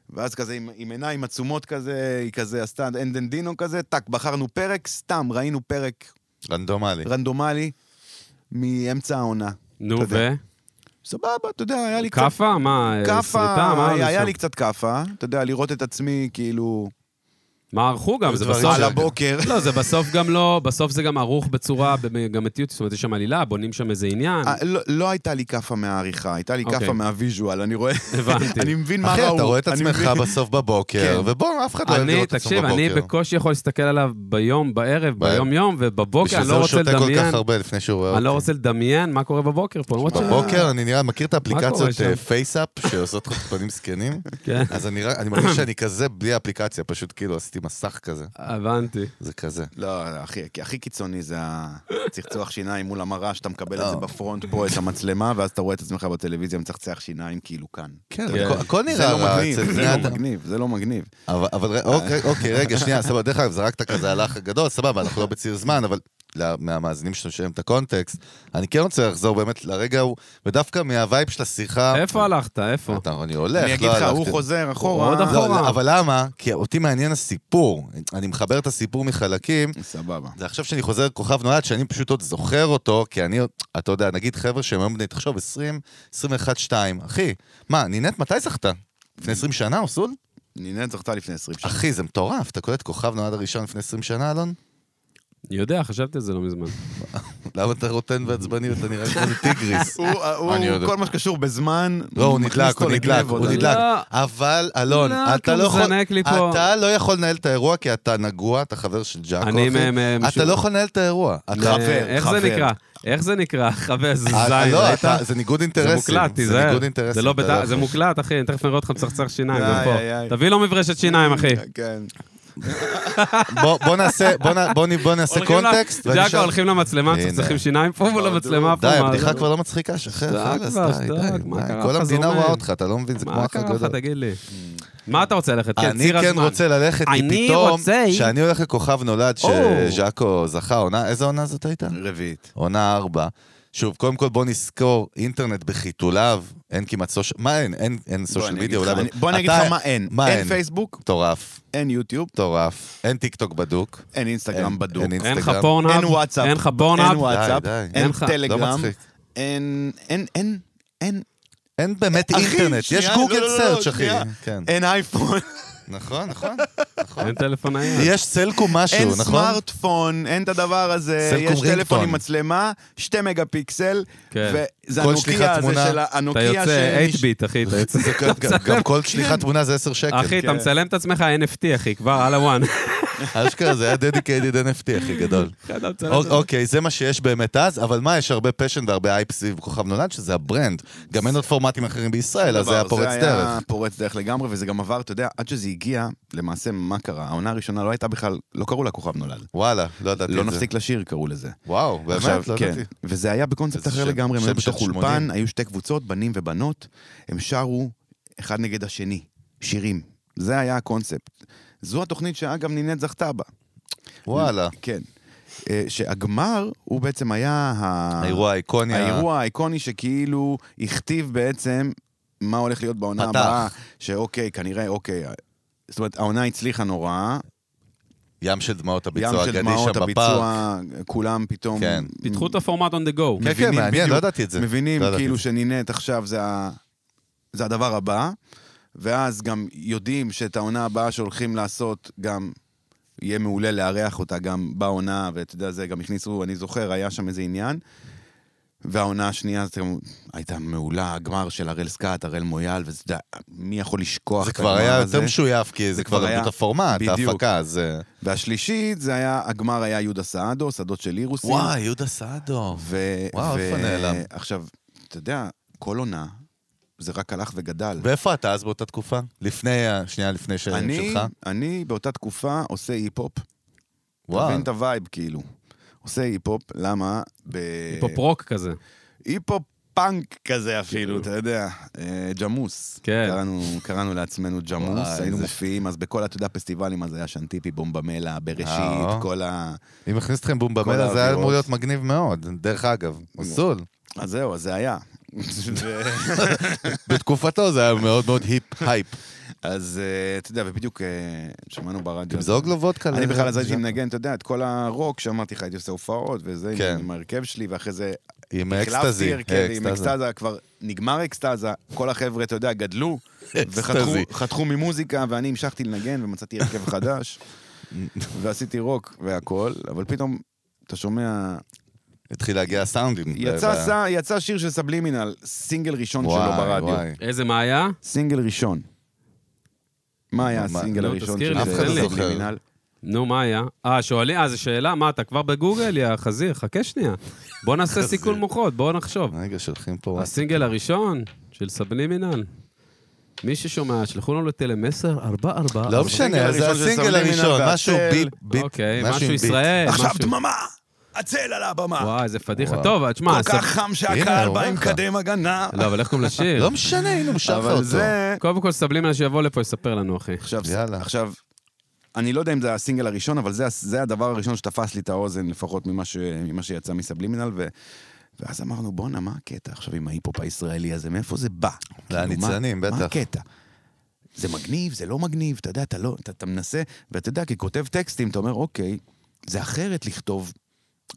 Speaker 3: ואז כזה עם, עם עיניים עצומות כזה, היא כזה עשתה אנדנדינו כזה, טאק, בחרנו פרק, סתם, ראינו פרק
Speaker 1: רנדומלי.
Speaker 3: רנדומלי מאמצע העונה.
Speaker 2: נו,
Speaker 3: אתה
Speaker 2: ו?
Speaker 3: יודע. סבבה, אתה יודע, היה לי קצת...
Speaker 2: כאפה? מה, אה, סריטה? מה
Speaker 3: כאפה,
Speaker 2: היה
Speaker 3: היה
Speaker 2: שם?
Speaker 3: לי קצת כאפה, אתה יודע, לראות את עצמי כאילו
Speaker 2: מה ערכו גם?
Speaker 1: היו
Speaker 2: זה
Speaker 1: דברים
Speaker 2: בסוף...
Speaker 1: טוב.
Speaker 3: על הבוקר.
Speaker 2: [LAUGHS] לא, זה בסוף גם לא... בסוף זה גם ערוך בצורה... במ- גם את יוטיוב, זאת אומרת, יש שם עלילה, בונים שם איזה עניין.
Speaker 3: [LAUGHS] אה, לא- לא הייתה לי כאפה מהעריכה, הייתה לי
Speaker 2: אוקיי.
Speaker 3: כאפה מהוויז'ואל, אני רואה...
Speaker 2: הבנתי.
Speaker 3: [LAUGHS] אני מבין מה ראו.
Speaker 1: אחי, אתה רואה את
Speaker 3: אני
Speaker 1: עצמך
Speaker 3: מבין-
Speaker 1: בסוף בבוקר,
Speaker 3: כן.
Speaker 1: ובוא, אף אחד לא אוהב
Speaker 2: אני,
Speaker 1: לראות את עצמו
Speaker 2: תקשיב, אני
Speaker 1: בבוקר.
Speaker 2: בקושי יכול להסתכל עליו ביום, בערב,
Speaker 1: בערב.
Speaker 2: ביום-יום, ובבוקר,
Speaker 1: בשביל
Speaker 2: אני
Speaker 1: זה
Speaker 2: לא
Speaker 1: הוא
Speaker 2: רוצה
Speaker 1: שותה כל
Speaker 2: לדמיין.
Speaker 1: כך הרבה לפני שהוא רואה
Speaker 2: אני לא
Speaker 1: אותי.
Speaker 2: רוצה לדמיין מה קורה בבוקר פה. למרות ש-
Speaker 1: בבוקר אני נראה, מכיר את
Speaker 2: קורה
Speaker 1: האפליקציות
Speaker 2: שם?
Speaker 1: אה, פייסאפ שעושות לך פנים זקנים?
Speaker 2: כן,
Speaker 1: אז אני רק- אני מרגיש שאני כזה בלי האפליקציה, פשוט כאילו עשיתי מסך כזה.
Speaker 2: הבנתי.
Speaker 1: זה כזה.
Speaker 3: לא, אחי, כי הכי קיצוני זה הצחצוח שיניים מול המראה, שאתה מקבל את
Speaker 1: לא.
Speaker 3: זה בפרונט פה, את המצלמה, ואז אתה רואה את עצמך בטלוויזיה מצחצח שיניים כאילו כאן.
Speaker 1: כן,
Speaker 2: כן.
Speaker 1: הכל- הכל
Speaker 3: זה
Speaker 1: נראה
Speaker 3: לא
Speaker 1: רע
Speaker 3: מגניב,
Speaker 1: אצל
Speaker 3: זה
Speaker 1: בני
Speaker 3: לא
Speaker 1: אדם.
Speaker 3: מגניב, זה לא מגניב.
Speaker 1: אבל, אבל ר- אוקיי, אוקיי, רגע, שנייה, סבבה, דרך אגב, זרקת כזה על האח הגדול, סבבה, אנחנו לא בציר זמן, אבל לה- מהמאזינים שלנו שהם את הקונטקסט, אני כן רוצה לחזור באמת לרגע ההוא, ודווקא מהווייב של השיחה...
Speaker 2: איפה הלכת? איפה?
Speaker 1: אתה, אני הולך,
Speaker 3: אני אגיד
Speaker 1: לא
Speaker 3: לך,
Speaker 1: הלכתי.
Speaker 3: הוא חוזר אחורה.
Speaker 2: עוד
Speaker 1: לא,
Speaker 2: אחורה.
Speaker 1: לא, אבל למה? כי אותי מעניין הסיפור. אני מחבר את הסיפור מחלקים,
Speaker 3: סבבה.
Speaker 1: זה עכשיו שאני חוזר כוכב נולד, שאני פשוט עוד זוכר אותו, כי אני, עוד- אתה יודע, נגיד חבר'ה שהם היום בני, תחשוב, 20, 21, 2. אחי, מה, נינט מתי זכתה? לפני 20 שנה, אוסול?
Speaker 3: נינת זכתה לפני 20 שנה.
Speaker 1: אחי, זה מטורף, אתה קולט כוכב נולד הראשון לפני 20 שנה, אלון?
Speaker 2: אני יודע, חשבתי על זה לא מזמן.
Speaker 1: למה אתה רוטן ועצבני ואתה נראה כמו איזה טיגריס?
Speaker 3: [LAUGHS] הוא, הוא,
Speaker 1: אה, אני יודע.
Speaker 3: כל מה שקשור בזמן,
Speaker 1: לא, הוא
Speaker 3: מכניס
Speaker 1: נדלק,
Speaker 3: אותו
Speaker 1: הוא
Speaker 3: אה.
Speaker 1: נדלק,
Speaker 3: לגניב,
Speaker 1: הוא
Speaker 3: אתה יודע.
Speaker 1: נדלק.
Speaker 2: לא.
Speaker 1: אבל, אלון,
Speaker 2: לא,
Speaker 1: אתה
Speaker 2: אתה
Speaker 1: לא יכול...
Speaker 2: מזנק לי פה.
Speaker 1: אתה לא יכול לנהל את האירוע כי אתה נגוע, אתה חבר של ג'אקו,
Speaker 2: אני
Speaker 1: אחי.
Speaker 2: מ- מ-
Speaker 1: אתה
Speaker 2: משום-
Speaker 1: לא יכול לנהל את האירוע. אתה-
Speaker 2: אה,
Speaker 3: חבר,
Speaker 2: איך
Speaker 3: חבר.
Speaker 2: זה נקרא? איך זה נקרא? [LAUGHS] חבר, זה
Speaker 1: אה,
Speaker 2: זין,
Speaker 1: לא,
Speaker 2: ראית?
Speaker 1: אתה- זה ניגוד
Speaker 2: זה
Speaker 1: אינטרסים.
Speaker 2: מוקלט,
Speaker 1: זה
Speaker 2: תיזהר.
Speaker 1: ניגוד אינטרסים.
Speaker 2: זה לא
Speaker 1: אתה אה,
Speaker 2: בד-
Speaker 1: יכול.
Speaker 2: זה מוקלט, אחי, אני תכף אראה אותך מצחצח שיניים גם
Speaker 3: איי, איי,
Speaker 2: פה.
Speaker 3: איי.
Speaker 2: תביא לו מברשת שיניים, אחי.
Speaker 3: כן.
Speaker 1: בוא- בוא נעשה, בוא נע- בוא נ- בוא נעשה
Speaker 2: הולכים ל-
Speaker 1: קונטקסט. ואני
Speaker 2: אוקיי, ג'אקו
Speaker 1: אשאל-
Speaker 2: הולכים למצלמה,
Speaker 1: הנה. אה,
Speaker 2: מצחצחים שיניים פה מול המצלמה פה.
Speaker 1: די,
Speaker 2: מה
Speaker 1: הבדיחה
Speaker 2: זה?
Speaker 1: כבר לא מצחיקה, שחרר,
Speaker 2: שתק
Speaker 1: חלאס,
Speaker 2: כבר,
Speaker 1: די,
Speaker 2: שתק,
Speaker 1: די,
Speaker 2: מה
Speaker 1: די.
Speaker 2: קרה
Speaker 1: כל
Speaker 2: לך,
Speaker 1: המדינה
Speaker 2: זורם?
Speaker 1: רואה אותך, אתה לא מבין, זה כמו
Speaker 2: מה
Speaker 1: אח
Speaker 2: קרה לך,
Speaker 1: הגדול.
Speaker 2: תגיד לי? מה אתה רוצה ללכת? כן,
Speaker 1: אני
Speaker 2: ציר
Speaker 1: כן
Speaker 2: הזמן.
Speaker 1: רוצה ללכת, כי
Speaker 2: אני
Speaker 1: פתאום,
Speaker 2: רוצה-
Speaker 1: כשאני הולך לכוכב נולד,
Speaker 2: או.
Speaker 1: שז'אקו זכה עונה, איזה עונה זאת הייתה?
Speaker 3: רביעית.
Speaker 1: עונה ארבע. שוב, קודם כל בוא נזכור, אינטרנט בחיתוליו, אין כמעט סוש... מה אין? אין, אין
Speaker 3: בוא
Speaker 1: סושיאל
Speaker 3: אני
Speaker 1: מדיה,
Speaker 3: אגיד
Speaker 1: אולי... לא-
Speaker 3: לך, אני- בוא אני אגיד
Speaker 1: אתה-
Speaker 3: לך מה אין.
Speaker 1: מה
Speaker 3: אין
Speaker 1: אין?
Speaker 3: פייסבוק,
Speaker 1: מטורף,
Speaker 3: אין יוטיוב,
Speaker 1: מטורף. אין טיק טוק בדוק. לא
Speaker 3: אין אינסטגרם
Speaker 1: אין-
Speaker 3: בדוק.
Speaker 1: אין
Speaker 2: אין לך
Speaker 1: אינסטגרם.
Speaker 2: פורנאפ,
Speaker 3: אין וואטסאפ,
Speaker 2: אין לך
Speaker 3: אין
Speaker 2: פורנאפ,
Speaker 3: וואטסאפ,
Speaker 1: די, די.
Speaker 3: אין
Speaker 2: אין לך- לא
Speaker 1: לא
Speaker 3: טלגרם,
Speaker 1: מצחיק.
Speaker 3: אין, אין, אין, אין,
Speaker 1: אין באמת
Speaker 3: אחי,
Speaker 1: אינטרנט, יש
Speaker 3: שנייה,
Speaker 1: גוגל
Speaker 3: לא, לא, לא,
Speaker 1: סרצ' אחי.
Speaker 3: שנייה.
Speaker 1: כן.
Speaker 3: אין אייפון,
Speaker 1: נכון,
Speaker 3: [LAUGHS]
Speaker 1: נכון, נכון.
Speaker 2: אין טלפון נייד.
Speaker 1: יש סלקום משהו,
Speaker 3: אין
Speaker 1: נכון?
Speaker 3: סמארטפון, אין את הדבר הזה,
Speaker 1: סלקום
Speaker 3: יש טלפון
Speaker 1: רינגטון.
Speaker 3: עם מצלמה, שתי מגה פיקסל,
Speaker 2: כן.
Speaker 3: וזה
Speaker 1: כל
Speaker 3: הנוקיה
Speaker 1: שליחת
Speaker 3: הזה
Speaker 1: תמונה,
Speaker 3: של
Speaker 2: אתה
Speaker 3: הנוקיה
Speaker 2: יוצא
Speaker 3: שנש-
Speaker 2: 8-ביט, אחי, אתה יוצא...
Speaker 1: זה גם- גם- גם כל שליחת תמונה זה 10 שקל.
Speaker 2: אחי, אתה
Speaker 3: כן.
Speaker 2: מצלם את עצמך NFT, אחי, כבר על הוואן.
Speaker 1: אשכרה, זה היה dedicated NFT הכי גדול.
Speaker 3: [LAUGHS]
Speaker 2: אתה מצלם את
Speaker 1: אוק- אוקיי, זה מה שיש באמת אז, אבל מה, יש הרבה פשן והרבה אייפ סביב כוכב נולד, שזה הברנד. גם אין עוד פורמטים אחרים בישראל, אז זה היה פורץ
Speaker 3: זה היה
Speaker 1: דרך.
Speaker 3: פורץ דרך לגמרי, וזה גם עבר, אתה יודע, עד שזה הגיע, למעשה, מה קרה? העונה הראשונה לא הייתה בכלל, לא קראו לה כוכב נולד.
Speaker 1: וואלה, לא ידעתי את זה.
Speaker 3: לא נפסיק לשיר קראו לזה.
Speaker 1: וואו, באמת, לא
Speaker 3: כן,
Speaker 1: ידעתי.
Speaker 3: וזה היה בקונספט
Speaker 1: איזה
Speaker 3: אחר
Speaker 1: שם-
Speaker 3: לגמרי, הם
Speaker 1: שם
Speaker 3: היו
Speaker 1: של
Speaker 3: בתוך אולפן,
Speaker 1: שמונים.
Speaker 3: היו שתי קבוצות, בנים ובנות, הם שרו אחד נגד השני, שירים. זה היה הקונספט. זו התוכנית שאגב נינט זכתה בה.
Speaker 1: וואלה.
Speaker 3: כן. אה, שהגמר הוא בעצם היה ה-
Speaker 1: האירוע האיקוני. ה-
Speaker 3: אה, האירוע האיקוני שכאילו הכתיב בעצם מה הולך להיות בעונה
Speaker 1: פתח.
Speaker 3: הבאה, שאוקיי, כנראה, אוקיי. זאת אומרת, העונה הצליחה נורא,
Speaker 1: ים של דמעות
Speaker 3: ים
Speaker 1: הביצוע
Speaker 3: של
Speaker 1: האגדי
Speaker 3: דמעות
Speaker 1: שם בפארק.
Speaker 3: הביצוע, כולם פתאום...
Speaker 1: כן.
Speaker 2: פיתחו את הפורמט on the
Speaker 1: כן,
Speaker 2: go.
Speaker 1: כן,
Speaker 3: מבינים
Speaker 1: מעניין,
Speaker 3: בדיוק-
Speaker 1: לא ידעתי את זה.
Speaker 3: מבינים
Speaker 1: לא ידעתי
Speaker 3: כאילו
Speaker 1: את זה.
Speaker 3: שנינט עכשיו זה, ה... זה הדבר הבא, ואז גם יודעים שאת העונה הבאה שהולכים לעשות גם... יהיה מעולה לארח אותה גם בעונה, ואתה יודע, זה גם הכניסו, אני זוכר, היה שם איזה עניין. והעונה השנייה זאת גם- הייתה מעולה, הגמר של הראל סקאט, הראל מויאל, וזה, אתה יודע, מי יכול לשכוח
Speaker 1: זה
Speaker 3: את
Speaker 1: כבר
Speaker 3: הגמר
Speaker 1: היה
Speaker 3: הזה?
Speaker 1: יותר משויף, כי זה
Speaker 3: כבר
Speaker 1: כבר
Speaker 3: היה-
Speaker 1: למדו את הפורמט,
Speaker 3: בדיוק.
Speaker 1: ההפקה, אז... אה,
Speaker 3: והשלישית, זה היה, הגמר היה יהודה סעדו, סעדות של אירוסים.
Speaker 1: וואי, יהודה סעדו.
Speaker 3: ו...
Speaker 1: וואו,
Speaker 3: ו...
Speaker 1: איפה נעלם?
Speaker 3: עכשיו, אתה יודע, כל עונה, זה רק הלך וגדל.
Speaker 1: ואיפה אתה אז באותה תקופה? לפני, ה- שנייה לפני שהיום
Speaker 3: אני,
Speaker 1: שלך?
Speaker 3: אני באותה תקופה עושה היפ-הופ. וואו.
Speaker 1: וואו.
Speaker 3: מבין את הווייב, כאילו. עושה היפ-הופ, למה? ב...
Speaker 2: היפ-הופ רוק כזה.
Speaker 3: היפ-הופ פאנק כזה
Speaker 1: כאילו.
Speaker 3: אפילו, אתה יודע. אה, ג'מוס.
Speaker 2: כן.
Speaker 3: קראנו, קראנו לעצמנו ג'מוס,
Speaker 1: וואי,
Speaker 3: היינו
Speaker 1: איזה-
Speaker 3: מופיעים, אז בכל, אתה יודע, הפסטיבלים, אז היה שנטיפי, בומבמלה, בראשית,
Speaker 1: אה.
Speaker 3: כל ה...
Speaker 1: אם הכניס אתכם
Speaker 3: כל
Speaker 1: בומבמלה, זה היה
Speaker 3: האווירות.
Speaker 1: אמור להיות מגניב מאוד. דרך אגב, מסלול.
Speaker 3: אז זהו, אז זה היה. [LAUGHS]
Speaker 1: בתקופתו זה היה מאוד מאוד היפ,
Speaker 3: [LAUGHS]
Speaker 1: הייפ.
Speaker 3: כן. אז אה, אתה יודע, ובדיוק אה, שמענו ברדיו.
Speaker 1: תמזוג לו וודקה.
Speaker 3: אני
Speaker 1: ל-
Speaker 3: בכלל אז הייתי מנגן, אתה יודע, את כל הרוק שאמרתי לך, הייתי עושה הופעות, וזה
Speaker 1: כן.
Speaker 3: עם ההרכב שלי, ואחרי זה
Speaker 1: עם
Speaker 3: החלפתי
Speaker 1: אקסטזי.
Speaker 3: הרכב כן, עם
Speaker 1: אקסטזה.
Speaker 3: אקסטזה, כבר נגמר אקסטזה, כל החבר'ה, אתה יודע, גדלו, וחתכו
Speaker 1: אקסטזי.
Speaker 3: חתכו ממוזיקה, ואני המשכתי לנגן, ומצאתי הרכב חדש, [LAUGHS] ועשיתי רוק והכול, אבל פתאום, אתה שומע,
Speaker 1: התחיל להגיע הסאונדים.
Speaker 3: יצא ס- יצא שיר של סבלימינל, סינגל ראשון שלו
Speaker 1: וואי,
Speaker 3: ברדיו.
Speaker 1: וואי.
Speaker 2: איזה מה היה?
Speaker 3: סינגל ראשון. מה היה
Speaker 1: מה-
Speaker 3: הסינגל
Speaker 2: לא,
Speaker 3: הראשון
Speaker 2: תזכיר
Speaker 3: של
Speaker 1: לי, אף אחד לא זוכר.
Speaker 3: סבלימינל?
Speaker 2: נו, מה היה? אה, שואלים, אה, זו שאלה, מה, אתה כבר בגוגל, יא חזיר? חכה שנייה. בוא נעשה סיכול מוחות, בוא נחשוב.
Speaker 1: רגע, שולחים פה...
Speaker 2: הסינגל הראשון של סבלימינל. מי ששומע, שלחו לנו לטלמסר 44.
Speaker 1: לא משנה,
Speaker 3: הסינגל
Speaker 1: זה
Speaker 3: הראשון של
Speaker 1: הסינגל
Speaker 3: סמלי
Speaker 1: הראשון,
Speaker 3: מן
Speaker 1: משהו
Speaker 3: והצל.
Speaker 1: ביט, ביט,
Speaker 2: אוקיי,
Speaker 1: עם
Speaker 2: משהו
Speaker 1: ביט.
Speaker 2: ישראל.
Speaker 3: עכשיו
Speaker 2: משהו-
Speaker 3: דממה! הצל על הבמה!
Speaker 2: וואי, איזה פדיחה.
Speaker 1: וואו.
Speaker 2: טוב, אה, תשמע,
Speaker 3: כל
Speaker 2: הסב-
Speaker 3: כך חם
Speaker 1: הנה,
Speaker 3: שהקהל
Speaker 1: הוא
Speaker 3: בא
Speaker 1: אומר
Speaker 3: עם
Speaker 1: לך.
Speaker 3: קדם הגנה.
Speaker 2: לא, אבל איך קוראים לשיר?
Speaker 1: לא משנה, הנה הוא שר לך
Speaker 3: אבל
Speaker 1: אותו.
Speaker 3: זה...
Speaker 2: קודם כל סבלימינל שיבוא לפה, יספר לנו, אחי.
Speaker 3: עכשיו,
Speaker 1: לא. יאללה.
Speaker 3: עכשיו, אני לא יודע אם זה הסינגל הראשון, אבל זה, הס- זה הדבר הראשון שתפס לי את האוזן, לפחות ממה, ש, ממה שיצא מסבלימינל, ו... ואז אמרנו, בואנה, מה הקטע עכשיו עם ההיפ-הופ הישראלי הזה? מאיפה זה בא? כאילו, מה-
Speaker 1: והניצנים, בטח.
Speaker 3: מה הקטע? זה מגניב, זה לא מגניב, אתה יודע, אתה לא, אתה, אתה מנסה, ואתה יודע, ככותב טקסטים, אתה אומר, אוקיי, זה אחרת לכתוב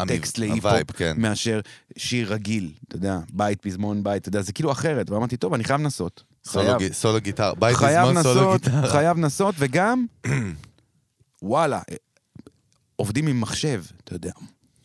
Speaker 1: המב-
Speaker 3: טקסט
Speaker 1: הווייב,
Speaker 3: להיפ-הופ
Speaker 1: כן.
Speaker 3: מאשר שיר רגיל, אתה יודע, בית, פזמון, בית, אתה יודע, זה כאילו אחרת. ואמרתי, טוב, אני חייב לנסות.
Speaker 1: סולו
Speaker 3: חייב.
Speaker 1: גי- סולו גיטרה. בית
Speaker 3: חייב
Speaker 1: מזמון סולו
Speaker 3: לנסות,
Speaker 1: גיטרה. [LAUGHS]
Speaker 3: חייב לנסות,
Speaker 1: [CLEARS THROAT]
Speaker 3: וגם, וואלה, אה, עובדים עם מחשב,
Speaker 1: [LAUGHS]
Speaker 3: אתה יודע.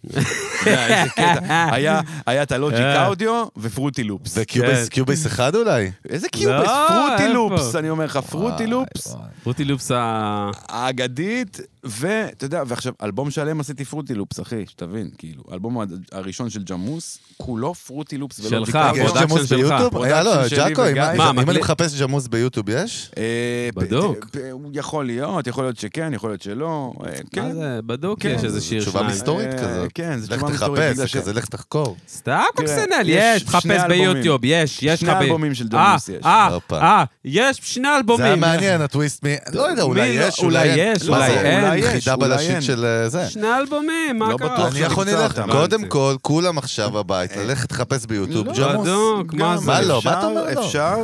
Speaker 1: אה,
Speaker 3: אתה יודע, איזה קטע. [LAUGHS] היה- היה את הלוג'יק
Speaker 2: אה.
Speaker 3: אודיו ופרוטי לופס.
Speaker 1: וקיובייס
Speaker 2: כן.
Speaker 1: קיובייס אחד אולי?
Speaker 3: איזה קיובייס,
Speaker 2: לא,
Speaker 3: פרוטי
Speaker 2: איפה?
Speaker 3: לופס, אני אומר לך, פרוטי
Speaker 1: וואי,
Speaker 3: לופס
Speaker 1: וואי.
Speaker 2: רותי לופס ה...
Speaker 3: האגדית, ואתה יודע, ועכשיו, אלבום שלם עשיתי פרוטי לופס, אחי, שתבין, כאילו, האלבום הראשון של ג'מוס, כולו פרוטי לופס ולוג'יק
Speaker 2: שלך, כן.
Speaker 1: רגע, אוקיי, יש
Speaker 2: הפרודקשן
Speaker 1: ג'מוס
Speaker 2: שלך.
Speaker 1: ביוטיוב?
Speaker 3: אה, הפרודקשן
Speaker 1: הלו,
Speaker 3: שלי
Speaker 1: ג'אקו, אם-
Speaker 3: וגיא.
Speaker 1: אם-
Speaker 2: מה,
Speaker 1: אם אני
Speaker 2: מקליט?
Speaker 1: מחפש ג'מוס ביוטיוב יש?
Speaker 3: אה, פ-
Speaker 2: בדוק.
Speaker 3: פ- פ- יכול להיות, יכול להיות שכן, יכול להיות שלא. אה, כן.
Speaker 2: מה זה, בדוק
Speaker 3: כן.
Speaker 2: יש איזה שיר
Speaker 1: תשובה
Speaker 2: שניים.
Speaker 1: מסתורית
Speaker 3: אה,
Speaker 1: כזאת.
Speaker 3: כן, זו
Speaker 1: לך
Speaker 3: תשובה היסטורית בגלל
Speaker 1: תחפש,
Speaker 3: ש...
Speaker 1: כזה לך תחקור.
Speaker 2: סתם
Speaker 3: תראה,
Speaker 2: קוקסנל,
Speaker 3: יש
Speaker 2: יש,
Speaker 3: שני
Speaker 2: תחפש
Speaker 3: אלבומים.
Speaker 2: ביוטיוב, יש, יש לך
Speaker 3: שני
Speaker 2: ב...
Speaker 3: אלבומים של דומיוס
Speaker 2: אה,
Speaker 3: יש.
Speaker 2: אה,
Speaker 1: הופה.
Speaker 2: אה, יש שני אלבומים.
Speaker 1: לא זה היה מעניין, הטוויסט מי... לא יודע, אולי
Speaker 2: מי לא-
Speaker 1: יש,
Speaker 2: אולי יש,
Speaker 1: מה
Speaker 2: אולי
Speaker 1: זה,
Speaker 2: אין.
Speaker 1: חידה
Speaker 3: אולי אין.
Speaker 1: בלשית של אה, זה.
Speaker 2: שני אלבומים, מה
Speaker 3: לא
Speaker 2: קרה?
Speaker 3: בטוח.
Speaker 1: אני יכול ללכת,
Speaker 3: אותם. אה,
Speaker 1: קודם
Speaker 2: הבנתי.
Speaker 1: כל, כולם עכשיו הבית, ללכת לחפש ביוטיוב
Speaker 3: לא,
Speaker 1: ג'מוס.
Speaker 2: בדוק, מה
Speaker 3: גם
Speaker 2: זה?
Speaker 1: מה לא? מה
Speaker 3: אפשר-
Speaker 1: אתה אומר לא?
Speaker 3: אפשר,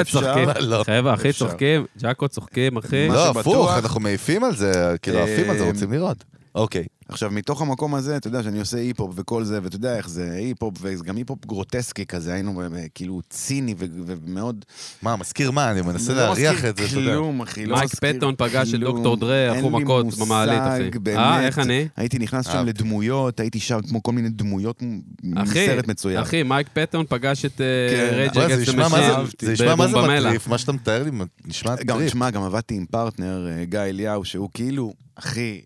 Speaker 3: אפשר.
Speaker 2: [LAUGHS] צוחקים.
Speaker 1: מה לא?
Speaker 2: חבר'ה, אחי,
Speaker 3: אפשר.
Speaker 2: צוחקים, ג'אקו צוחקים, אחי.
Speaker 3: מה
Speaker 1: לא,
Speaker 3: שבטוח-
Speaker 1: הפוך, אנחנו מעיפים על זה, כאילו
Speaker 3: אה,
Speaker 1: עפים על זה, רוצים לראות. אוקיי.
Speaker 3: עכשיו, מתוך המקום הזה, אתה יודע שאני עושה היפ-הופ וכל זה, ואתה יודע איך זה היפ-הופ, וגם היפ-הופ גרוטסקי כזה, היינו ב- ב- כאילו ציני ו- ומאוד...
Speaker 1: מה, מזכיר מה? אני מנסה
Speaker 3: לא
Speaker 1: להריח
Speaker 3: מזכיר
Speaker 1: את זה, אתה יודע.
Speaker 3: כלום, אחי, לא
Speaker 2: מייק
Speaker 3: מזכיר
Speaker 2: פטון פגש את
Speaker 3: כלום.
Speaker 2: דוקטור דרה,
Speaker 3: אין
Speaker 2: אחו
Speaker 3: לי
Speaker 2: מכות במעלית,
Speaker 3: מושג,
Speaker 2: אחי.
Speaker 3: באמת.
Speaker 2: אה, איך אני?
Speaker 3: הייתי נכנס שם
Speaker 1: אהבתי.
Speaker 3: לדמויות, הייתי שם כמו כל מיני דמויות מ-
Speaker 2: אחי,
Speaker 3: מסרט מצויר.
Speaker 2: אחי, מייק פטון פגש את אה,
Speaker 3: כן,
Speaker 2: רייג'
Speaker 1: בוא'נה, זה
Speaker 2: אגסט
Speaker 1: נשמע מה זה- זה נשמע מה זה מטריף, מה שאתה מתאר לי, נשמע
Speaker 3: גם,
Speaker 1: מטריף.
Speaker 3: תשמע, גם עבדתי עם פרטנר, אה, גיא אליהו, שהוא כאילו, אחי,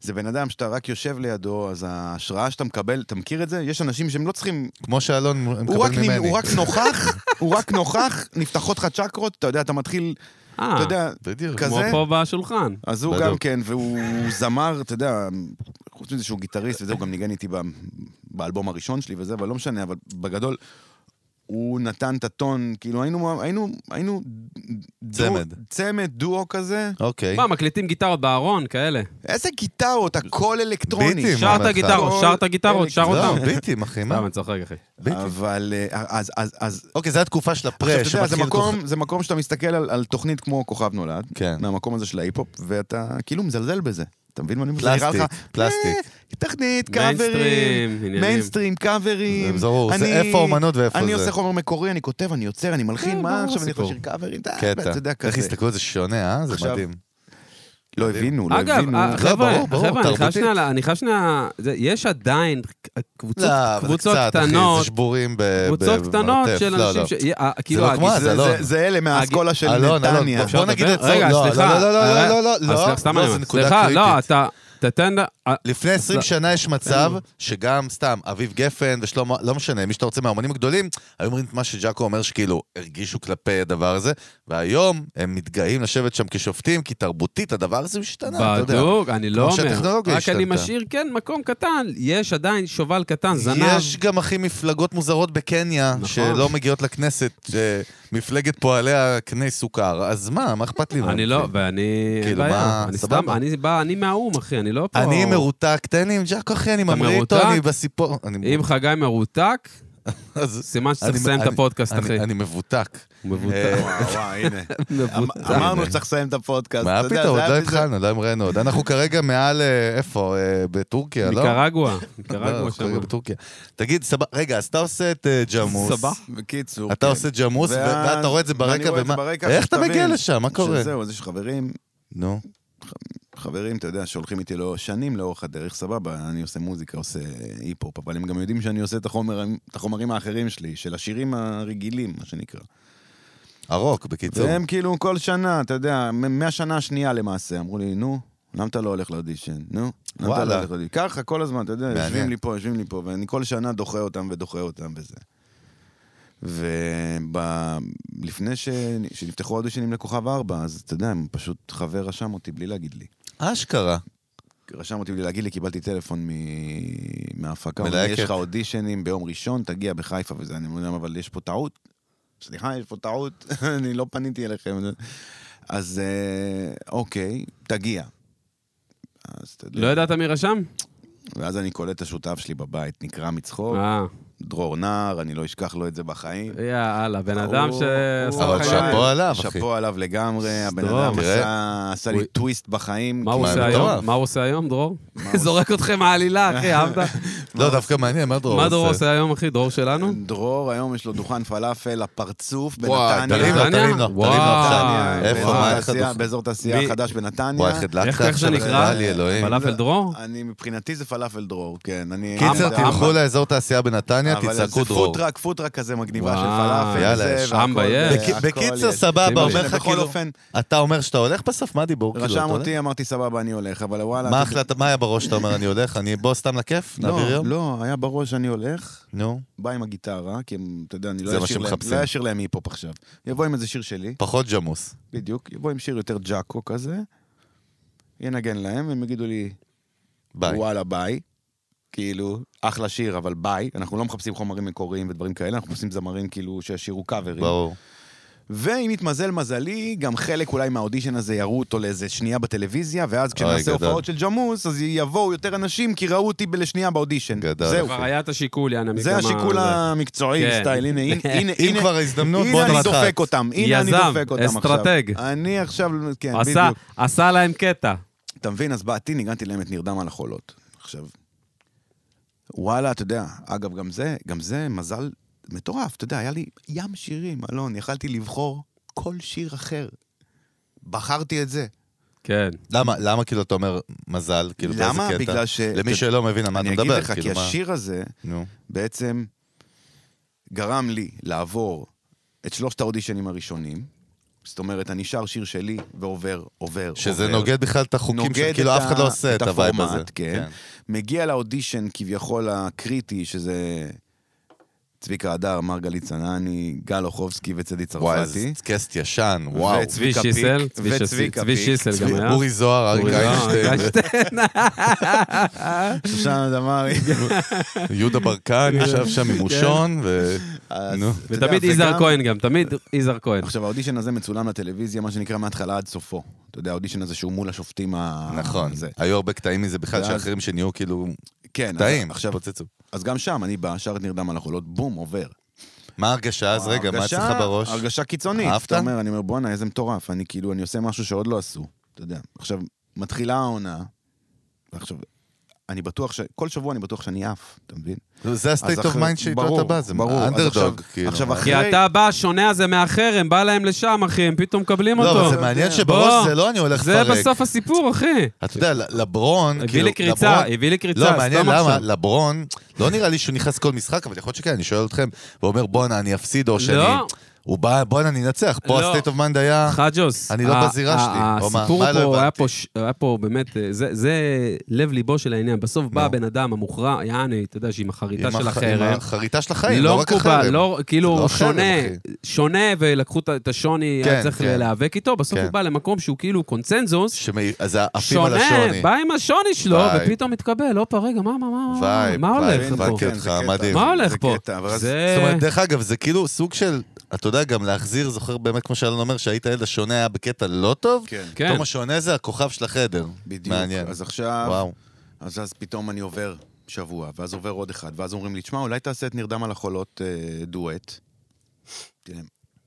Speaker 3: זה בן אדם שאתה רק יושב לידו, אז ההשראה שאתה מקבל, אתה מכיר את זה? יש אנשים שהם לא צריכים...
Speaker 1: כמו שאלון
Speaker 3: הוא רק,
Speaker 1: מקבל
Speaker 3: נ-
Speaker 1: ממני.
Speaker 3: הוא רק נוכח, הוא רק נוכח, נפתחות לך צ'קרות, אתה יודע, אתה מתחיל, אתה יודע,
Speaker 1: בדיוק.
Speaker 3: כזה.
Speaker 2: אה, כמו פה בשולחן.
Speaker 1: אה.
Speaker 3: אז הוא
Speaker 1: בדיוק.
Speaker 3: גם כן, והוא זמר, אתה יודע, חוץ מזה שהוא גיטריסט וזה, הוא גם ניגן איתי ב- באלבום הראשון שלי וזה, אבל לא משנה, אבל בגדול, הוא נתן את הטון, כאילו היינו, היינו, היינו... דו-
Speaker 1: צמד.
Speaker 3: צמד, דואו כזה.
Speaker 1: אוקיי.
Speaker 2: מה, מקליטים גיטרות בארון, כאלה.
Speaker 3: איזה גיטרות, הכל אלקטרוני.
Speaker 1: ביטים.
Speaker 2: שרת
Speaker 1: אחד.
Speaker 2: גיטרות, שרת גיטרות, שר
Speaker 1: לא,
Speaker 2: אותם.
Speaker 1: ביטים, אחי, מה?
Speaker 2: סתם, אני צוחק, אחי.
Speaker 1: ביטים.
Speaker 3: אבל אה, אז, אז, אז,
Speaker 1: אוקיי, זו התקופה של
Speaker 3: עכשיו,
Speaker 1: הפרה,
Speaker 3: אתה יודע, זה
Speaker 1: שמתחיל...
Speaker 3: מקום, זה מקום שאתה מסתכל על, על תוכנית כמו כוכב נולד,
Speaker 1: כן.
Speaker 3: מהמקום הזה של ההיפ-הופ, ואתה כאילו מזלזל בזה. אתה מבין מה אני מזלזל?
Speaker 1: פלסטיק, פלסטיק.
Speaker 3: תכנית,
Speaker 2: מיינסטרים,
Speaker 3: קאברים,
Speaker 2: עניינים.
Speaker 3: מיינסטרים, קאברים.
Speaker 1: זה ברור, זה
Speaker 3: אני-
Speaker 1: איפה האומנות ואיפה
Speaker 3: אני
Speaker 1: זה. אה,
Speaker 3: עושה חומר מקורי, אני כותב, אני יוצר, אני מלחין,
Speaker 2: כן,
Speaker 3: מה
Speaker 2: ברור
Speaker 3: עכשיו אני הולך
Speaker 2: הסיפור.
Speaker 3: לשיר קאברים? די,
Speaker 1: קטע.
Speaker 3: אה, אתה יודע,
Speaker 1: איך
Speaker 3: כזה.
Speaker 1: יסתכלו על זה שונה, אה? זה
Speaker 3: עכשיו-
Speaker 1: מדהים.
Speaker 3: לא הבינו, לא
Speaker 2: אגב,
Speaker 3: הבינו.
Speaker 2: אה,
Speaker 1: לא,
Speaker 2: חבר'ה,
Speaker 1: ברור, ברור,
Speaker 2: חבר'ה, אני חייב
Speaker 1: תרבותית.
Speaker 2: שנייה, אני חייב שנייה, זה- יש עדיין
Speaker 1: לא,
Speaker 2: קבוצות
Speaker 1: אבל זה
Speaker 2: קבוצות
Speaker 1: קצת, אחי, זה
Speaker 2: קטנות,
Speaker 1: שבורים ב... ב-
Speaker 2: קבוצות קטנות
Speaker 1: במרתף.
Speaker 2: של
Speaker 1: לא,
Speaker 2: אנשים
Speaker 1: לא.
Speaker 2: ש... אה, כאילו,
Speaker 1: לא כמו אז,
Speaker 3: זה-
Speaker 2: הגזע-
Speaker 1: אלון.
Speaker 3: זה- זה אלה מהאסכולה של
Speaker 1: אלון, אלון,
Speaker 3: נתניה.
Speaker 1: בוא- בוא נגיד
Speaker 2: אפשר
Speaker 1: את
Speaker 2: לדבר? רגע,
Speaker 1: לא, לא,
Speaker 2: סליחה.
Speaker 1: לא, לא, לא,
Speaker 2: אה,
Speaker 1: לא, לא, לא,
Speaker 2: אז סתם
Speaker 1: לא,
Speaker 2: אני
Speaker 1: זה
Speaker 2: אומר,
Speaker 1: נקודה
Speaker 2: סליחה, לא,
Speaker 1: קריטית.
Speaker 2: אתה... תתן לה... אה,
Speaker 1: לפני 20 שנה יש מצב
Speaker 2: כן.
Speaker 1: שגם, סתם, אביב גפן ושלמה, לא משנה, מי שאתה רוצה מהאומנים הגדולים, היו אומרים את מה שג'אקו אומר שכאילו הרגישו כלפי הדבר הזה, והיום הם מתגאים לשבת שם כשופטים, כי תרבותית הדבר הזה משתנה, לא, אתה יודע.
Speaker 2: בדוק, אני לא אומר.
Speaker 1: שהטכנולוגיה
Speaker 2: רק אני
Speaker 1: השתנתה.
Speaker 2: משאיר, כן, מקום קטן. יש עדיין שובל קטן, זנב.
Speaker 1: יש גם הכי מפלגות מוזרות בקניה,
Speaker 2: נכון.
Speaker 1: שלא מגיעות לכנסת, אה, מפלגת פועלי הקני סוכר, אז מה, מה אכפת לי? מהם?
Speaker 2: אני לא, ואני... אין
Speaker 1: כאילו,
Speaker 2: בעיה.
Speaker 1: מה,
Speaker 2: אני
Speaker 1: סבבה.
Speaker 2: סתם, אני בא, אני מהאו"ם, אחי, אני לא פה...
Speaker 1: אני מרותק, תן לי עם ג'אקו אחי, אני
Speaker 2: אתה
Speaker 1: ממריא איתו,
Speaker 2: מרותק?
Speaker 1: אני בסיפור. אני-
Speaker 2: אם חגי מרותק,
Speaker 1: [LAUGHS] אז-
Speaker 2: סימן שצריך
Speaker 1: אני-
Speaker 2: לסיים את
Speaker 1: אני-
Speaker 2: הפודקאסט,
Speaker 1: אני-
Speaker 2: אחי.
Speaker 1: אני מבותק.
Speaker 2: הוא מבוטל.
Speaker 1: אה,
Speaker 3: וואו, וואו, הנה.
Speaker 2: מבוטל.
Speaker 3: אמרנו שצריך לסיים את הפודקאסט.
Speaker 1: מה
Speaker 3: אתה יודע,
Speaker 1: פתאום,
Speaker 3: זה
Speaker 1: עוד
Speaker 3: היה
Speaker 1: לא
Speaker 3: בזה-
Speaker 1: התחלנו, לא המראנו עוד. אנחנו כרגע מעל, אה, איפה? אה, בטורקיה, לא? [LAUGHS]
Speaker 2: ניקרגואה,
Speaker 1: לא,
Speaker 2: ניקרגואה
Speaker 1: אנחנו
Speaker 2: שם.
Speaker 1: כרגע בטורקיה. תגיד, סבבה, רגע, אז אתה עושה את אה, ג'מוס.
Speaker 2: סבבה.
Speaker 3: בקיצור.
Speaker 1: אתה
Speaker 3: כן.
Speaker 1: עושה ג'מוס, ו-
Speaker 3: ואז-
Speaker 1: ואתה רואה את זה
Speaker 3: ואני
Speaker 1: ברקע,
Speaker 3: רואה את זה
Speaker 1: ומה...
Speaker 3: ברקע,
Speaker 1: איך אתה
Speaker 3: שתבין
Speaker 1: מגיע לשם? מה קורה?
Speaker 3: שזהו, אז יש חברים,
Speaker 1: נו.
Speaker 3: חברים, אתה יודע, שהולכים איתי לא שנים לאורך הדרך, סבבה, אני עושה מוזיקה, עושה היפ-הופ, אבל הם גם יודעים שאני עושה את, החומר, את החומרים האחרים שלי, של השירים הרגילים, מה שנקרא.
Speaker 1: הרוק, בקיצור.
Speaker 3: והם כאילו כל שנה, אתה יודע, מ- מהשנה השנייה למעשה, אמרו לי, נו, למה אתה לא הולך לאודישן? נו, למה אתה
Speaker 1: וואלה.
Speaker 3: לא הולך לאודישן? ככה, כל הזמן, אתה יודע,
Speaker 1: מעניין.
Speaker 3: יושבים לי פה, יושבים לי פה, ואני כל שנה דוחה אותם ודוחה אותם וזה. ולפני ש... שנפתחו האודישנים לכוכב ארבע, אז אתה יודע, הם פשוט חבר רשם אותי בלי להגיד לי.
Speaker 1: אשכרה.
Speaker 3: רשם אותי בלי להגיד לי, קיבלתי טלפון מ... מההפקה. הוא אומר,
Speaker 1: מלהקת.
Speaker 3: יש לך אודישנים ביום ראשון, תגיע בחיפה וזה. אני אומר להם, אבל יש פה טעות. סליחה, יש פה טעות, [LAUGHS] אני לא פניתי אליכם. אז אה, אוקיי, תגיע. אז אתה יודע.
Speaker 2: לא ידעת מי רשם?
Speaker 3: ואז אני קולט את השותף שלי בבית, נקרע מצחוק,
Speaker 1: אוקיי.
Speaker 2: אה,
Speaker 3: דרור נער, אני לא אשכח לו את זה בחיים.
Speaker 2: יאללה, בן אדם
Speaker 3: הוא-
Speaker 2: שעשה
Speaker 3: הוא
Speaker 1: אבל
Speaker 2: לך
Speaker 1: שאפו עליו, אחי.
Speaker 3: שאפו עליו לגמרי, הבן
Speaker 2: דרור.
Speaker 3: אדם
Speaker 1: תראה.
Speaker 3: עשה- עשה לי
Speaker 2: הוא-
Speaker 3: טוויסט בחיים.
Speaker 2: מה הוא
Speaker 1: מה,
Speaker 2: עושה
Speaker 1: מטורף.
Speaker 2: היום? מה הוא עושה היום, דרור?
Speaker 3: הוא עושה?
Speaker 2: [LAUGHS] זורק אתכם מהעלילה, אחי, אהבת?
Speaker 1: לא, דווקא מעניין, מה דרור עושה?
Speaker 2: מה דרור עושה היום, אחי? דרור שלנו?
Speaker 3: דרור היום יש לו דוכן פלאפל, הפרצוף
Speaker 1: וואי, תרים לו,
Speaker 3: בנתניה.
Speaker 2: בנתניה?
Speaker 1: תרים לו, תרים לו עכשיו.
Speaker 2: וואי,
Speaker 1: איפה,
Speaker 3: באזור
Speaker 1: מה, איך
Speaker 3: תעשייה-
Speaker 1: הדוכן?
Speaker 3: באזור תעשייה
Speaker 2: מי-
Speaker 3: החדש בנתניה.
Speaker 1: וואי, איך הדלקת
Speaker 2: איך- איך זה
Speaker 1: עכשיו?
Speaker 2: נקרא?
Speaker 1: נראה לי, אלוהים. אה,
Speaker 2: פלאפל דרור?
Speaker 3: אני, מבחינתי זה פלאפל דרור, כן. אני...
Speaker 1: קיצר,
Speaker 2: אמבה,
Speaker 1: תלכו
Speaker 2: אמבה.
Speaker 1: לאזור תעשייה בנתניה, תצעקו דרור.
Speaker 3: פוטרק, פוטרק כזה מגניבה
Speaker 2: וואי,
Speaker 3: של פלאפל.
Speaker 1: יאללה,
Speaker 3: וזה,
Speaker 1: יש.
Speaker 3: והכל-
Speaker 2: אמבה, יש.
Speaker 1: בק-
Speaker 3: והכל
Speaker 1: בקיצר,
Speaker 3: יש.
Speaker 1: סבבה,
Speaker 2: אמא
Speaker 1: אומר לך
Speaker 3: בכל
Speaker 1: כאילו...
Speaker 3: אופן,
Speaker 1: אתה אומר שאתה הולך בסוף? מה הדיבור? כאילו,
Speaker 3: רשם
Speaker 1: אתה הולך?
Speaker 3: אותי, אמרתי סבבה, אני הולך, אבל וואלה...
Speaker 1: מה
Speaker 3: אתה-
Speaker 1: החלטת, מה היה בראש שאתה אומר, אני הולך? אני בוא סתם לכיף? נעביר
Speaker 3: לא,
Speaker 1: יום?
Speaker 3: לא, היה בראש שאני הולך,
Speaker 1: נו.
Speaker 3: בא עם הגיטרה, כי הם, אתה יודע, אני
Speaker 1: זה
Speaker 3: לא
Speaker 1: מה
Speaker 3: אשאיר להם-
Speaker 1: שמחפשים.
Speaker 3: לא אשאיר להם היפ-הופ עכשיו. יבוא עם איזה שיר שלי,
Speaker 1: פחות ג'מוס.
Speaker 3: בדיוק, יבוא עם שיר יותר ג'אקו כזה, ינגן להם, הם יגידו לי,
Speaker 1: ביי.
Speaker 3: וואלה ביי. כאילו, אחלה שיר, אבל ביי. אנחנו לא מחפשים חומרים מקוריים ודברים כאלה, אנחנו מחפשים זמרים כאילו שישירו קאברים.
Speaker 1: ברור.
Speaker 3: ואם התמזל מזלי, גם חלק אולי מהאודישן הזה יראו אותו לאיזה שנייה בטלוויזיה, ואז כשנעשה
Speaker 1: גדול.
Speaker 3: הופעות של ג'מוס, אז יבואו יותר אנשים, כי ראו אותי לשנייה באודישן.
Speaker 1: גדול.
Speaker 3: זהו.
Speaker 2: כבר היה את השיקול, יאנה,
Speaker 3: זה
Speaker 2: מכמה-
Speaker 3: השיקול המקצועי,
Speaker 2: כן.
Speaker 3: סטייל, הנה, הנה, הנה,
Speaker 1: [LAUGHS] אם כבר ההזדמנות, בוא
Speaker 3: הנה אני
Speaker 1: נלחץ.
Speaker 3: דופק אותם, הנה אני
Speaker 2: יזם,
Speaker 3: דופק אותם עכשיו.
Speaker 2: אסטרטג.
Speaker 3: אני עכשיו, כן,
Speaker 2: עשה,
Speaker 3: בדיוק.
Speaker 2: עשה להם קטע.
Speaker 3: אתה מבין, אז באתי, ניגנתי להם את נרדם על החולות. עכשיו, וואלה, אתה יודע, אגב, גם זה, גם זה מזל מטורף, אתה יודע, היה לי ים שירים, אלון, יכלתי לבחור כל שיר אחר. בחרתי את זה.
Speaker 2: כן.
Speaker 1: למה, למה כאילו אתה אומר מזל? כאילו באיזה
Speaker 3: למה?
Speaker 1: קטע?
Speaker 3: בגלל ש-
Speaker 1: למי שלא מבין על מה אתה
Speaker 3: אני
Speaker 1: מדבר,
Speaker 3: אגיד לך, כי
Speaker 1: כאילו, מה-
Speaker 3: השיר הזה
Speaker 1: נו.
Speaker 3: בעצם גרם לי לעבור את שלושת האודישנים הראשונים. זאת אומרת, אני שר שיר שלי ועובר, עובר,
Speaker 1: שזה
Speaker 3: עובר.
Speaker 1: נוגד בכלל את החוקים,
Speaker 3: נוגד
Speaker 1: שכאילו
Speaker 3: את
Speaker 1: אף אחד לא
Speaker 3: ה-
Speaker 1: עושה את הווייב הזה.
Speaker 3: הפורמט, כן. מגיע לאודישן כביכול הקריטי, שזה צביקה הדר, מרגלית צנני, גל אוחובסקי וצדי
Speaker 1: וואי, זה
Speaker 3: צרפתי.
Speaker 1: קסט ישן, וואו.
Speaker 3: וצבי-
Speaker 2: צבי
Speaker 3: צביקה
Speaker 2: שיסל,
Speaker 3: פיק
Speaker 2: צבי שיסל,
Speaker 3: וצביקה
Speaker 2: צבי
Speaker 3: פיק.
Speaker 2: שיסל גם היה.
Speaker 1: אורי זוהר, אריק
Speaker 2: אורי זוהר,
Speaker 1: איינשטיין, [LAUGHS]
Speaker 3: [LAUGHS] שושנה
Speaker 2: [LAUGHS]
Speaker 3: דמארי.
Speaker 1: יהודה ברקן ישב שם עם מושון, ו...
Speaker 3: כן. אז,
Speaker 1: נו.
Speaker 3: אתה יודע,
Speaker 2: ותמיד
Speaker 3: זה
Speaker 2: יזהר
Speaker 3: גם-
Speaker 2: כהן גם, תמיד
Speaker 1: אה.
Speaker 2: יזהר כהן.
Speaker 3: עכשיו, האודישן הזה מצולם לטלוויזיה, מה שנקרא, מההתחלה עד סופו. אתה יודע, האודישן הזה שהוא מול השופטים ה...
Speaker 1: נכון,
Speaker 3: אה, זה.
Speaker 1: היו הרבה קטעים מזה בכלל,
Speaker 3: ואז-
Speaker 1: שאחרים שנהיו כאילו
Speaker 3: כן, אז
Speaker 1: קטעים,
Speaker 3: עכשיו,
Speaker 1: פוצצו.
Speaker 3: אז גם שם, אני בא, שר את נרדם על החולות, בום, עובר.
Speaker 1: מה ההרגשה אז? רגע, מה אצלך
Speaker 3: הרגשה-
Speaker 1: בראש?
Speaker 3: הרגשה קיצונית.
Speaker 1: אהבת?
Speaker 3: אתה אומר, אני אומר, בואנה, איזה מטורף. אני כאילו, אני עושה משהו שעוד לא עשו. אתה יודע. עכשיו, מתחילה העונה, ועכשיו, אני בטוח ש... כל שבוע אני בטוח שאני עף, אתה מבין?
Speaker 1: זה
Speaker 3: אז
Speaker 1: ה-state of
Speaker 3: אחרי-
Speaker 1: mind שאיתו
Speaker 3: ברור,
Speaker 1: אתה בא, זה
Speaker 3: ברור. אז עכשיו-
Speaker 1: אנדרדוג, כאילו.
Speaker 3: עכשיו,
Speaker 1: מה?
Speaker 3: אחרי-
Speaker 2: כי אתה בא, השונה הזה מהחרם, בא להם לשם, אחי, הם פתאום מקבלים
Speaker 1: לא, אבל
Speaker 2: אותו.
Speaker 1: זה מעניין
Speaker 3: כן. בוא.
Speaker 1: שבראש זה לא אני הולך
Speaker 2: זה
Speaker 1: לפרק.
Speaker 2: בסוף הסיפור, אחי.
Speaker 1: אתה יודע, ל- לברון,
Speaker 2: הביא
Speaker 1: כאילו,
Speaker 2: לי קריצה,
Speaker 1: לברון-
Speaker 2: הביא לי קריצה,
Speaker 1: לא,
Speaker 2: סתם
Speaker 1: מעניין למה,
Speaker 2: עכשיו.
Speaker 1: לברון, לא נראה לי שהוא נכנס כל משחק, אבל יכול להיות שכן, אני שואל אתכם, ואומר, בואנה, אני אפסיד, או שאני... הוא בא, בואנה, אני אנצח. פה
Speaker 2: לא.
Speaker 1: ה-state of mind היה...
Speaker 2: חג'וס.
Speaker 1: אני לא
Speaker 2: ה-
Speaker 1: בזירה
Speaker 2: ה-
Speaker 1: שלי. או מה?
Speaker 2: הסיפור
Speaker 1: מה לא
Speaker 2: פה, היה
Speaker 1: הבנתי?
Speaker 2: פה ש- היה פה באמת, אה, זה- זה לב-ליבו של העניין. בסוף בא
Speaker 1: נו.
Speaker 2: הבן אדם המוכרע, יעני, אתה יודע, שעם החריטה
Speaker 1: עם
Speaker 2: של
Speaker 1: הח-
Speaker 2: החרם.
Speaker 1: עם החריטה של החיים,
Speaker 2: לא
Speaker 1: לא רק
Speaker 2: מקובל,
Speaker 1: החרם.
Speaker 2: לא, כאילו,
Speaker 1: זה לא
Speaker 2: הוא
Speaker 1: חרם,
Speaker 2: שונה,
Speaker 1: אחי.
Speaker 2: שונה, ולקחו את- את השוני,
Speaker 1: כן,
Speaker 2: היה צריך
Speaker 1: כן.
Speaker 2: להיאבק איתו, בסוף
Speaker 1: כן.
Speaker 2: הוא בא למקום שהוא כאילו קונצנזוס,
Speaker 1: שמי- אז עפים על
Speaker 2: שונה,
Speaker 1: השוני.
Speaker 2: בא עם השוני שלו,
Speaker 1: וואי.
Speaker 2: ופתאום מתקבל, הופה, רגע, מה, מה, מה, מה,
Speaker 1: וייב,
Speaker 2: מה
Speaker 1: וייב,
Speaker 2: הולך
Speaker 1: הבנתי
Speaker 2: פה?
Speaker 1: כן, אותך,
Speaker 3: זה קטע.
Speaker 1: מדהים.
Speaker 2: מה הולך
Speaker 3: זה
Speaker 2: פה?
Speaker 3: קטע, אבל אז-
Speaker 2: זה...
Speaker 1: זאת אומרת, דרך אגב, זה כאילו סוג של, אתה יודע, גם להחזיר, זוכר באמת, כמו שאלון אומר, שהיית ילד השונה היה בקטע לא טוב?
Speaker 3: כן.
Speaker 2: כן.
Speaker 1: פתאום השונה זה הכוכב של החדר.
Speaker 3: בדיוק.
Speaker 1: מעניין.
Speaker 3: אז עכשיו,
Speaker 1: וואו.
Speaker 3: אז אז פתאום אני עובר שבוע, ואז עובר עוד אחד, ואז אומרים לי, תשמע, אולי תעשה את נרדם על החולות אה, דואט. תראה,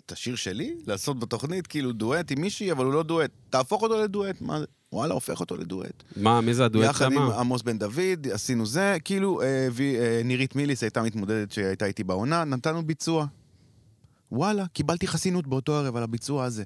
Speaker 3: את השיר שלי? לעשות בתוכנית כאילו דואט עם מישהי, אבל הוא לא דואט. תהפוך אותו לדואט, מה זה? וואלה, הופך אותו לדואט.
Speaker 2: מה, מי זה הדואט
Speaker 3: יחד עם
Speaker 2: שמה?
Speaker 3: עמוס בן דוד, עשינו זה, כאילו אה, וי- אה, נירית מיליס הייתה מתמודדת שהייתה איתי בעונה, נתנו ביצוע. וואלה, קיבלתי חסינות באותו ערב על הביצוע הזה.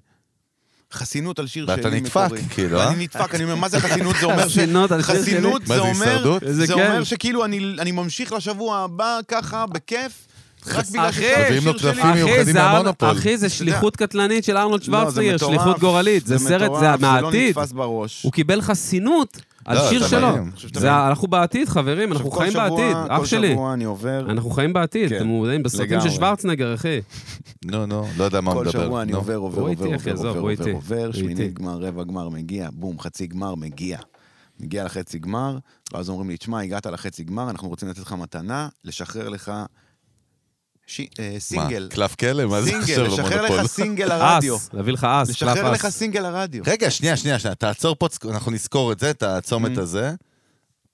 Speaker 3: חסינות על שיר
Speaker 1: ואתה
Speaker 3: שלי
Speaker 1: נדפק,
Speaker 3: מקורי.
Speaker 1: כאילו, אה?
Speaker 3: ואני נדפק, אני אומר, מה זה חסינות? זה אומר ש...
Speaker 2: חסינות על שיר שלי.
Speaker 3: חסינות
Speaker 1: מה,
Speaker 3: זה
Speaker 1: זה
Speaker 3: אומר...
Speaker 1: הישרדות?
Speaker 2: איזה
Speaker 3: זה
Speaker 2: כיף.
Speaker 3: אומר שכאילו אני אני ממשיך לשבוע הבא ככה, בכיף, רק בגלל
Speaker 2: אחי,
Speaker 3: ששמתי
Speaker 1: מביאים לו
Speaker 3: שיר שלי.
Speaker 1: קלפים מיוחדים
Speaker 2: אחי, זה ארנ-
Speaker 1: מהמונופול.
Speaker 2: אחי, זה שליחות קטלנית של ארנולד
Speaker 3: לא, זה
Speaker 2: שוורצנגר,
Speaker 3: מטורף,
Speaker 2: שליחות גורלית, זה סרט,
Speaker 3: מטורף,
Speaker 2: זה
Speaker 3: זה לא
Speaker 2: מהעתיד.
Speaker 3: נתפס בראש.
Speaker 2: הוא קיבל חסינות על
Speaker 1: לא,
Speaker 2: שיר
Speaker 1: זה
Speaker 2: שלו.
Speaker 1: מדהים.
Speaker 3: עכשיו, אתה
Speaker 2: זה,
Speaker 3: מבין?
Speaker 2: אנחנו בעתיד, חברים,
Speaker 3: עכשיו,
Speaker 2: אנחנו
Speaker 3: כל
Speaker 2: חיים
Speaker 3: שבוע-
Speaker 2: בעתיד, אח
Speaker 3: כל
Speaker 2: שלי.
Speaker 3: שבוע אני עובר,
Speaker 2: אנחנו חיים בעתיד,
Speaker 3: כן,
Speaker 2: אתם מודעים בסרטים של
Speaker 3: לגמרי.
Speaker 2: שוורצנגר, אחי.
Speaker 1: נו, נו, לא יודע מה הוא
Speaker 3: כל
Speaker 1: מדבר.
Speaker 3: שבוע אני
Speaker 1: נו.
Speaker 3: עובר, עובר,
Speaker 2: הוא
Speaker 3: עובר,
Speaker 2: איתי, אחי,
Speaker 3: עובר,
Speaker 2: עזוב,
Speaker 3: עובר,
Speaker 2: הוא
Speaker 3: עובר,
Speaker 2: איתי.
Speaker 3: עובר,
Speaker 2: הוא
Speaker 3: שמינית
Speaker 2: איתי.
Speaker 3: גמר, רבע גמר, מגיע, בום, חצי גמר, מגיע. מגיע לחצי גמר, ואז אומרים לי, תשמע, הגעת לחצי גמר, אנחנו רוצים לתת לך מתנה, לשחרר לך ש... אה, סינגל.
Speaker 1: מה, קלף כלא? מה זה
Speaker 3: סינגל,
Speaker 1: עכשיו
Speaker 3: לשחרר
Speaker 1: במונופול?
Speaker 3: לך סינגל לרדיו.
Speaker 2: אס, להביא לך אס, קלף
Speaker 3: לשחרר לך
Speaker 2: אס.
Speaker 3: סינגל לרדיו.
Speaker 1: רגע, שנייה, שנייה, שנייה, תעצור פה, אנחנו נזכור את זה, את הצומת
Speaker 3: Mm.
Speaker 1: הזה.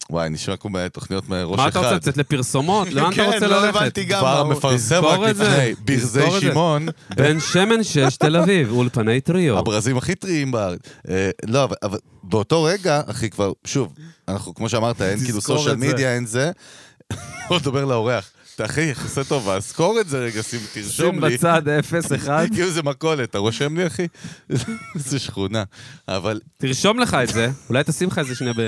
Speaker 1: וואי, נשמע כמו תוכניות מראש
Speaker 2: מה
Speaker 1: אחד.
Speaker 2: אתה רוצה לצאת לפרסומות? לאן אתה רוצה
Speaker 3: כן, לא
Speaker 2: ללכת?
Speaker 3: הבנתי גם. מה
Speaker 1: כבר
Speaker 3: הוא-
Speaker 1: מפרסם רק
Speaker 2: תזכור את זה,
Speaker 1: לפני
Speaker 2: תזכור
Speaker 1: ברזי
Speaker 2: את זה.
Speaker 1: שמעון,
Speaker 2: בן שמן 6, תל אביב, אולפני טריו.
Speaker 1: הברזים הכי טריים בארץ. אה, לא, אבל- אבל באותו רגע, אחי, כבר, שוב, אנחנו, כמו שאמרת, אין כאילו
Speaker 2: תזכור
Speaker 1: סושיאל
Speaker 2: את זה.
Speaker 1: מדיה, אין זה. [LAUGHS] הוא מדבר לאורח, "אתה אחי, עושה טובה, זכור את זה רגע, שים,
Speaker 2: שים
Speaker 1: תרשום לי.
Speaker 2: בצד 0-1,
Speaker 1: [LAUGHS] כאילו זה מכולת, אתה רושם לי, אחי? [LAUGHS] זה שכונה. אבל
Speaker 2: תרשום לך את זה, אולי תשים לך איזה שנייה ב...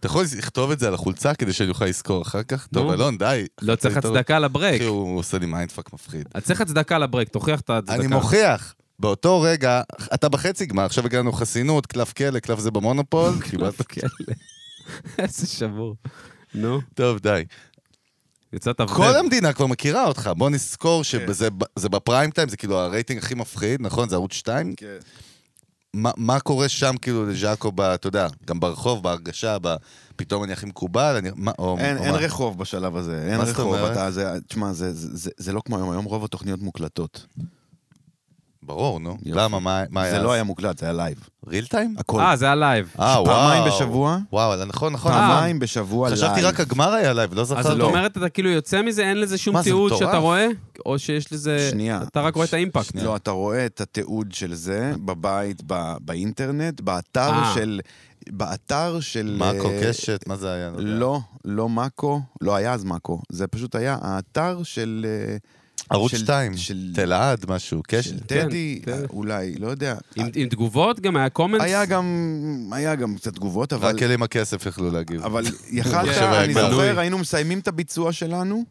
Speaker 1: אתה יכול לכתוב את זה על החולצה כדי שאני אוכל לזכור אחר כך? טוב,
Speaker 2: נו.
Speaker 1: אלון, די.
Speaker 2: לא צריך הצדקה לברייק.
Speaker 1: אחי, הוא עושה לי מיינדפאק מפחיד.
Speaker 2: אז צריך הצדקה לברייק, תוכיח את ההצדקה.
Speaker 1: אני מוכיח. באותו רגע, אתה בחצי גמר, עכשיו הגענו חסינות, קלף כלא, קלף זה במונופול, קיבלת...
Speaker 2: כלא. [LAUGHS] איזה שבור. נו,
Speaker 1: טוב, די.
Speaker 2: יצאת אבנר.
Speaker 1: כל המדינה כבר מכירה אותך, בוא
Speaker 2: כן.
Speaker 1: נזכור שזה ב- זה בפריים טיים, זה כאילו הרייטינג הכי מפחיד, נכון? זה ערוץ 2? מה, מה קורה שם, כאילו, לז'אקו, ב- אתה יודע, גם ברחוב, בהרגשה, ב... פתאום אני הכי מקובל, אני... מה, או,
Speaker 3: אין,
Speaker 1: או
Speaker 3: אין
Speaker 1: מה?
Speaker 3: רחוב בשלב הזה, אין
Speaker 1: מה זאת
Speaker 3: רחוב.
Speaker 1: אומרת?
Speaker 3: אתה, זה, תשמע, זה, זה, זה, זה לא כמו היום, היום רוב התוכניות מוקלטות.
Speaker 1: ברור, נו.
Speaker 3: יופי.
Speaker 1: למה, מה, מה היה?
Speaker 3: זה
Speaker 1: אז?
Speaker 3: לא היה מוקלט, זה היה לייב.
Speaker 1: ריל טיים?
Speaker 3: הכל.
Speaker 2: אה, זה היה לייב.
Speaker 1: אה, וואו.
Speaker 3: פעמיים בשבוע?
Speaker 1: וואו, נכון, נכון.
Speaker 3: פעמיים בשבוע לייב.
Speaker 1: חשבתי רק הגמר היה לייב, לא
Speaker 2: אז זאת
Speaker 1: זכרתי.
Speaker 2: אומרת, אתה כאילו יוצא מזה, אין לזה שום
Speaker 1: מה, זה
Speaker 2: תיעוד
Speaker 1: מטורף.
Speaker 2: שאתה רואה? או שיש לזה...
Speaker 3: שנייה.
Speaker 2: אתה רק רואה את האימפקט.
Speaker 3: לא, אתה רואה את התיעוד של זה בבית, ב- באינטרנט, באתר
Speaker 2: אה.
Speaker 3: של... באתר של...
Speaker 1: מאקו,
Speaker 3: אה,
Speaker 1: קשת, מה זה היה? יודע.
Speaker 3: לא, לא מאקו, לא היה אז מאקו, זה פשוט היה האתר של... אה,
Speaker 1: ערוץ
Speaker 3: של-
Speaker 1: 2,
Speaker 3: של-
Speaker 1: תלעד, משהו, קשת.
Speaker 3: של טדי,
Speaker 2: כן,
Speaker 3: אה,
Speaker 2: טדי.
Speaker 3: אולי, לא יודע.
Speaker 2: עם עם תגובות? גם היה קומנס?
Speaker 3: היה גם, היה גם קצת תגובות, אבל...
Speaker 1: רק אלים הכסף יכלו להגיב. [LAUGHS]
Speaker 3: אבל
Speaker 1: אני
Speaker 3: יכלת,
Speaker 1: חושב היה
Speaker 3: אני
Speaker 1: גדול.
Speaker 3: זוכר, היינו מסיימים את הביצוע שלנו,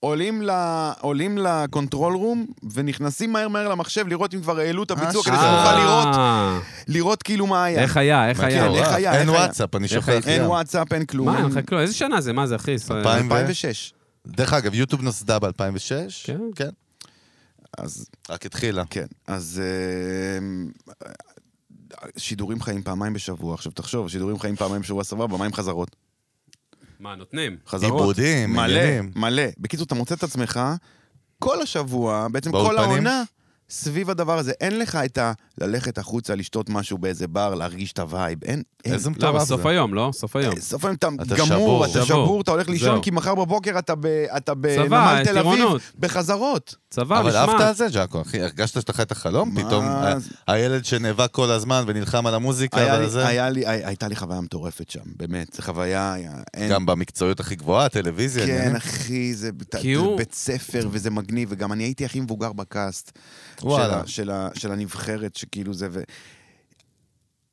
Speaker 3: עולים ל- עולים לקונטרול רום, ונכנסים מהר מהר למחשב לראות אם כבר העלו את הביצוע, כדי
Speaker 1: אה.
Speaker 3: שנוכל לראות,
Speaker 2: אה,
Speaker 3: לראות כאילו מה היה.
Speaker 2: איך היה, איך
Speaker 1: מה,
Speaker 2: היה.
Speaker 1: כאילו,
Speaker 3: איך
Speaker 1: אה,
Speaker 3: היה,
Speaker 1: אין
Speaker 3: איך היה?
Speaker 1: וואטסאפ, אני
Speaker 2: איך
Speaker 1: שוכח. כן.
Speaker 3: אין
Speaker 1: גם.
Speaker 3: וואטסאפ, אין כלום.
Speaker 2: מה, אין לך כלום? איזה שנה זה? מה זה, אחי? ישראל-
Speaker 1: לא? אלפיים.
Speaker 3: 2006.
Speaker 1: דרך אגב, יוטיוב נוסדה ב-2006.
Speaker 2: כן.
Speaker 1: כן.
Speaker 3: אז
Speaker 1: רק התחילה.
Speaker 3: כן, אז אה, שידורים חיים פעמיים בשבוע. עכשיו תחשוב, שידורים חיים פעמיים בשבוע סבבה, מה עם חזרות?
Speaker 2: מה, נותנים?
Speaker 3: חזרות.
Speaker 1: עיבודים,
Speaker 3: מלא,
Speaker 1: עניינים.
Speaker 3: מלא. בקיצור, אתה מוצא את עצמך כל השבוע, בעצם כל
Speaker 1: באולפנים?
Speaker 3: העונה, סביב הדבר הזה. אין לך את ה... ללכת החוצה, לשתות משהו באיזה בר, להרגיש את הווייב. אין, אין. אה,
Speaker 1: איזה
Speaker 2: לא,
Speaker 1: מטורף זה.
Speaker 2: בסוף היום, לא? סוף היום.
Speaker 3: סוף היום אתה
Speaker 1: אתה
Speaker 3: גמור,
Speaker 1: שבור.
Speaker 3: אתה
Speaker 2: שבור.
Speaker 3: שבור, אתה הולך לישון,
Speaker 2: זהו.
Speaker 3: כי מחר בבוקר אתה ב- אתה
Speaker 2: צבא,
Speaker 3: בנמל תל אביב,
Speaker 2: טירונות.
Speaker 3: בחזרות.
Speaker 2: צבא,
Speaker 1: אבל אהבת
Speaker 2: משמעת.
Speaker 1: על זה, ג'אקו, אחי, הרגשת שאתה חי את החלום?
Speaker 3: מה
Speaker 1: פתאום ה-
Speaker 3: זה?
Speaker 1: הילד שנאבק כל הזמן ונלחם על המוזיקה
Speaker 3: היה
Speaker 1: ועל
Speaker 3: לי,
Speaker 1: כן, זה?
Speaker 3: היה לי, הי- הייתה לי חוויה מטורפת שם, באמת, זו חוויה, היה- אין...
Speaker 1: גם במקצועיות הכי גבוהה, טלוויזיה.
Speaker 3: כן,
Speaker 1: עניינים.
Speaker 3: אחי, זה בת-
Speaker 2: כי הוא-
Speaker 3: בית ספר וזה מגניב, וגם אני הייתי הכי מבוגר בקאסט.
Speaker 1: וואלה.
Speaker 3: של, ה- של, ה- של הנבחרת, שכאילו זה, ו...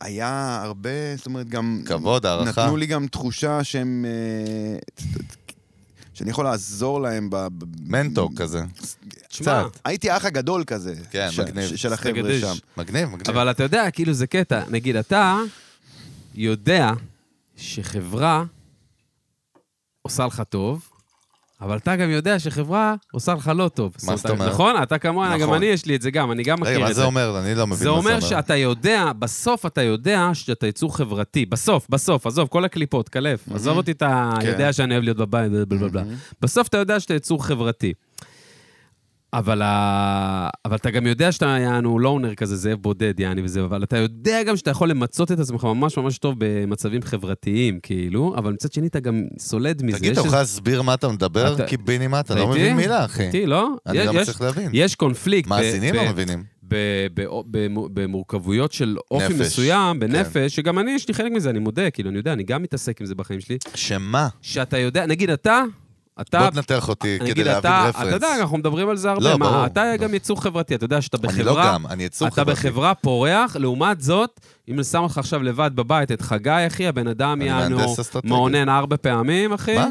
Speaker 3: היה הרבה, זאת אומרת, גם...
Speaker 1: כבוד, הערכה.
Speaker 3: נתנו לי גם תחושה שהם... אה, שאני יכול לעזור להם ב... ב-
Speaker 1: מנטור כזה.
Speaker 2: תשמע,
Speaker 1: קצת.
Speaker 3: הייתי האח הגדול כזה.
Speaker 1: כן,
Speaker 3: של-
Speaker 1: מגניב.
Speaker 3: של החבר'ה
Speaker 2: סטגדיש.
Speaker 3: שם.
Speaker 1: מגניב, מגניב.
Speaker 2: אבל אתה יודע, כאילו זה קטע. נגיד, אתה יודע שחברה עושה לך טוב, אבל אתה גם יודע שחברה עושה לך לא טוב.
Speaker 1: מה זאת אומרת?
Speaker 2: נכון? אתה כמוה,
Speaker 1: נכון.
Speaker 2: גם אני יש לי את זה גם, אני גם
Speaker 1: רגע,
Speaker 2: מכיר
Speaker 1: מה
Speaker 2: את זה.
Speaker 1: זה אומר? אני לא מבין מה
Speaker 2: זה אומר שאתה יודע, בסוף אתה יודע שאתה יצור חברתי. בסוף, בסוף, עזוב, כל הקליפות, כלף. עזוב אותי, אתה
Speaker 3: כן.
Speaker 2: יודע שאני אוהב להיות בבית, בלה בלה בלה. בסוף אתה יודע שאתה יצור חברתי. אבל, ה... אבל אתה גם יודע שאתה יענו לונר כזה, זאב בודד, יעני וזה, אבל אתה יודע גם שאתה יכול למצות את עצמך ממש ממש טוב במצבים חברתיים, כאילו, אבל מצד שני אתה גם סולד מזה.
Speaker 1: תגיד,
Speaker 2: יש
Speaker 1: אתה יכול
Speaker 2: איזה-
Speaker 1: להסביר מה אתה מדבר?
Speaker 2: אתה-
Speaker 1: קיבינימט, אתה לא
Speaker 2: איתי?
Speaker 1: מבין מילה, אחי.
Speaker 2: איתי, לא?
Speaker 1: אני
Speaker 2: יש-
Speaker 1: גם
Speaker 2: יש-
Speaker 1: צריך להבין.
Speaker 2: יש קונפליקט. ב-
Speaker 1: מאזינים
Speaker 2: ב-
Speaker 1: לא מבינים.
Speaker 2: ב- ב- ב- במורכבויות של אופי
Speaker 1: נפש. כן.
Speaker 2: מסוים, בנפש, שגם אני, יש לי חלק מזה, אני מודה, כאילו, אני יודע, אני גם מתעסק עם זה בחיים שלי,
Speaker 1: שמה?
Speaker 2: שאתה יודע, נגיד אתה,
Speaker 1: בוא
Speaker 2: אתה,
Speaker 1: תנתח אותי כדי
Speaker 2: נגיד
Speaker 1: להבין
Speaker 2: אתה,
Speaker 1: רפרנס.
Speaker 2: אתה יודע, אנחנו מדברים על זה הרבה,
Speaker 1: לא,
Speaker 2: מה,
Speaker 1: ברור.
Speaker 2: אתה גם יצור חברתי, אתה יודע שאתה בחברה,
Speaker 1: אני לא גם, אני יצור
Speaker 2: אתה
Speaker 1: חברתי.
Speaker 2: בחברה פורח, לעומת זאת, אם אני שם אותך עכשיו לבד בבית, את חגי, אחי, הבן אדם
Speaker 1: אני
Speaker 2: יענו,
Speaker 1: מהנדס אסטרטגי.
Speaker 2: מעונן ארבע פעמים, אחי.
Speaker 1: מה?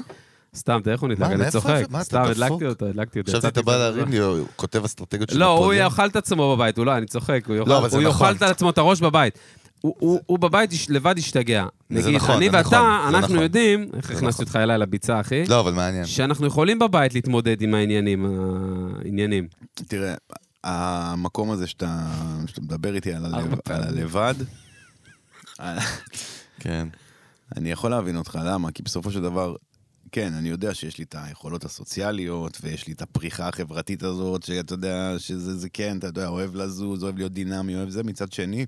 Speaker 2: סתם, תראה איך הוא נדלק,
Speaker 1: מה,
Speaker 2: אני
Speaker 1: מאיפה
Speaker 2: צוחק.
Speaker 1: זה? מה, אתה
Speaker 2: סתם,
Speaker 1: דפוק?
Speaker 2: הדלקתי אותו, הדלקתי אותו.
Speaker 1: חשבתי
Speaker 2: יצאתי
Speaker 1: אתה בא
Speaker 2: מזה.
Speaker 1: להרים לי, הוא כותב אסטרטגיות של
Speaker 2: לא, הוא
Speaker 1: נפוליאון.
Speaker 2: יאכל את עצמו בבית, הוא לא, אני צוחק, הוא יאכל,
Speaker 1: אבל זה
Speaker 2: הוא
Speaker 1: נכון.
Speaker 2: יאכל את עצמו את הראש בבית. הוא- הוא הוא בבית יש- לבד השתגע.
Speaker 1: זה
Speaker 2: נגיד,
Speaker 1: נכון,
Speaker 2: אני
Speaker 1: זה נכון,
Speaker 2: ואתה,
Speaker 1: זה
Speaker 2: אנחנו
Speaker 1: נכון.
Speaker 2: יודעים, איך
Speaker 1: זה
Speaker 2: הכנסתי
Speaker 1: נכון.
Speaker 2: אותך אליי לביצה, אחי?
Speaker 1: לא, אבל מעניין.
Speaker 2: שאנחנו יכולים בבית להתמודד עם העניינים, אה, העניינים.
Speaker 3: תראה, המקום הזה שאתה, שאתה מדבר איתי על,
Speaker 2: ארבע
Speaker 3: הלב, על
Speaker 2: פעמים.
Speaker 3: הלבד,
Speaker 1: כן.
Speaker 3: אני יכול להבין אותך, למה? כי בסופו של דבר, כן, אני יודע שיש לי את היכולות הסוציאליות, ויש לי את הפריחה החברתית הזאת, שאתה יודע, שזה זה כן, אתה יודע, אוהב לזוז, אוהב להיות דינמי, אוהב זה. מצד שני,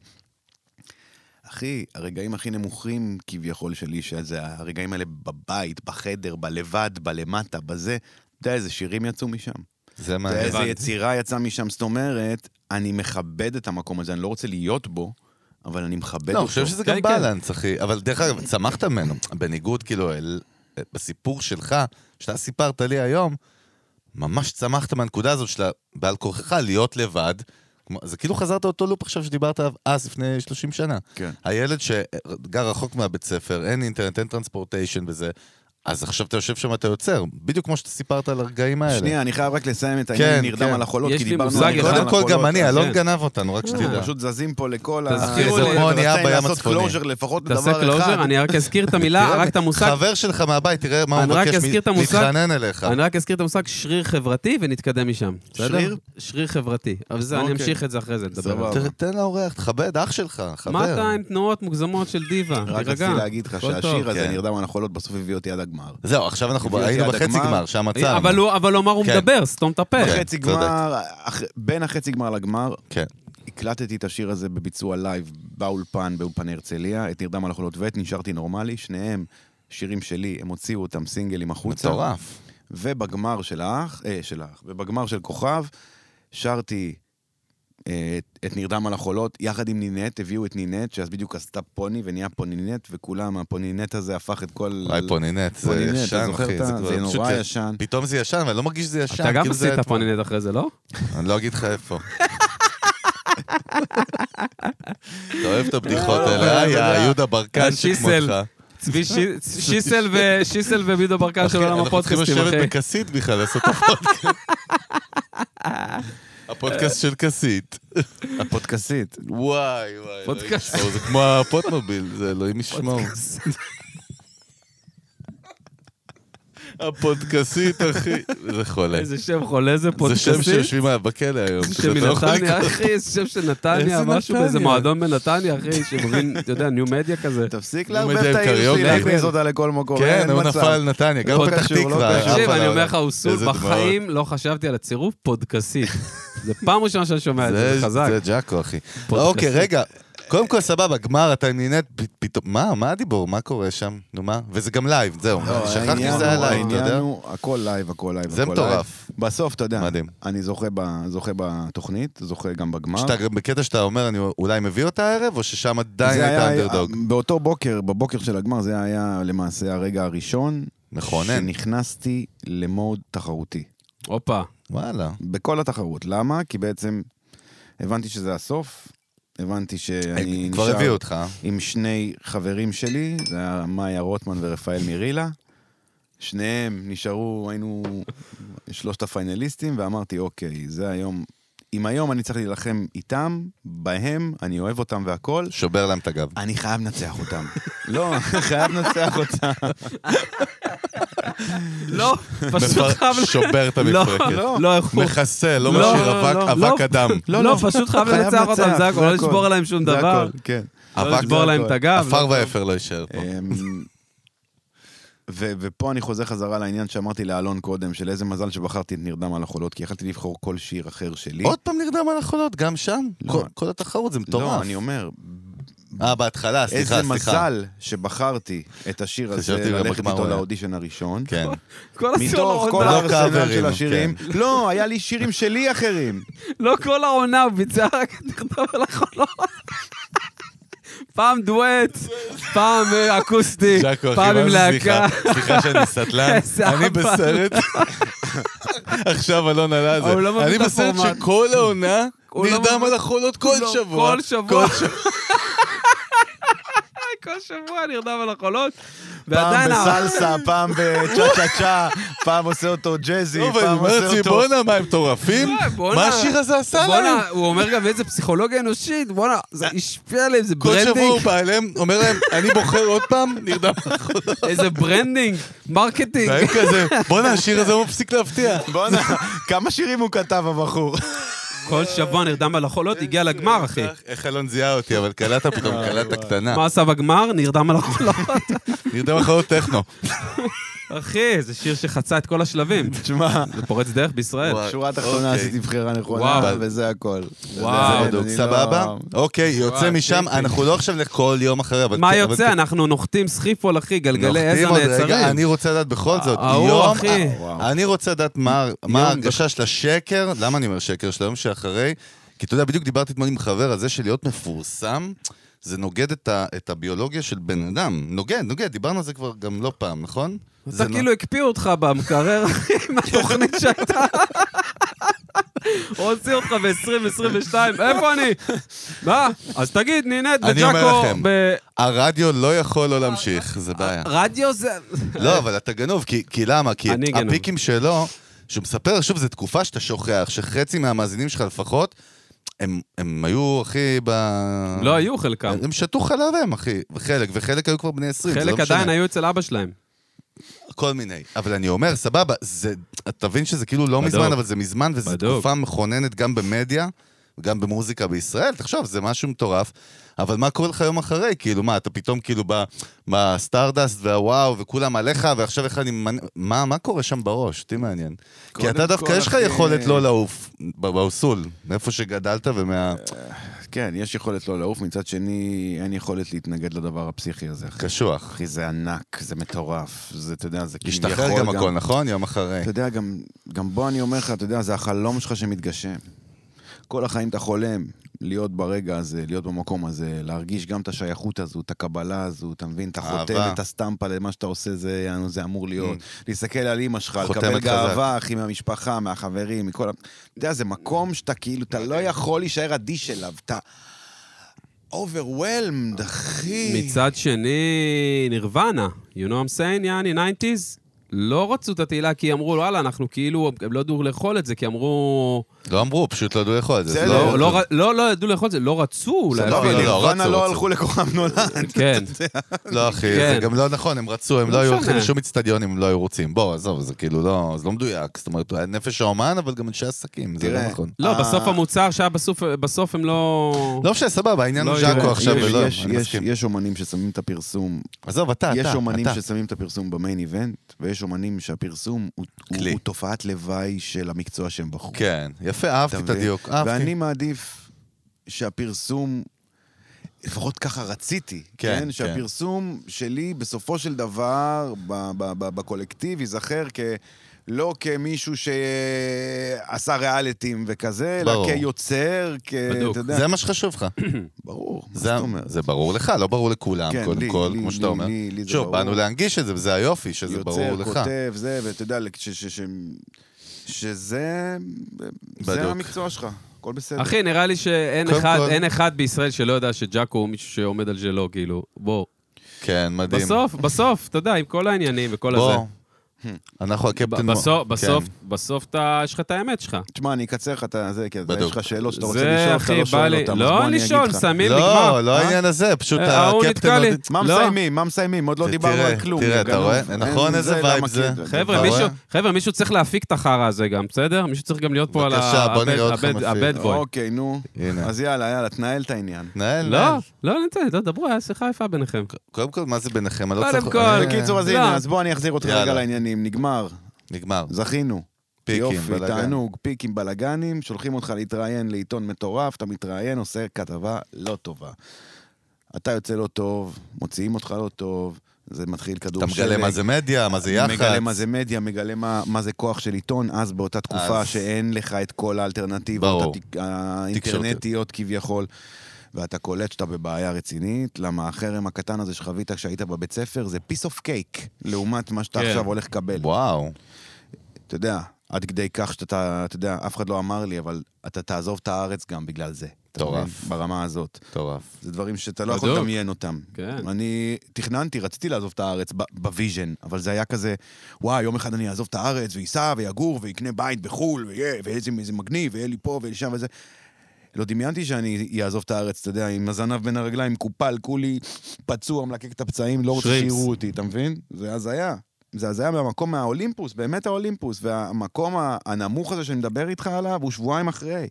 Speaker 3: אחי, הרגעים הכי נמוכים כביכול שלי, שזה הרגעים האלה בבית, בחדר, בלבד, בלמטה, בזה, אתה יודע איזה שירים יצאו משם.
Speaker 1: זה
Speaker 3: אתה יודע,
Speaker 1: מעניין.
Speaker 3: איזה יצירה יצאה משם, זאת אומרת, אני מכבד את המקום הזה, אני לא רוצה להיות בו, אבל אני מכבד אותו.
Speaker 1: לא, אני חושב שזה גם
Speaker 2: כן, כן.
Speaker 1: בלנס, אחי. אבל דרך אגב, צמחת ממנו. בניגוד, כאילו, אל- בסיפור שלך, שאתה סיפרת לי היום, ממש צמחת מהנקודה הזאת של ה- בעל כורכך להיות לבד. כמו- זה כאילו חזרת אותו לופ עכשיו שדיברת עליו אז, לפני 30 שנה.
Speaker 3: כן.
Speaker 1: הילד שגר רחוק מהבית ספר, אין אינטרנט, אין טרנספורטיישן וזה, אז עכשיו אתה יושב שם, אתה יוצר, בדיוק כמו שאתה סיפרת על הרגעים האלה.
Speaker 3: שנייה, אני חייב רק לסיים את העניין
Speaker 1: כן,
Speaker 3: נרדם
Speaker 1: כן.
Speaker 3: על החולות,
Speaker 2: יש
Speaker 3: כי
Speaker 2: לי
Speaker 3: דיברנו
Speaker 2: מושג
Speaker 3: על
Speaker 2: אחד.
Speaker 1: קודם כל, גם אני,
Speaker 2: כן.
Speaker 1: אלון גנב אותנו, רק שתדע.
Speaker 3: אנחנו פשוט זזים פה לכל ה...
Speaker 2: תזכירו לי.
Speaker 3: זה
Speaker 2: כמו
Speaker 1: אונייה בים
Speaker 3: לעשות
Speaker 1: הצפוני.
Speaker 3: closure לפחות
Speaker 2: תעשה
Speaker 3: לדבר אחד.
Speaker 2: קלוז'ר, אני רק אזכיר
Speaker 1: [LAUGHS]
Speaker 2: את המילה, רק את המושג,
Speaker 1: כן, חבר שלך מהבית, תראה מה הוא
Speaker 2: אני רק
Speaker 1: מבקש,
Speaker 2: אזכיר את
Speaker 1: מ-
Speaker 2: המושג.
Speaker 1: להתחנן אליך.
Speaker 2: אני רק אזכיר את המושג שריר חברתי ונתקדם משם. בסדר?
Speaker 3: שריר?
Speaker 2: שריר חברתי. אבל זה, אני
Speaker 3: אוקיי.
Speaker 2: אמשיך את זה אחרי זה, נדבר על
Speaker 3: סבבה.
Speaker 2: זה.
Speaker 1: ת- תן לאורח, תכבד, אח שלך, חבר.
Speaker 2: מה אתה עם תנועות מוגזמות של דיווה?
Speaker 3: רק רציתי
Speaker 2: תירגע.
Speaker 3: להגיד לך
Speaker 2: הכל טוב.
Speaker 3: שהשיר הזה,
Speaker 1: כן.
Speaker 3: נרדם על החולות, בסוף הביא אותי עד הגמר.
Speaker 1: זהו, עכשיו אנחנו ב-
Speaker 3: הביא אותי
Speaker 1: היינו
Speaker 3: עד
Speaker 1: בחצי
Speaker 3: הגמר.
Speaker 1: גמר, שם עצרנו.
Speaker 2: אבל הוא אבל הוא אמר הוא
Speaker 1: כן.
Speaker 2: מדבר, סתום את הפה.
Speaker 1: כן.
Speaker 3: חצי
Speaker 1: צודק.
Speaker 3: גמר, אח- בין החצי גמר לגמר,
Speaker 1: כן.
Speaker 3: הקלטתי את השיר הזה בביצוע לייב באולפן, באולפן הרצליה, את נרדם על החולות ואת נשארתי נורמלי, שניהם שירים שלי, הם הוציאו אותם סינגלים החוצה.
Speaker 1: מטורף.
Speaker 3: ובגמר של האח, אה, של האח, ובגמר של כוכב, שרתי אה, את- את נרדם על החולות, יחד עם נינט, הביאו את נינט, שאז בדיוק עשתה פוני ונהיה פונינט, וכולם, הפונינט הזה הפך את כל...
Speaker 1: וואי, פונינט, זה
Speaker 3: פונינט, אתה
Speaker 1: ישן,
Speaker 3: זוכר
Speaker 1: אחי.
Speaker 3: את ה-
Speaker 1: כבר-
Speaker 3: זה
Speaker 1: פשוט אה,
Speaker 3: נורא ישן.
Speaker 1: פתאום זה ישן, ואני לא מרגיש שזה ישן.
Speaker 2: אתה גם
Speaker 1: כאילו זה
Speaker 2: עשית
Speaker 1: אתמול.
Speaker 2: פונינט אחרי זה, לא?
Speaker 1: אני לא אגיד לך איפה. אתה אוהב את הבדיחות האלה,
Speaker 3: לא,
Speaker 1: היי,
Speaker 3: לא, לא.
Speaker 1: היהודה
Speaker 2: אה,
Speaker 1: ברקן
Speaker 2: השיסל.
Speaker 1: שכמותך.
Speaker 2: צבי שי- שיסל ו- שיסל ובידו ברקן של
Speaker 1: אחי,
Speaker 2: עולם
Speaker 1: אנחנו צריכים
Speaker 2: הפודקאסטים,
Speaker 1: לשבת
Speaker 2: אחי.
Speaker 1: בכסית בכלל, לעשות את הפודקאסט.
Speaker 3: [LAUGHS]
Speaker 1: הפודקאסט של כסית.
Speaker 3: הפודקאסית.
Speaker 1: וואי, וואי. אלוהים
Speaker 2: פודקאסט.
Speaker 1: ישמור, זה כמו הפוטמוביל, זה אלוהים ישמור. הפודקאסית, אחי. זה חולה.
Speaker 2: איזה שם חולה זה
Speaker 1: זה
Speaker 2: פודקאסטים.
Speaker 1: שם שיושבים עליו בכלא היום.
Speaker 2: זה
Speaker 1: אתה
Speaker 2: שם
Speaker 1: לא יכול
Speaker 2: מנתניה,
Speaker 1: לקרוא.
Speaker 2: אחי, זה שם של נתניה,
Speaker 1: איזה
Speaker 2: משהו באיזה
Speaker 1: נתניה?
Speaker 2: מועדון בנתניה, אחי,
Speaker 1: [LAUGHS]
Speaker 2: שמבין, אתה יודע, ניו מדיה כזה.
Speaker 3: תפסיק
Speaker 1: נו,
Speaker 3: לערבב
Speaker 1: מדי
Speaker 3: את העיר
Speaker 1: קריוקי.
Speaker 3: שלי, להכניס אותה לכל מקום,
Speaker 1: כן,
Speaker 3: אין
Speaker 1: הוא
Speaker 3: מצב.
Speaker 1: נפל נתניה, גר
Speaker 2: לא
Speaker 1: פתח
Speaker 3: קשור, לא
Speaker 1: תקווה.
Speaker 3: קשור.
Speaker 1: עף
Speaker 2: תקשיב,
Speaker 1: על
Speaker 2: אני אומר
Speaker 1: העולם.
Speaker 2: לך, הוא סול,
Speaker 1: איזה דמעות.
Speaker 2: בחיים לא חשבתי על הצירוף פודקאסית. זה פעם ראשונה שאני שומע את אה, זה, זה חזק.
Speaker 1: זה ג'אקו, אחי.
Speaker 2: פודקאסט.
Speaker 1: אוקיי, רגע. קודם כל, סבבה, גמר, אתה נהנית, פ- פתאום, מה, מה הדיבור, מה קורה שם? נו, מה? וזה גם לייב, זהו.
Speaker 3: לא,
Speaker 1: שכחתי
Speaker 3: העניין
Speaker 1: שזה היה
Speaker 3: הוא-
Speaker 1: לייב, אתה
Speaker 3: העניין
Speaker 1: יודע?
Speaker 3: הוא, הכל לייב, הכל לייב,
Speaker 1: זה
Speaker 3: הכל
Speaker 1: מטורף.
Speaker 3: לייב. בסוף, אתה יודע,
Speaker 1: מדהים.
Speaker 3: אני זוכה ב- זוכה בתוכנית, זוכה גם בגמר.
Speaker 1: שאתה גם בקטע שאתה אומר, אני אולי מביא אותה הערב, או ששם עדיין
Speaker 3: זה
Speaker 1: הייתה
Speaker 3: היה-
Speaker 2: אה,
Speaker 1: אנדרדוג?
Speaker 3: באותו בוקר, בבוקר של הגמר, זה היה למעשה הרגע הראשון.
Speaker 1: מכונן.
Speaker 3: שנכנסתי למוד תחרותי.
Speaker 2: הופה.
Speaker 1: וואלה.
Speaker 3: בכל התחרות. למה? כי בעצם הבנתי שזה הסוף, הבנתי שאני
Speaker 1: כבר
Speaker 3: נשאר
Speaker 1: הביאו אותך. אה?
Speaker 3: עם שני חברים שלי, זה היה מאיה רוטמן ורפאל מירילה. שניהם נשארו, היינו שלושת הפיינליסטים, ואמרתי, אוקיי, זה היום... אם היום אני צריך להילחם איתם, בהם, אני אוהב אותם והכול,
Speaker 1: שובר להם את הגב.
Speaker 3: אני חייב לנצח אותם. [LAUGHS] לא, חייב לנצח אותם.
Speaker 2: לא, פשוט
Speaker 1: מפר-
Speaker 2: חייב...
Speaker 1: שובר את
Speaker 2: לא,
Speaker 1: המפרקת.
Speaker 2: לא, לא, איך הוא-
Speaker 1: מחסל, לא
Speaker 2: לא,
Speaker 1: משאיר
Speaker 2: לא,
Speaker 1: אבק-
Speaker 2: לא,
Speaker 1: אבק
Speaker 2: לא.
Speaker 1: אדם.
Speaker 2: לא, פשוט חייב לנצח אותם, זה הכל, לא לשבור עליהם שום
Speaker 3: זה
Speaker 2: דבר.
Speaker 3: הכל, כן.
Speaker 2: לא
Speaker 1: אבק-
Speaker 2: לשבור להם את הגב. אה,
Speaker 1: עפר ואפר לא יישאר פה.
Speaker 3: אמ, ו- ופה אני חוזר חזרה לעניין שאמרתי לאלון קודם, של איזה מזל שבחרתי את נרדם על החולות, כי יכלתי לבחור כל שיר אחר שלי.
Speaker 1: עוד פעם נרדם על החולות, גם שם?
Speaker 3: לא.
Speaker 1: כל- כל התחרות זה
Speaker 3: לא,
Speaker 1: מטורף.
Speaker 3: אני אומר,
Speaker 1: אה, בהתחלה, סליחה, סליחה.
Speaker 3: איזה מזל שבחרתי את השיר
Speaker 1: חשבתי
Speaker 3: הזה,
Speaker 1: גם
Speaker 3: ללכת
Speaker 1: בגמר
Speaker 3: איתו
Speaker 1: הוא היה.
Speaker 3: לאודישן הראשון.
Speaker 1: כן.
Speaker 2: כל
Speaker 3: מתוך כל
Speaker 2: העונה,
Speaker 1: לא
Speaker 3: הארסנל
Speaker 1: קאברים,
Speaker 3: של השירים. לא, היה לי שירים שלי אחרים.
Speaker 2: לא כל העונה, הוא ביצע רק את נכתב על החלום. פעם דואט, פעם אה, אקוסטי,
Speaker 1: [LAUGHS] ג'אקו, אחי,
Speaker 2: פעם
Speaker 1: מה
Speaker 2: עם
Speaker 1: זה
Speaker 2: להקה.
Speaker 1: סליחה? סליחה שאני סטלן,
Speaker 2: [LAUGHS] איזה
Speaker 1: אני
Speaker 2: אבא.
Speaker 1: בסרט... עכשיו אלון עלה על
Speaker 2: הוא לא
Speaker 1: זה.
Speaker 2: מבין
Speaker 1: אני
Speaker 2: את
Speaker 1: בסרט
Speaker 2: הפורמט.
Speaker 1: שכל העונה
Speaker 2: הוא לא
Speaker 1: נרדם
Speaker 2: מבין-
Speaker 1: על החולות כל
Speaker 2: לא,
Speaker 1: שבוע.
Speaker 2: כל שבוע. [LAUGHS]
Speaker 1: כל שבוע.
Speaker 2: [LAUGHS] כל שבוע נרדם על החולות.
Speaker 3: פעם
Speaker 2: ועדיין... ה-
Speaker 3: בסלסה,
Speaker 1: [LAUGHS]
Speaker 3: פעם בצ'ה [LAUGHS] צ'ה צ'ה, פעם עושה אותו ג'אזי,
Speaker 1: טוב, אני
Speaker 3: פעם
Speaker 1: אומר
Speaker 3: עושה
Speaker 1: לעצמי,
Speaker 3: אותו...
Speaker 1: בואנה, מה, הם מטורפים?
Speaker 2: וואי, בואנה.
Speaker 1: מה השיר הזה עשה להם?
Speaker 2: בואנה, הוא אומר גם איזה פסיכולוגיה אנושית, בואנה, זה השפיע עליהם, זה
Speaker 1: כל שבוע הוא
Speaker 2: ברנדינג,
Speaker 1: בא אליהם, אומר להם, אני בוחר עוד פעם,
Speaker 2: [LAUGHS]
Speaker 1: נרדם על החולות.
Speaker 2: איזה ברנדינג, מרקטינג.
Speaker 1: [LAUGHS] והם כזה, בואנה, השיר הזה לא מפסיק להפתיע.
Speaker 3: בואנה, כמה שירים הוא כתב, הבחור.
Speaker 2: כל שבוע נרדם על החולות,
Speaker 1: אה,
Speaker 2: הגיע לגמר, אחי. אה,
Speaker 1: איך אלון זיהה אותי, אבל קלעת פתאום, קלעת קטנה.
Speaker 2: מה עשה בגמר? נרדם על החולות.
Speaker 1: נרדם על חולות טכנו.
Speaker 2: [LAUGHS] אחי, זה שיר שחצה את כל השלבים.
Speaker 3: תשמע,
Speaker 2: זה פורץ דרך בישראל.
Speaker 1: וואי.
Speaker 3: שורה תחתונה
Speaker 1: אוקיי.
Speaker 3: עשיתי בחירה נכונה,
Speaker 2: וואו.
Speaker 3: וזה הכל.
Speaker 2: וואו.
Speaker 1: זה
Speaker 3: זה-
Speaker 1: בדוק,
Speaker 3: אני
Speaker 1: סבבה?
Speaker 3: לא-
Speaker 1: אוקיי, יוצא
Speaker 2: וואי,
Speaker 1: משם,
Speaker 2: טיפי.
Speaker 1: אנחנו לא עכשיו לכל יום אחרי, אבל... כן,
Speaker 2: מה
Speaker 1: אבל-
Speaker 2: יוצא? אנחנו נוחתים סחיפול, אחי, גלגלי
Speaker 1: נוחתים
Speaker 2: עזר
Speaker 1: עוד רגע, אני
Speaker 2: נעצרים.
Speaker 1: רוצה לדעת בכל זאת,
Speaker 2: ההוא,
Speaker 1: יום...
Speaker 2: אחי.
Speaker 1: אה, אני רוצה לדעת מה מה
Speaker 2: יום-
Speaker 1: ההרגשה של השקר, למה אני אומר שקר? של היום שאחרי, כי אתה יודע, בדיוק דיברתי אתמול עם חבר על זה שלהיות מפורסם, זה נוגד את ה- את הביולוגיה של בן אדם. נוגד, נוגד, דיברנו על זה כבר גם לא פעם, נכון? זה
Speaker 2: אתה
Speaker 1: נ- [LAUGHS]
Speaker 2: כאילו הקפיאו אותך במקרר, אחי, מהתוכנית שהייתה. הוציא אותך ב-2022, איפה אני? מה? אז תגיד, נינט
Speaker 1: אני אומר
Speaker 2: וג'אקו
Speaker 1: לכם.
Speaker 2: ב...
Speaker 1: הרדיו לא יכול לא להמשיך, זה בעיה.
Speaker 2: רדיו זה...
Speaker 1: לא, אבל אתה גנוב, כי, כי למה? כי
Speaker 2: אני גנוב.
Speaker 1: הפיקים שלו, שהוא מספר, שוב, זו תקופה שאתה שוכח, שחצי מהמאזינים שלך לפחות, הם, הם היו, אחי, ב... אה.
Speaker 2: לא היו חלקם.
Speaker 1: הם שתו חלב הם, אחי, חלק, וחלק היו כבר בני 20, זה לא
Speaker 2: חלק
Speaker 1: משנה.
Speaker 2: עדיין היו אצל אבא שלהם.
Speaker 1: כל מיני. אבל אני אומר, סבבה, זה, אתה מבין שזה כאילו לא
Speaker 2: בדוק.
Speaker 1: מזמן, אבל זה מזמן, וזו
Speaker 2: בדוק.
Speaker 1: תקופה מכוננת גם במדיה, גם במוזיקה בישראל, תחשוב, זה משהו מטורף. אבל מה קורה לך יום אחרי? כאילו, מה, אתה פתאום כאילו בא- בסטארדסט והוואו, וכולם עליך, ועכשיו איך אני... ממנ- מה, מה קורה שם בראש? אותי מעניין. כי
Speaker 3: קודם
Speaker 1: אתה דווקא,
Speaker 3: כל,
Speaker 1: יש לך
Speaker 3: אחי- אה,
Speaker 1: יכולת לא לעוף ב- באוסול, מאיפה שגדלת ומה...
Speaker 3: כן, יש יכולת לא לעוף, מצד שני, אין יכולת להתנגד לדבר הפסיכי הזה, אחי.
Speaker 1: קשוח.
Speaker 3: אחי, זה ענק, זה מטורף, זה, אתה יודע, זה
Speaker 1: השתחרר גם הכל, נכון? יום אחרי.
Speaker 3: אתה יודע, גם, גם בוא אני אומר לך, אתה יודע, זה החלום שלך שמתגשם. כל החיים אתה חולם להיות ברגע הזה, להיות במקום הזה, להרגיש גם את השייכות הזו, את הקבלה הזו, אתה מבין? אתה חותם
Speaker 1: אהבה. Mm.
Speaker 3: את הסטמפה למה שאתה עושה, זה, זה אמור להיות. להסתכל על אימא שלך,
Speaker 1: חותמת
Speaker 3: לקבל
Speaker 1: חזק.
Speaker 3: גאווה, אחי, מהמשפחה, מהחברים, מכל ה... אתה יודע, זה מקום שאתה כאילו, אתה לא יכול להישאר אדיש אליו, אתה... overwhelmed, אחי.
Speaker 2: מצד שני, נירוונה, you know what I'm saying, יעני, 90's, לא רצו את התהילה כי אמרו, וואלה, אנחנו כאילו, הם לא ידעו לאכול את זה, כי אמרו...
Speaker 1: לא אמרו, פשוט לא ידעו לאכול את זה. זה.
Speaker 3: בסדר,
Speaker 1: לא-
Speaker 2: לא, לא ר- לא, לא ידעו לאכול את זה, לא רצו אולי
Speaker 1: לא, אבל
Speaker 2: אפילו.
Speaker 1: לא,
Speaker 3: נירוונה
Speaker 1: רצו,
Speaker 3: לא
Speaker 1: רצו.
Speaker 3: הלכו לכוכב נולד.
Speaker 1: [LAUGHS]
Speaker 2: כן.
Speaker 1: לא, אחי, זה
Speaker 2: כן.
Speaker 1: גם לא נכון, הם רצו, הם לא
Speaker 2: לא
Speaker 1: היו
Speaker 2: משנה.
Speaker 1: הולכים לשום אצטדיון אם לא היו רוצים. בוא, עזוב, זה כאילו לא, זה לא מדויק. זאת אומרת, נפש האומן, אבל גם אנשי עסקים, זה לא
Speaker 3: תראה.
Speaker 1: נכון.
Speaker 2: לא, בסוף
Speaker 3: אה. המוצר
Speaker 2: המוצר שהיה בסוף הם לא...
Speaker 1: לא משנה, סבבה, העניין
Speaker 2: לא
Speaker 1: הוא ז'אקו
Speaker 2: יהיה.
Speaker 1: עכשיו
Speaker 3: כן, יש-
Speaker 1: ולא,
Speaker 3: יש-
Speaker 1: אני
Speaker 3: יש-
Speaker 1: מסכים.
Speaker 3: יש אומנים ששמים את הפרסום
Speaker 1: עזוב, אתה, אתה,
Speaker 3: יש אומנים
Speaker 1: אתה.
Speaker 3: ששמים את הפרסום במיין איבנט, ויש אומנים שהפרסום הוא, הוא,
Speaker 1: כלי.
Speaker 3: הוא תופעת לוואי של המקצוע שהם בחרו.
Speaker 1: כן, יפה,
Speaker 3: אתה
Speaker 1: אהבתי את
Speaker 3: מבין?
Speaker 1: הדיוק, אהבתי.
Speaker 3: ואני מעדיף שהפרסום, לפחות ככה רציתי,
Speaker 1: כן,
Speaker 3: כן?
Speaker 1: כן.
Speaker 3: שהפרסום שלי בסופו של דבר ב- ב- ב- בקולקטיב ייזכר כ... לא כמישהו שעשה ריאליטים וכזה, אלא
Speaker 1: ברור.
Speaker 3: כיוצר, כ...
Speaker 2: בדוק.
Speaker 3: אתה יודע,
Speaker 1: זה מה שחשוב
Speaker 3: [COUGHS]
Speaker 1: לך.
Speaker 3: ברור, מה
Speaker 1: זה-
Speaker 3: זאת אומרת?
Speaker 1: זה ברור לך, לא ברור לכולם,
Speaker 3: כן,
Speaker 1: קודם
Speaker 3: לי-
Speaker 1: כל,
Speaker 3: לי-
Speaker 1: כמו שאתה
Speaker 3: לי-
Speaker 1: אומר.
Speaker 3: לי- לי זה
Speaker 1: שוב,
Speaker 3: ברור.
Speaker 1: באנו להנגיש את זה, וזה היופי, שזה ברור לך.
Speaker 3: יוצר, כותב, זה, ואתה יודע, ש- ש- ש- שזה...
Speaker 1: בדוק.
Speaker 3: זה המקצוע שלך, הכל בסדר.
Speaker 2: אחי, נראה לי שאין
Speaker 1: קודם
Speaker 2: אחד,
Speaker 1: כל-
Speaker 2: אין אחד בישראל שלא יודע שג'אקו הוא מישהו שעומד על שלו, כאילו. בוא.
Speaker 1: כן, מדהים.
Speaker 2: בסוף, בסוף, אתה יודע, עם כל העניינים וכל הזה.
Speaker 1: בוא, אנחנו הקפטן...
Speaker 2: ב- בסוף,
Speaker 1: כן.
Speaker 2: בסוף, בסוף אתה, יש לך את האמת שלך.
Speaker 3: תשמע, אני אקצר לך את זה, כי אתה-
Speaker 1: בדוק.
Speaker 3: יש לך שאלות שאתה רוצה
Speaker 2: זה,
Speaker 3: לשאול, אתה
Speaker 2: אחי, בא
Speaker 3: לא שואל
Speaker 2: לי...
Speaker 3: אותן, אז בוא
Speaker 2: לא
Speaker 3: אני אגיד
Speaker 2: לשאול,
Speaker 3: לך.
Speaker 2: שמים,
Speaker 1: לא,
Speaker 2: נגמר.
Speaker 3: אה?
Speaker 1: לא העניין הזה, פשוט
Speaker 2: אה, ההוא נתקע
Speaker 1: הקפטן...
Speaker 2: לי.
Speaker 1: עוד-
Speaker 3: מה
Speaker 2: לא.
Speaker 3: מסיימים? מה מסיימים? עוד לא
Speaker 1: ת-
Speaker 3: דיברנו
Speaker 1: תראה,
Speaker 3: על כלום.
Speaker 1: תראה,
Speaker 3: יא
Speaker 1: אתה
Speaker 3: גנוב.
Speaker 1: רואה?
Speaker 3: אין-
Speaker 1: נכון, איזה
Speaker 3: זה לא למה
Speaker 1: וייב זה.
Speaker 3: כי-
Speaker 2: חבר'ה,
Speaker 1: אתה
Speaker 2: מישהו,
Speaker 1: רואה?
Speaker 2: חבר'ה, מישהו צריך להפיק את החרא הזה גם, בסדר? מישהו צריך גם להיות פה על
Speaker 1: בבקשה, בוא נראה אתכם
Speaker 2: הבד
Speaker 1: מפיק.
Speaker 2: בוי.
Speaker 3: אוקיי, נו.
Speaker 1: הנה.
Speaker 3: אז יאללה, יאללה, תנהל את העניין.
Speaker 1: נהל,
Speaker 2: לא,
Speaker 1: נהל.
Speaker 2: לא, נתן, לא, דברו, היה שיחה יפה ביניכם.
Speaker 1: אה, קודם כל, מה זה ביניכם? אני לא
Speaker 2: קודם
Speaker 1: צריך...
Speaker 2: כל,
Speaker 1: אה,
Speaker 3: בקיצור, אז
Speaker 2: לא.
Speaker 3: הנה, אז בוא אני אחזיר אותך
Speaker 1: יאללה.
Speaker 3: רגע לעניינים. נגמר,
Speaker 1: נגמר.
Speaker 3: זכינו.
Speaker 1: פיקים,
Speaker 3: יופי,
Speaker 1: בלאגן.
Speaker 3: תענוג, פיקים, בלאגנים, שולחים אותך להתראיין לעיתון מטורף, אתה מתראיין, עושה כתבה לא טובה. אתה יוצא לא טוב, מוציאים אותך לא טוב, זה מתחיל כדור
Speaker 1: אתה מגלה מה זה מדיה, מה זה יח"צ.
Speaker 3: מגלה מה זה מדיה, מגלה מה, מה זה כוח של עיתון, אז באותה תקופה
Speaker 1: אז-
Speaker 3: אז... שאין לך את כל האלטרנטיבות
Speaker 1: ברור.
Speaker 3: הת- האינטרנטיות כביכול. ואתה קולט שאתה בבעיה רצינית, למה החרם הקטן הזה שחווית כשהיית בבית ספר זה piece of cake, לעומת מה שאתה
Speaker 2: כן.
Speaker 3: עכשיו הולך לקבל.
Speaker 1: וואו.
Speaker 3: אתה יודע, עד כדי כך שאתה, אתה יודע, אף אחד לא אמר לי, אבל אתה תעזוב את הארץ גם בגלל זה. אתה
Speaker 1: מטורף.
Speaker 3: מבין? ברמה הזאת.
Speaker 1: מטורף.
Speaker 3: זה דברים שאתה לא יכול
Speaker 2: בדוק.
Speaker 3: לדמיין אותם.
Speaker 2: כן.
Speaker 3: אני תכננתי, רציתי לעזוב את הארץ ב- בוויז'ן, אבל זה היה כזה, וואי, יום אחד אני אעזוב את הארץ ויסע ויגור ויקנה בית בחו"ל, ויהיה, ואיזה איזה מגניב, ויהיה לי פה ויהיה לי שם וזה. לא דמיינתי שאני אעזוב את הארץ, אתה יודע, עם הזנב בין הרגליים, קופל, כולי פצוע, מלקק את הפצעים, לא רוצה
Speaker 2: שרימפס.
Speaker 3: שיראו אותי, אתה מבין? זה הזיה. זה הזיה מהמקום מהאולימפוס, באמת האולימפוס. והמקום ה- הנמוך הזה שאני מדבר איתך עליו, הוא שבועיים אחרי.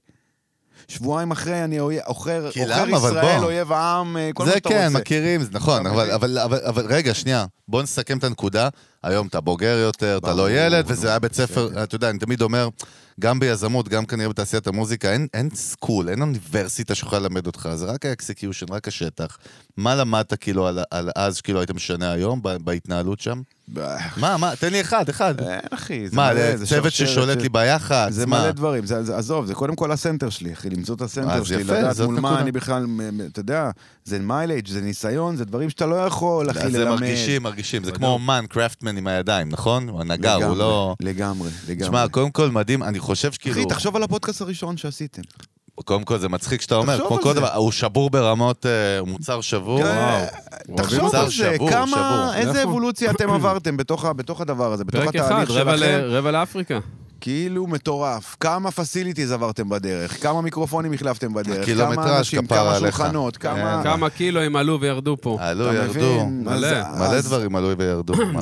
Speaker 3: שבועיים אחרי אני אוי- עוכר,
Speaker 1: כי
Speaker 3: עוכר
Speaker 1: למה? אבל
Speaker 3: ישראל,
Speaker 1: בוא.
Speaker 3: אויב העם, אה, כל מה
Speaker 1: זה
Speaker 3: שאתה רוצה.
Speaker 1: כן, מכירים, זה נכון,
Speaker 3: אתה
Speaker 1: אבל-
Speaker 3: מבין?
Speaker 1: אבל אבל- אבל רגע, שנייה. בוא נסכם את הנקודה. היום אתה בוגר יותר, אתה לא
Speaker 3: ברור,
Speaker 1: ילד,
Speaker 3: נו,
Speaker 1: וזה היה בית ספר, אתה יודע, אני תמיד אומר, גם ביזמות, גם כנראה בתעשיית המוזיקה, אין- אין סקול, אין אוניברסיטה שיכולה ללמד אותך, זה רק כאילו, האקסקיושן, רק השטח. מה למדת כאילו על על אז, שכאילו היית משנה היום, ב- בהתנהלות שם? מה, מה, תן לי אחד, אחד.
Speaker 3: אה, אין, אחי. זה
Speaker 1: מה,
Speaker 3: מלא, זה
Speaker 1: צוות
Speaker 3: שרשרת
Speaker 1: ששולט
Speaker 3: של-
Speaker 1: לי ביח"צ,
Speaker 3: זה
Speaker 1: מה?
Speaker 3: מלא דברים, זה, זה, עזוב, זה קודם כל הסנטר שלי, אחי, למצוא את הסנטר
Speaker 1: אז
Speaker 3: שלי,
Speaker 1: יפה,
Speaker 3: לדעת
Speaker 1: זאת
Speaker 3: מול מה
Speaker 1: נקודה.
Speaker 3: אני בכלל, מ- מ- אתה יודע, זה מיילג', זה ניסיון, זה דברים שאתה לא יכול, אחי,
Speaker 1: אז זה
Speaker 3: ללמד.
Speaker 1: מרגישים, מרגישים. זה כמו אומן, קראפטמן עם הידיים, נכון? הוא הנגר,
Speaker 3: לגמרי,
Speaker 1: הוא לא...
Speaker 3: לגמרי, לגמרי.
Speaker 1: תשמע, קודם כל כאילו- מדהים, אני חושב שכאילו...
Speaker 3: אחי, תחשוב על הפודקאסט הראשון שעשיתם.
Speaker 1: קודם כל זה מצחיק שאתה אומר,
Speaker 3: תחשוב
Speaker 1: כמו
Speaker 3: על
Speaker 1: כל
Speaker 3: זה.
Speaker 1: דבר, הוא שבור ברמות, אה, הוא מוצר שבור.
Speaker 3: כן. תחשוב
Speaker 1: מצב
Speaker 3: על זה,
Speaker 1: שבור,
Speaker 3: כמה,
Speaker 1: שבור.
Speaker 3: איזה
Speaker 2: נכון.
Speaker 1: [CLEARS THROAT]
Speaker 3: אבולוציה אתם עברתם בתוך ה- בתוך הדבר הזה, בתוך
Speaker 2: פרק אחד,
Speaker 3: התהליך
Speaker 2: רבע ל-
Speaker 3: שלכם.
Speaker 2: רבע לאפריקה.
Speaker 3: כאילו מטורף. כמה פסיליטיז עברתם בדרך, כמה מיקרופונים החלפתם בדרך,
Speaker 1: הקילומטראז'
Speaker 3: כמה אנשים,
Speaker 1: כפרה
Speaker 3: כמה
Speaker 1: עליך.
Speaker 3: שולחנות, כמה...
Speaker 1: אה,
Speaker 2: כמה קילו הם עלו וירדו פה.
Speaker 1: עלו,
Speaker 3: אתה
Speaker 1: ירדו.
Speaker 3: מבין?
Speaker 2: מלא.
Speaker 3: אז-
Speaker 1: מלא
Speaker 3: אז-
Speaker 1: דברים עלו
Speaker 3: [COUGHS]
Speaker 1: וירדו, מלא.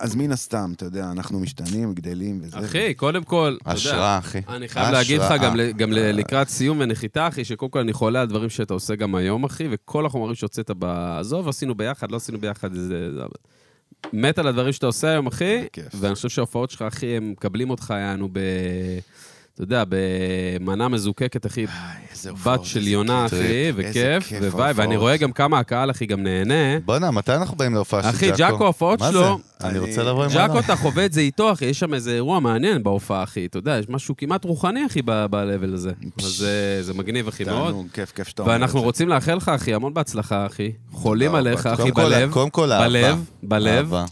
Speaker 3: אז מן הסתם, אתה יודע, אנחנו משתנים, גדלים וזה.
Speaker 2: אחי, קודם כל, אתה יודע,
Speaker 1: השראה, אחי.
Speaker 2: אני חייב להגיד לך
Speaker 1: השראה. אה.
Speaker 2: גם, ל- גם ל- לקראת סיום ונחיתה, אחי, שקודם כל אני חולה על דברים שאתה עושה גם היום, אחי, וכל החומרים שהוצאת בעזוב, עשינו ביחד, לא עשינו ביחד, זה... זה- מת על הדברים שאתה עושה היום, אחי,
Speaker 3: בכיף.
Speaker 2: ואני חושב שההופעות שלך, אחי, הם מקבלים אותך, יענו, ב... אתה יודע, במנה מזוקקת, אחי,
Speaker 3: איזה
Speaker 2: בת של יונה, אחי,
Speaker 3: טריפ. איזה
Speaker 2: וכיף,
Speaker 3: כיף
Speaker 2: ווואי,
Speaker 3: ההופעות.
Speaker 2: ואני רואה גם כמה הקהל, אחי, גם נהנה.
Speaker 1: בואנה, מתי אנחנו באים להופעה של
Speaker 2: אחי,
Speaker 1: ג'אקו?
Speaker 2: ג'אקו, ההופעות
Speaker 1: מה
Speaker 2: שלו-
Speaker 1: זה? אני
Speaker 3: אני-
Speaker 1: רוצה לבוא עם
Speaker 2: ג'אקו,
Speaker 1: מלון.
Speaker 2: אתה חווה את זה איתו, אחי, יש שם איזה אירוע מעניין בהופעה, אחי, אתה יודע, יש משהו כמעט רוחני, אחי, ב- ב-level הזה. אז אה, זה מגניב, אחי, מאוד.
Speaker 3: תענוג, כיף, כיף שאתה אומר את
Speaker 2: ואנחנו
Speaker 3: זה.
Speaker 2: רוצים לאחל לך, אחי, המון בהצלחה, אחי. חולים
Speaker 3: תודה
Speaker 2: עליך,
Speaker 3: רבה.
Speaker 2: אחי,
Speaker 1: קודם כל-
Speaker 2: בלב.
Speaker 1: קודם כל אהבה.
Speaker 2: בלב, בלב.
Speaker 1: אהבה.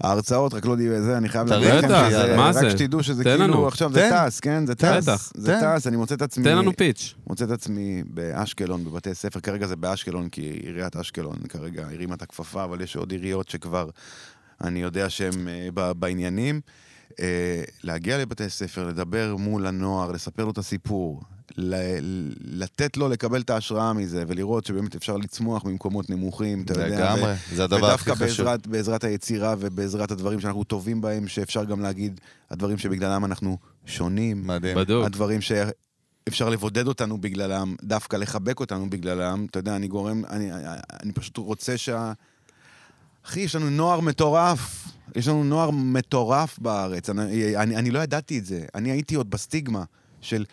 Speaker 3: ההרצאות, רק לא דיבר, זה, אני חייב
Speaker 1: אתה
Speaker 3: להגיד לכם
Speaker 1: בטח,
Speaker 3: שזה,
Speaker 2: מה
Speaker 3: רק
Speaker 2: זה?
Speaker 3: שתדעו שזה
Speaker 2: תן לנו.
Speaker 3: כאילו, עכשיו זה
Speaker 1: תן.
Speaker 3: טס, כן? זה טס.
Speaker 2: בטח,
Speaker 3: זה
Speaker 1: תן.
Speaker 3: טס, אני מוצא את עצמי...
Speaker 2: תן לנו פיץ'.
Speaker 3: מוצא את עצמי באשקלון, בבתי ספר, כרגע זה באשקלון, כי עיריית אשקלון כרגע הרימה את הכפפה, אבל יש עוד עיריות שכבר, אני יודע שהן אה, ב- בעניינים. אה, להגיע לבתי ספר, לדבר מול הנוער, לספר לו את הסיפור, ל- לתת לו לקבל את ההשראה מזה, ולראות שבאמת אפשר לצמוח ממקומות נמוכים, אתה יודע.
Speaker 1: לגמרי,
Speaker 3: ו-
Speaker 1: זה הדבר הכי
Speaker 3: ודווקא
Speaker 1: חשוב.
Speaker 3: בעזרת, בעזרת היצירה ובעזרת הדברים שאנחנו טובים בהם, שאפשר גם להגיד, הדברים שבגללם אנחנו שונים.
Speaker 1: מדהים.
Speaker 2: בדוק.
Speaker 3: הדברים שאפשר לבודד אותנו בגללם, דווקא לחבק אותנו בגללם. אתה יודע, אני גורם, אני, אני פשוט רוצה שה... אחי, יש לנו נוער מטורף. יש לנו נוער מטורף בארץ. אני, אני, אני לא ידעתי את זה. אני הייתי עוד בסטיגמה של...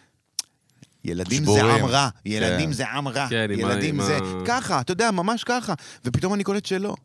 Speaker 3: ילדים
Speaker 1: שבורים.
Speaker 3: זה עם רע, ילדים
Speaker 1: כן.
Speaker 3: זה עם רע,
Speaker 2: כן, עם ה-
Speaker 3: ילדים
Speaker 2: עם
Speaker 3: זה...
Speaker 2: ה-
Speaker 3: ככה, אתה יודע, ממש ככה. ופתאום אני קולט שלא.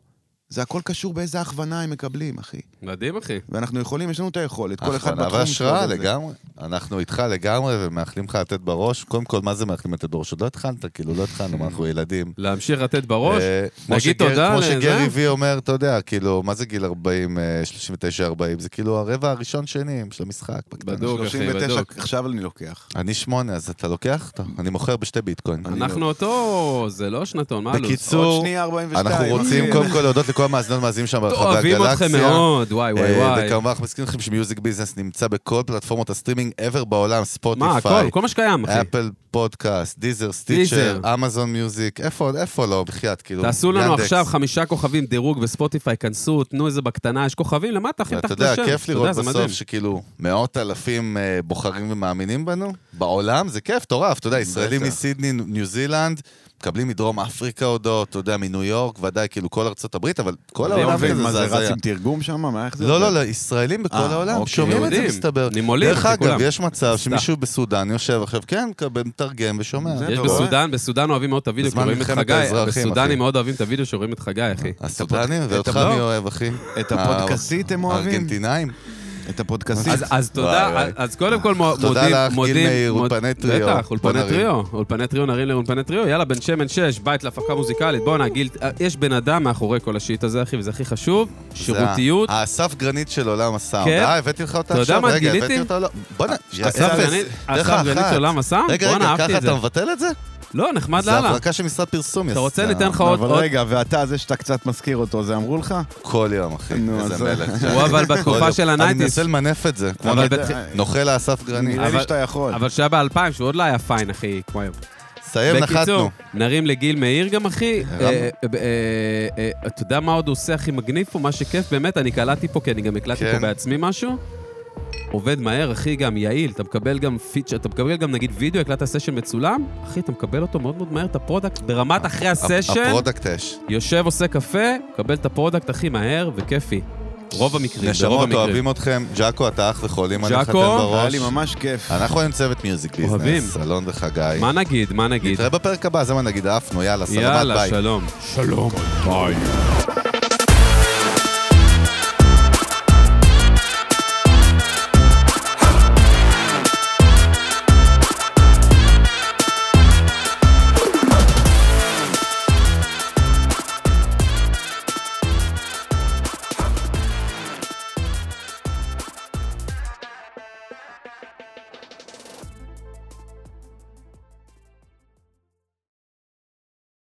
Speaker 3: זה הכל קשור באיזה הכוונה הם מקבלים, אחי.
Speaker 2: מדהים, אחי.
Speaker 3: ואנחנו יכולים, יש לנו את היכולת, כל אחד
Speaker 1: אחלה,
Speaker 3: בתחום
Speaker 1: אבל השראה
Speaker 3: שלו וזה.
Speaker 1: לגמרי. אנחנו איתך לגמרי ומאחלים לך לתת בראש. קודם כל, מה זה מאחלים לתת בראש? עוד לא התחלת, כאילו, לא התחלנו, מה, אנחנו ילדים.
Speaker 2: להמשיך לתת בראש?
Speaker 1: אה, כמו
Speaker 2: נגיד
Speaker 1: שגר-
Speaker 2: תודה
Speaker 1: כמו
Speaker 2: לזה?
Speaker 1: שגרי וי אומר, אתה יודע, כאילו, מה זה גיל 40, אה, 39, 40? זה כאילו הרבע הראשון-שני של המשחק. בקטנה.
Speaker 2: בדוק, אחי,
Speaker 3: 39,
Speaker 2: בדוק.
Speaker 3: עכשיו אני לוקח.
Speaker 1: אני שמונה, אז אתה לוקח אותו? אני מוכר בשתי ביטקוין.
Speaker 2: אנחנו אותו... זה לא שנתון, מה הלו"ז?
Speaker 1: בקיצור,
Speaker 3: עוד שנייה 42.
Speaker 1: אנחנו רוצים
Speaker 3: אחי.
Speaker 1: קודם כל להודות לכל המאזינות והמאזינים שלנו ברחבי הגלקסיה.
Speaker 2: אוהבים אתכם מאוד, וואי, וואי,
Speaker 1: אה,
Speaker 2: וואי.
Speaker 1: וכמובן אנחנו מזכירים לכם שמיוזיק ביזנס נמצא בכל פלטפורמות הסטרימינג ever בעולם,
Speaker 2: מה,
Speaker 1: ספוטיפיי,
Speaker 2: הכל, כל מה שקיים, אחי.
Speaker 1: אפל פודקאסט, דיזר, סטיצ'ר, אמזון מיוזיק, איפה איפה לא, בחייאת, כאילו,
Speaker 2: תעשו לנו
Speaker 1: ינדקס.
Speaker 2: עכשיו חמישה כוכבים דירוג וספוטיפיי, כנסו, תנו איזה בקטנה, יש כוכבים למטה, אחי,
Speaker 1: אתה
Speaker 2: תחת
Speaker 1: יודע,
Speaker 2: לשם.
Speaker 1: כיף לראות
Speaker 2: זה מדהים.
Speaker 1: בסוף שכאילו מאות אלפים אה, בוחרים ומאמינים בנו. בעולם זה כיף, מטורף. אתה יודע, ישראלים
Speaker 3: בטח.
Speaker 1: מסידני, ניו זילנד, מקבלים מדרום אפריקה הודות, אתה יודע, מניו יורק, ודאי, כאילו כל ארצות הברית, אבל כל
Speaker 2: מדהים,
Speaker 1: העולם
Speaker 2: אבל
Speaker 1: כזה
Speaker 3: לא מה
Speaker 1: זה
Speaker 3: זה
Speaker 1: הזיה.
Speaker 3: רץ [LAUGHS] עם תרגום שם? מה, איך זה?
Speaker 1: לא,
Speaker 3: עובד?
Speaker 1: לא, לא, ישראלים בכל
Speaker 3: אה,
Speaker 1: העולם,
Speaker 3: אוקיי.
Speaker 1: שומעים את זה
Speaker 2: יהודים.
Speaker 1: מסתבר.
Speaker 2: נימולים,
Speaker 1: דרך
Speaker 2: אחי,
Speaker 1: אגב,
Speaker 2: כולם.
Speaker 1: יש מצב
Speaker 2: סתם.
Speaker 1: שמישהו בסודאן יושב עכשיו, כן, מקבל- מתרגם ושומע.
Speaker 3: זה
Speaker 2: יש
Speaker 3: אתה רואה?
Speaker 2: בסודאן, בסודאן אוהבים מאוד את הוידאו, כי
Speaker 1: כן, בזמן
Speaker 2: רואים את
Speaker 1: מלחמת
Speaker 2: חגי,
Speaker 1: האזרחים, אחי. אה,
Speaker 2: בסודנים מאוד אוהבים את הוידאו שרואים את חגי, אחי.
Speaker 1: הסודנים,
Speaker 3: הפוד-
Speaker 1: ואותך
Speaker 3: את הפוד-
Speaker 1: מי אוהב, אחי?
Speaker 3: את הפודקאסית הם אוהבים?
Speaker 1: הארגנטינאים?
Speaker 3: את הפודקאסית.
Speaker 2: אז, אז תודה,
Speaker 1: אה. וואי, וואי.
Speaker 2: אז קודם כל מודים,
Speaker 1: תודה לך, גיל
Speaker 2: מודים,
Speaker 1: מאיר,
Speaker 2: מוד-
Speaker 1: אולפני טריו.
Speaker 2: בטח, אולפני
Speaker 1: בוא נרים.
Speaker 2: טריו, אולפני טריו, נרים לאולפני טריו, יאללה, בן שמן שש, בית להפקה מוזיקלית, בואנה, גיל, אה, יש בן אדם מאחורי כל השיט הזה, אחי, וזה הכי חשוב, שירותיות,
Speaker 1: זה אה, ה- האסף גרנית של עולם הסאונד.
Speaker 2: כן.
Speaker 1: אה, הבאתי לך אותה
Speaker 2: אתה
Speaker 1: עכשיו?
Speaker 2: יודע מה
Speaker 1: רגע,
Speaker 2: גיליתי? אה,
Speaker 1: הבאתי אותה לא. בוא'נה,
Speaker 2: אסף
Speaker 1: אפס.
Speaker 2: גרנית-
Speaker 1: אה, דרך
Speaker 2: אסף גרנית
Speaker 1: אחת.
Speaker 2: של עולם הסאונד?
Speaker 1: רגע,
Speaker 2: בואנה,
Speaker 1: רגע,
Speaker 2: אהבתי
Speaker 1: ככה
Speaker 2: את זה.
Speaker 1: אתה מבטל את זה?
Speaker 2: לא, נחמד
Speaker 1: זה
Speaker 2: לאללה.
Speaker 1: הברקה של משרד פרסום,
Speaker 2: אתה רוצה,
Speaker 1: יסדה.
Speaker 2: ניתן לך עוד,
Speaker 3: אבל
Speaker 2: עוד,
Speaker 3: רגע, ואתה, זה שאתה קצת מזכיר אותו, זה אמרו לך?
Speaker 1: כל יום, אחי.
Speaker 3: נו,
Speaker 1: איזה
Speaker 3: אז-
Speaker 1: מלך.
Speaker 2: [LAUGHS] הוא אבל
Speaker 1: כל
Speaker 2: בתקופה
Speaker 1: יום.
Speaker 2: של
Speaker 1: אני
Speaker 2: הנייטיס,
Speaker 1: מנסה למנף את זה. כמו
Speaker 2: אבל אה,
Speaker 1: נ-
Speaker 2: בתח-
Speaker 1: נוכל האסף גרנית.
Speaker 3: נראה
Speaker 2: אבל-
Speaker 3: לי שאתה יכול.
Speaker 1: נכון.
Speaker 2: אבל שהיה באלפיים, שהוא עוד לא היה פיין, אחי, כמו היום.
Speaker 1: סיים, נחתנו.
Speaker 2: נרים לגיל מאיר גם, אחי. אה, אה, אה, אה, אתה יודע מה עוד הוא עושה הכי מגניב פה? מה שכיף, באמת, אני קלטתי פה, כי אני גם הקלטתי
Speaker 1: כן.
Speaker 2: פה בעצמי משהו. עובד מהר, אחי, גם יעיל. אתה מקבל גם פיצ'ר, אתה מקבל גם, נגיד, וידאו, הקלטת סשן מצולם, אחי, אתה מקבל אותו מאוד מאוד מהר, את הפרודקט, ברמת אחרי הסשן,
Speaker 1: הפרודקט אש.
Speaker 2: יושב, עושה קפה, מקבל את הפרודקט הכי מהר וכיפי. רוב המקרים, ברוב
Speaker 1: נשמות,
Speaker 2: המקרים.
Speaker 1: אוהבים אתכם. ג'אקו, אתה אח וחולים עליך, תן
Speaker 2: ג'אקו,
Speaker 3: היה
Speaker 1: בראש.
Speaker 3: לי ממש כיף.
Speaker 1: אנחנו היום צוות מיוזיק
Speaker 2: אוהבים.
Speaker 1: ביזנס, אלון וחגי.
Speaker 2: מה נגיד, מה נגיד?
Speaker 1: נתראה בפרק הבא, זה מה נגיד, עפנו, יאללה, סלמת, ביי.
Speaker 2: יאללה, שלום. שלום. ביי.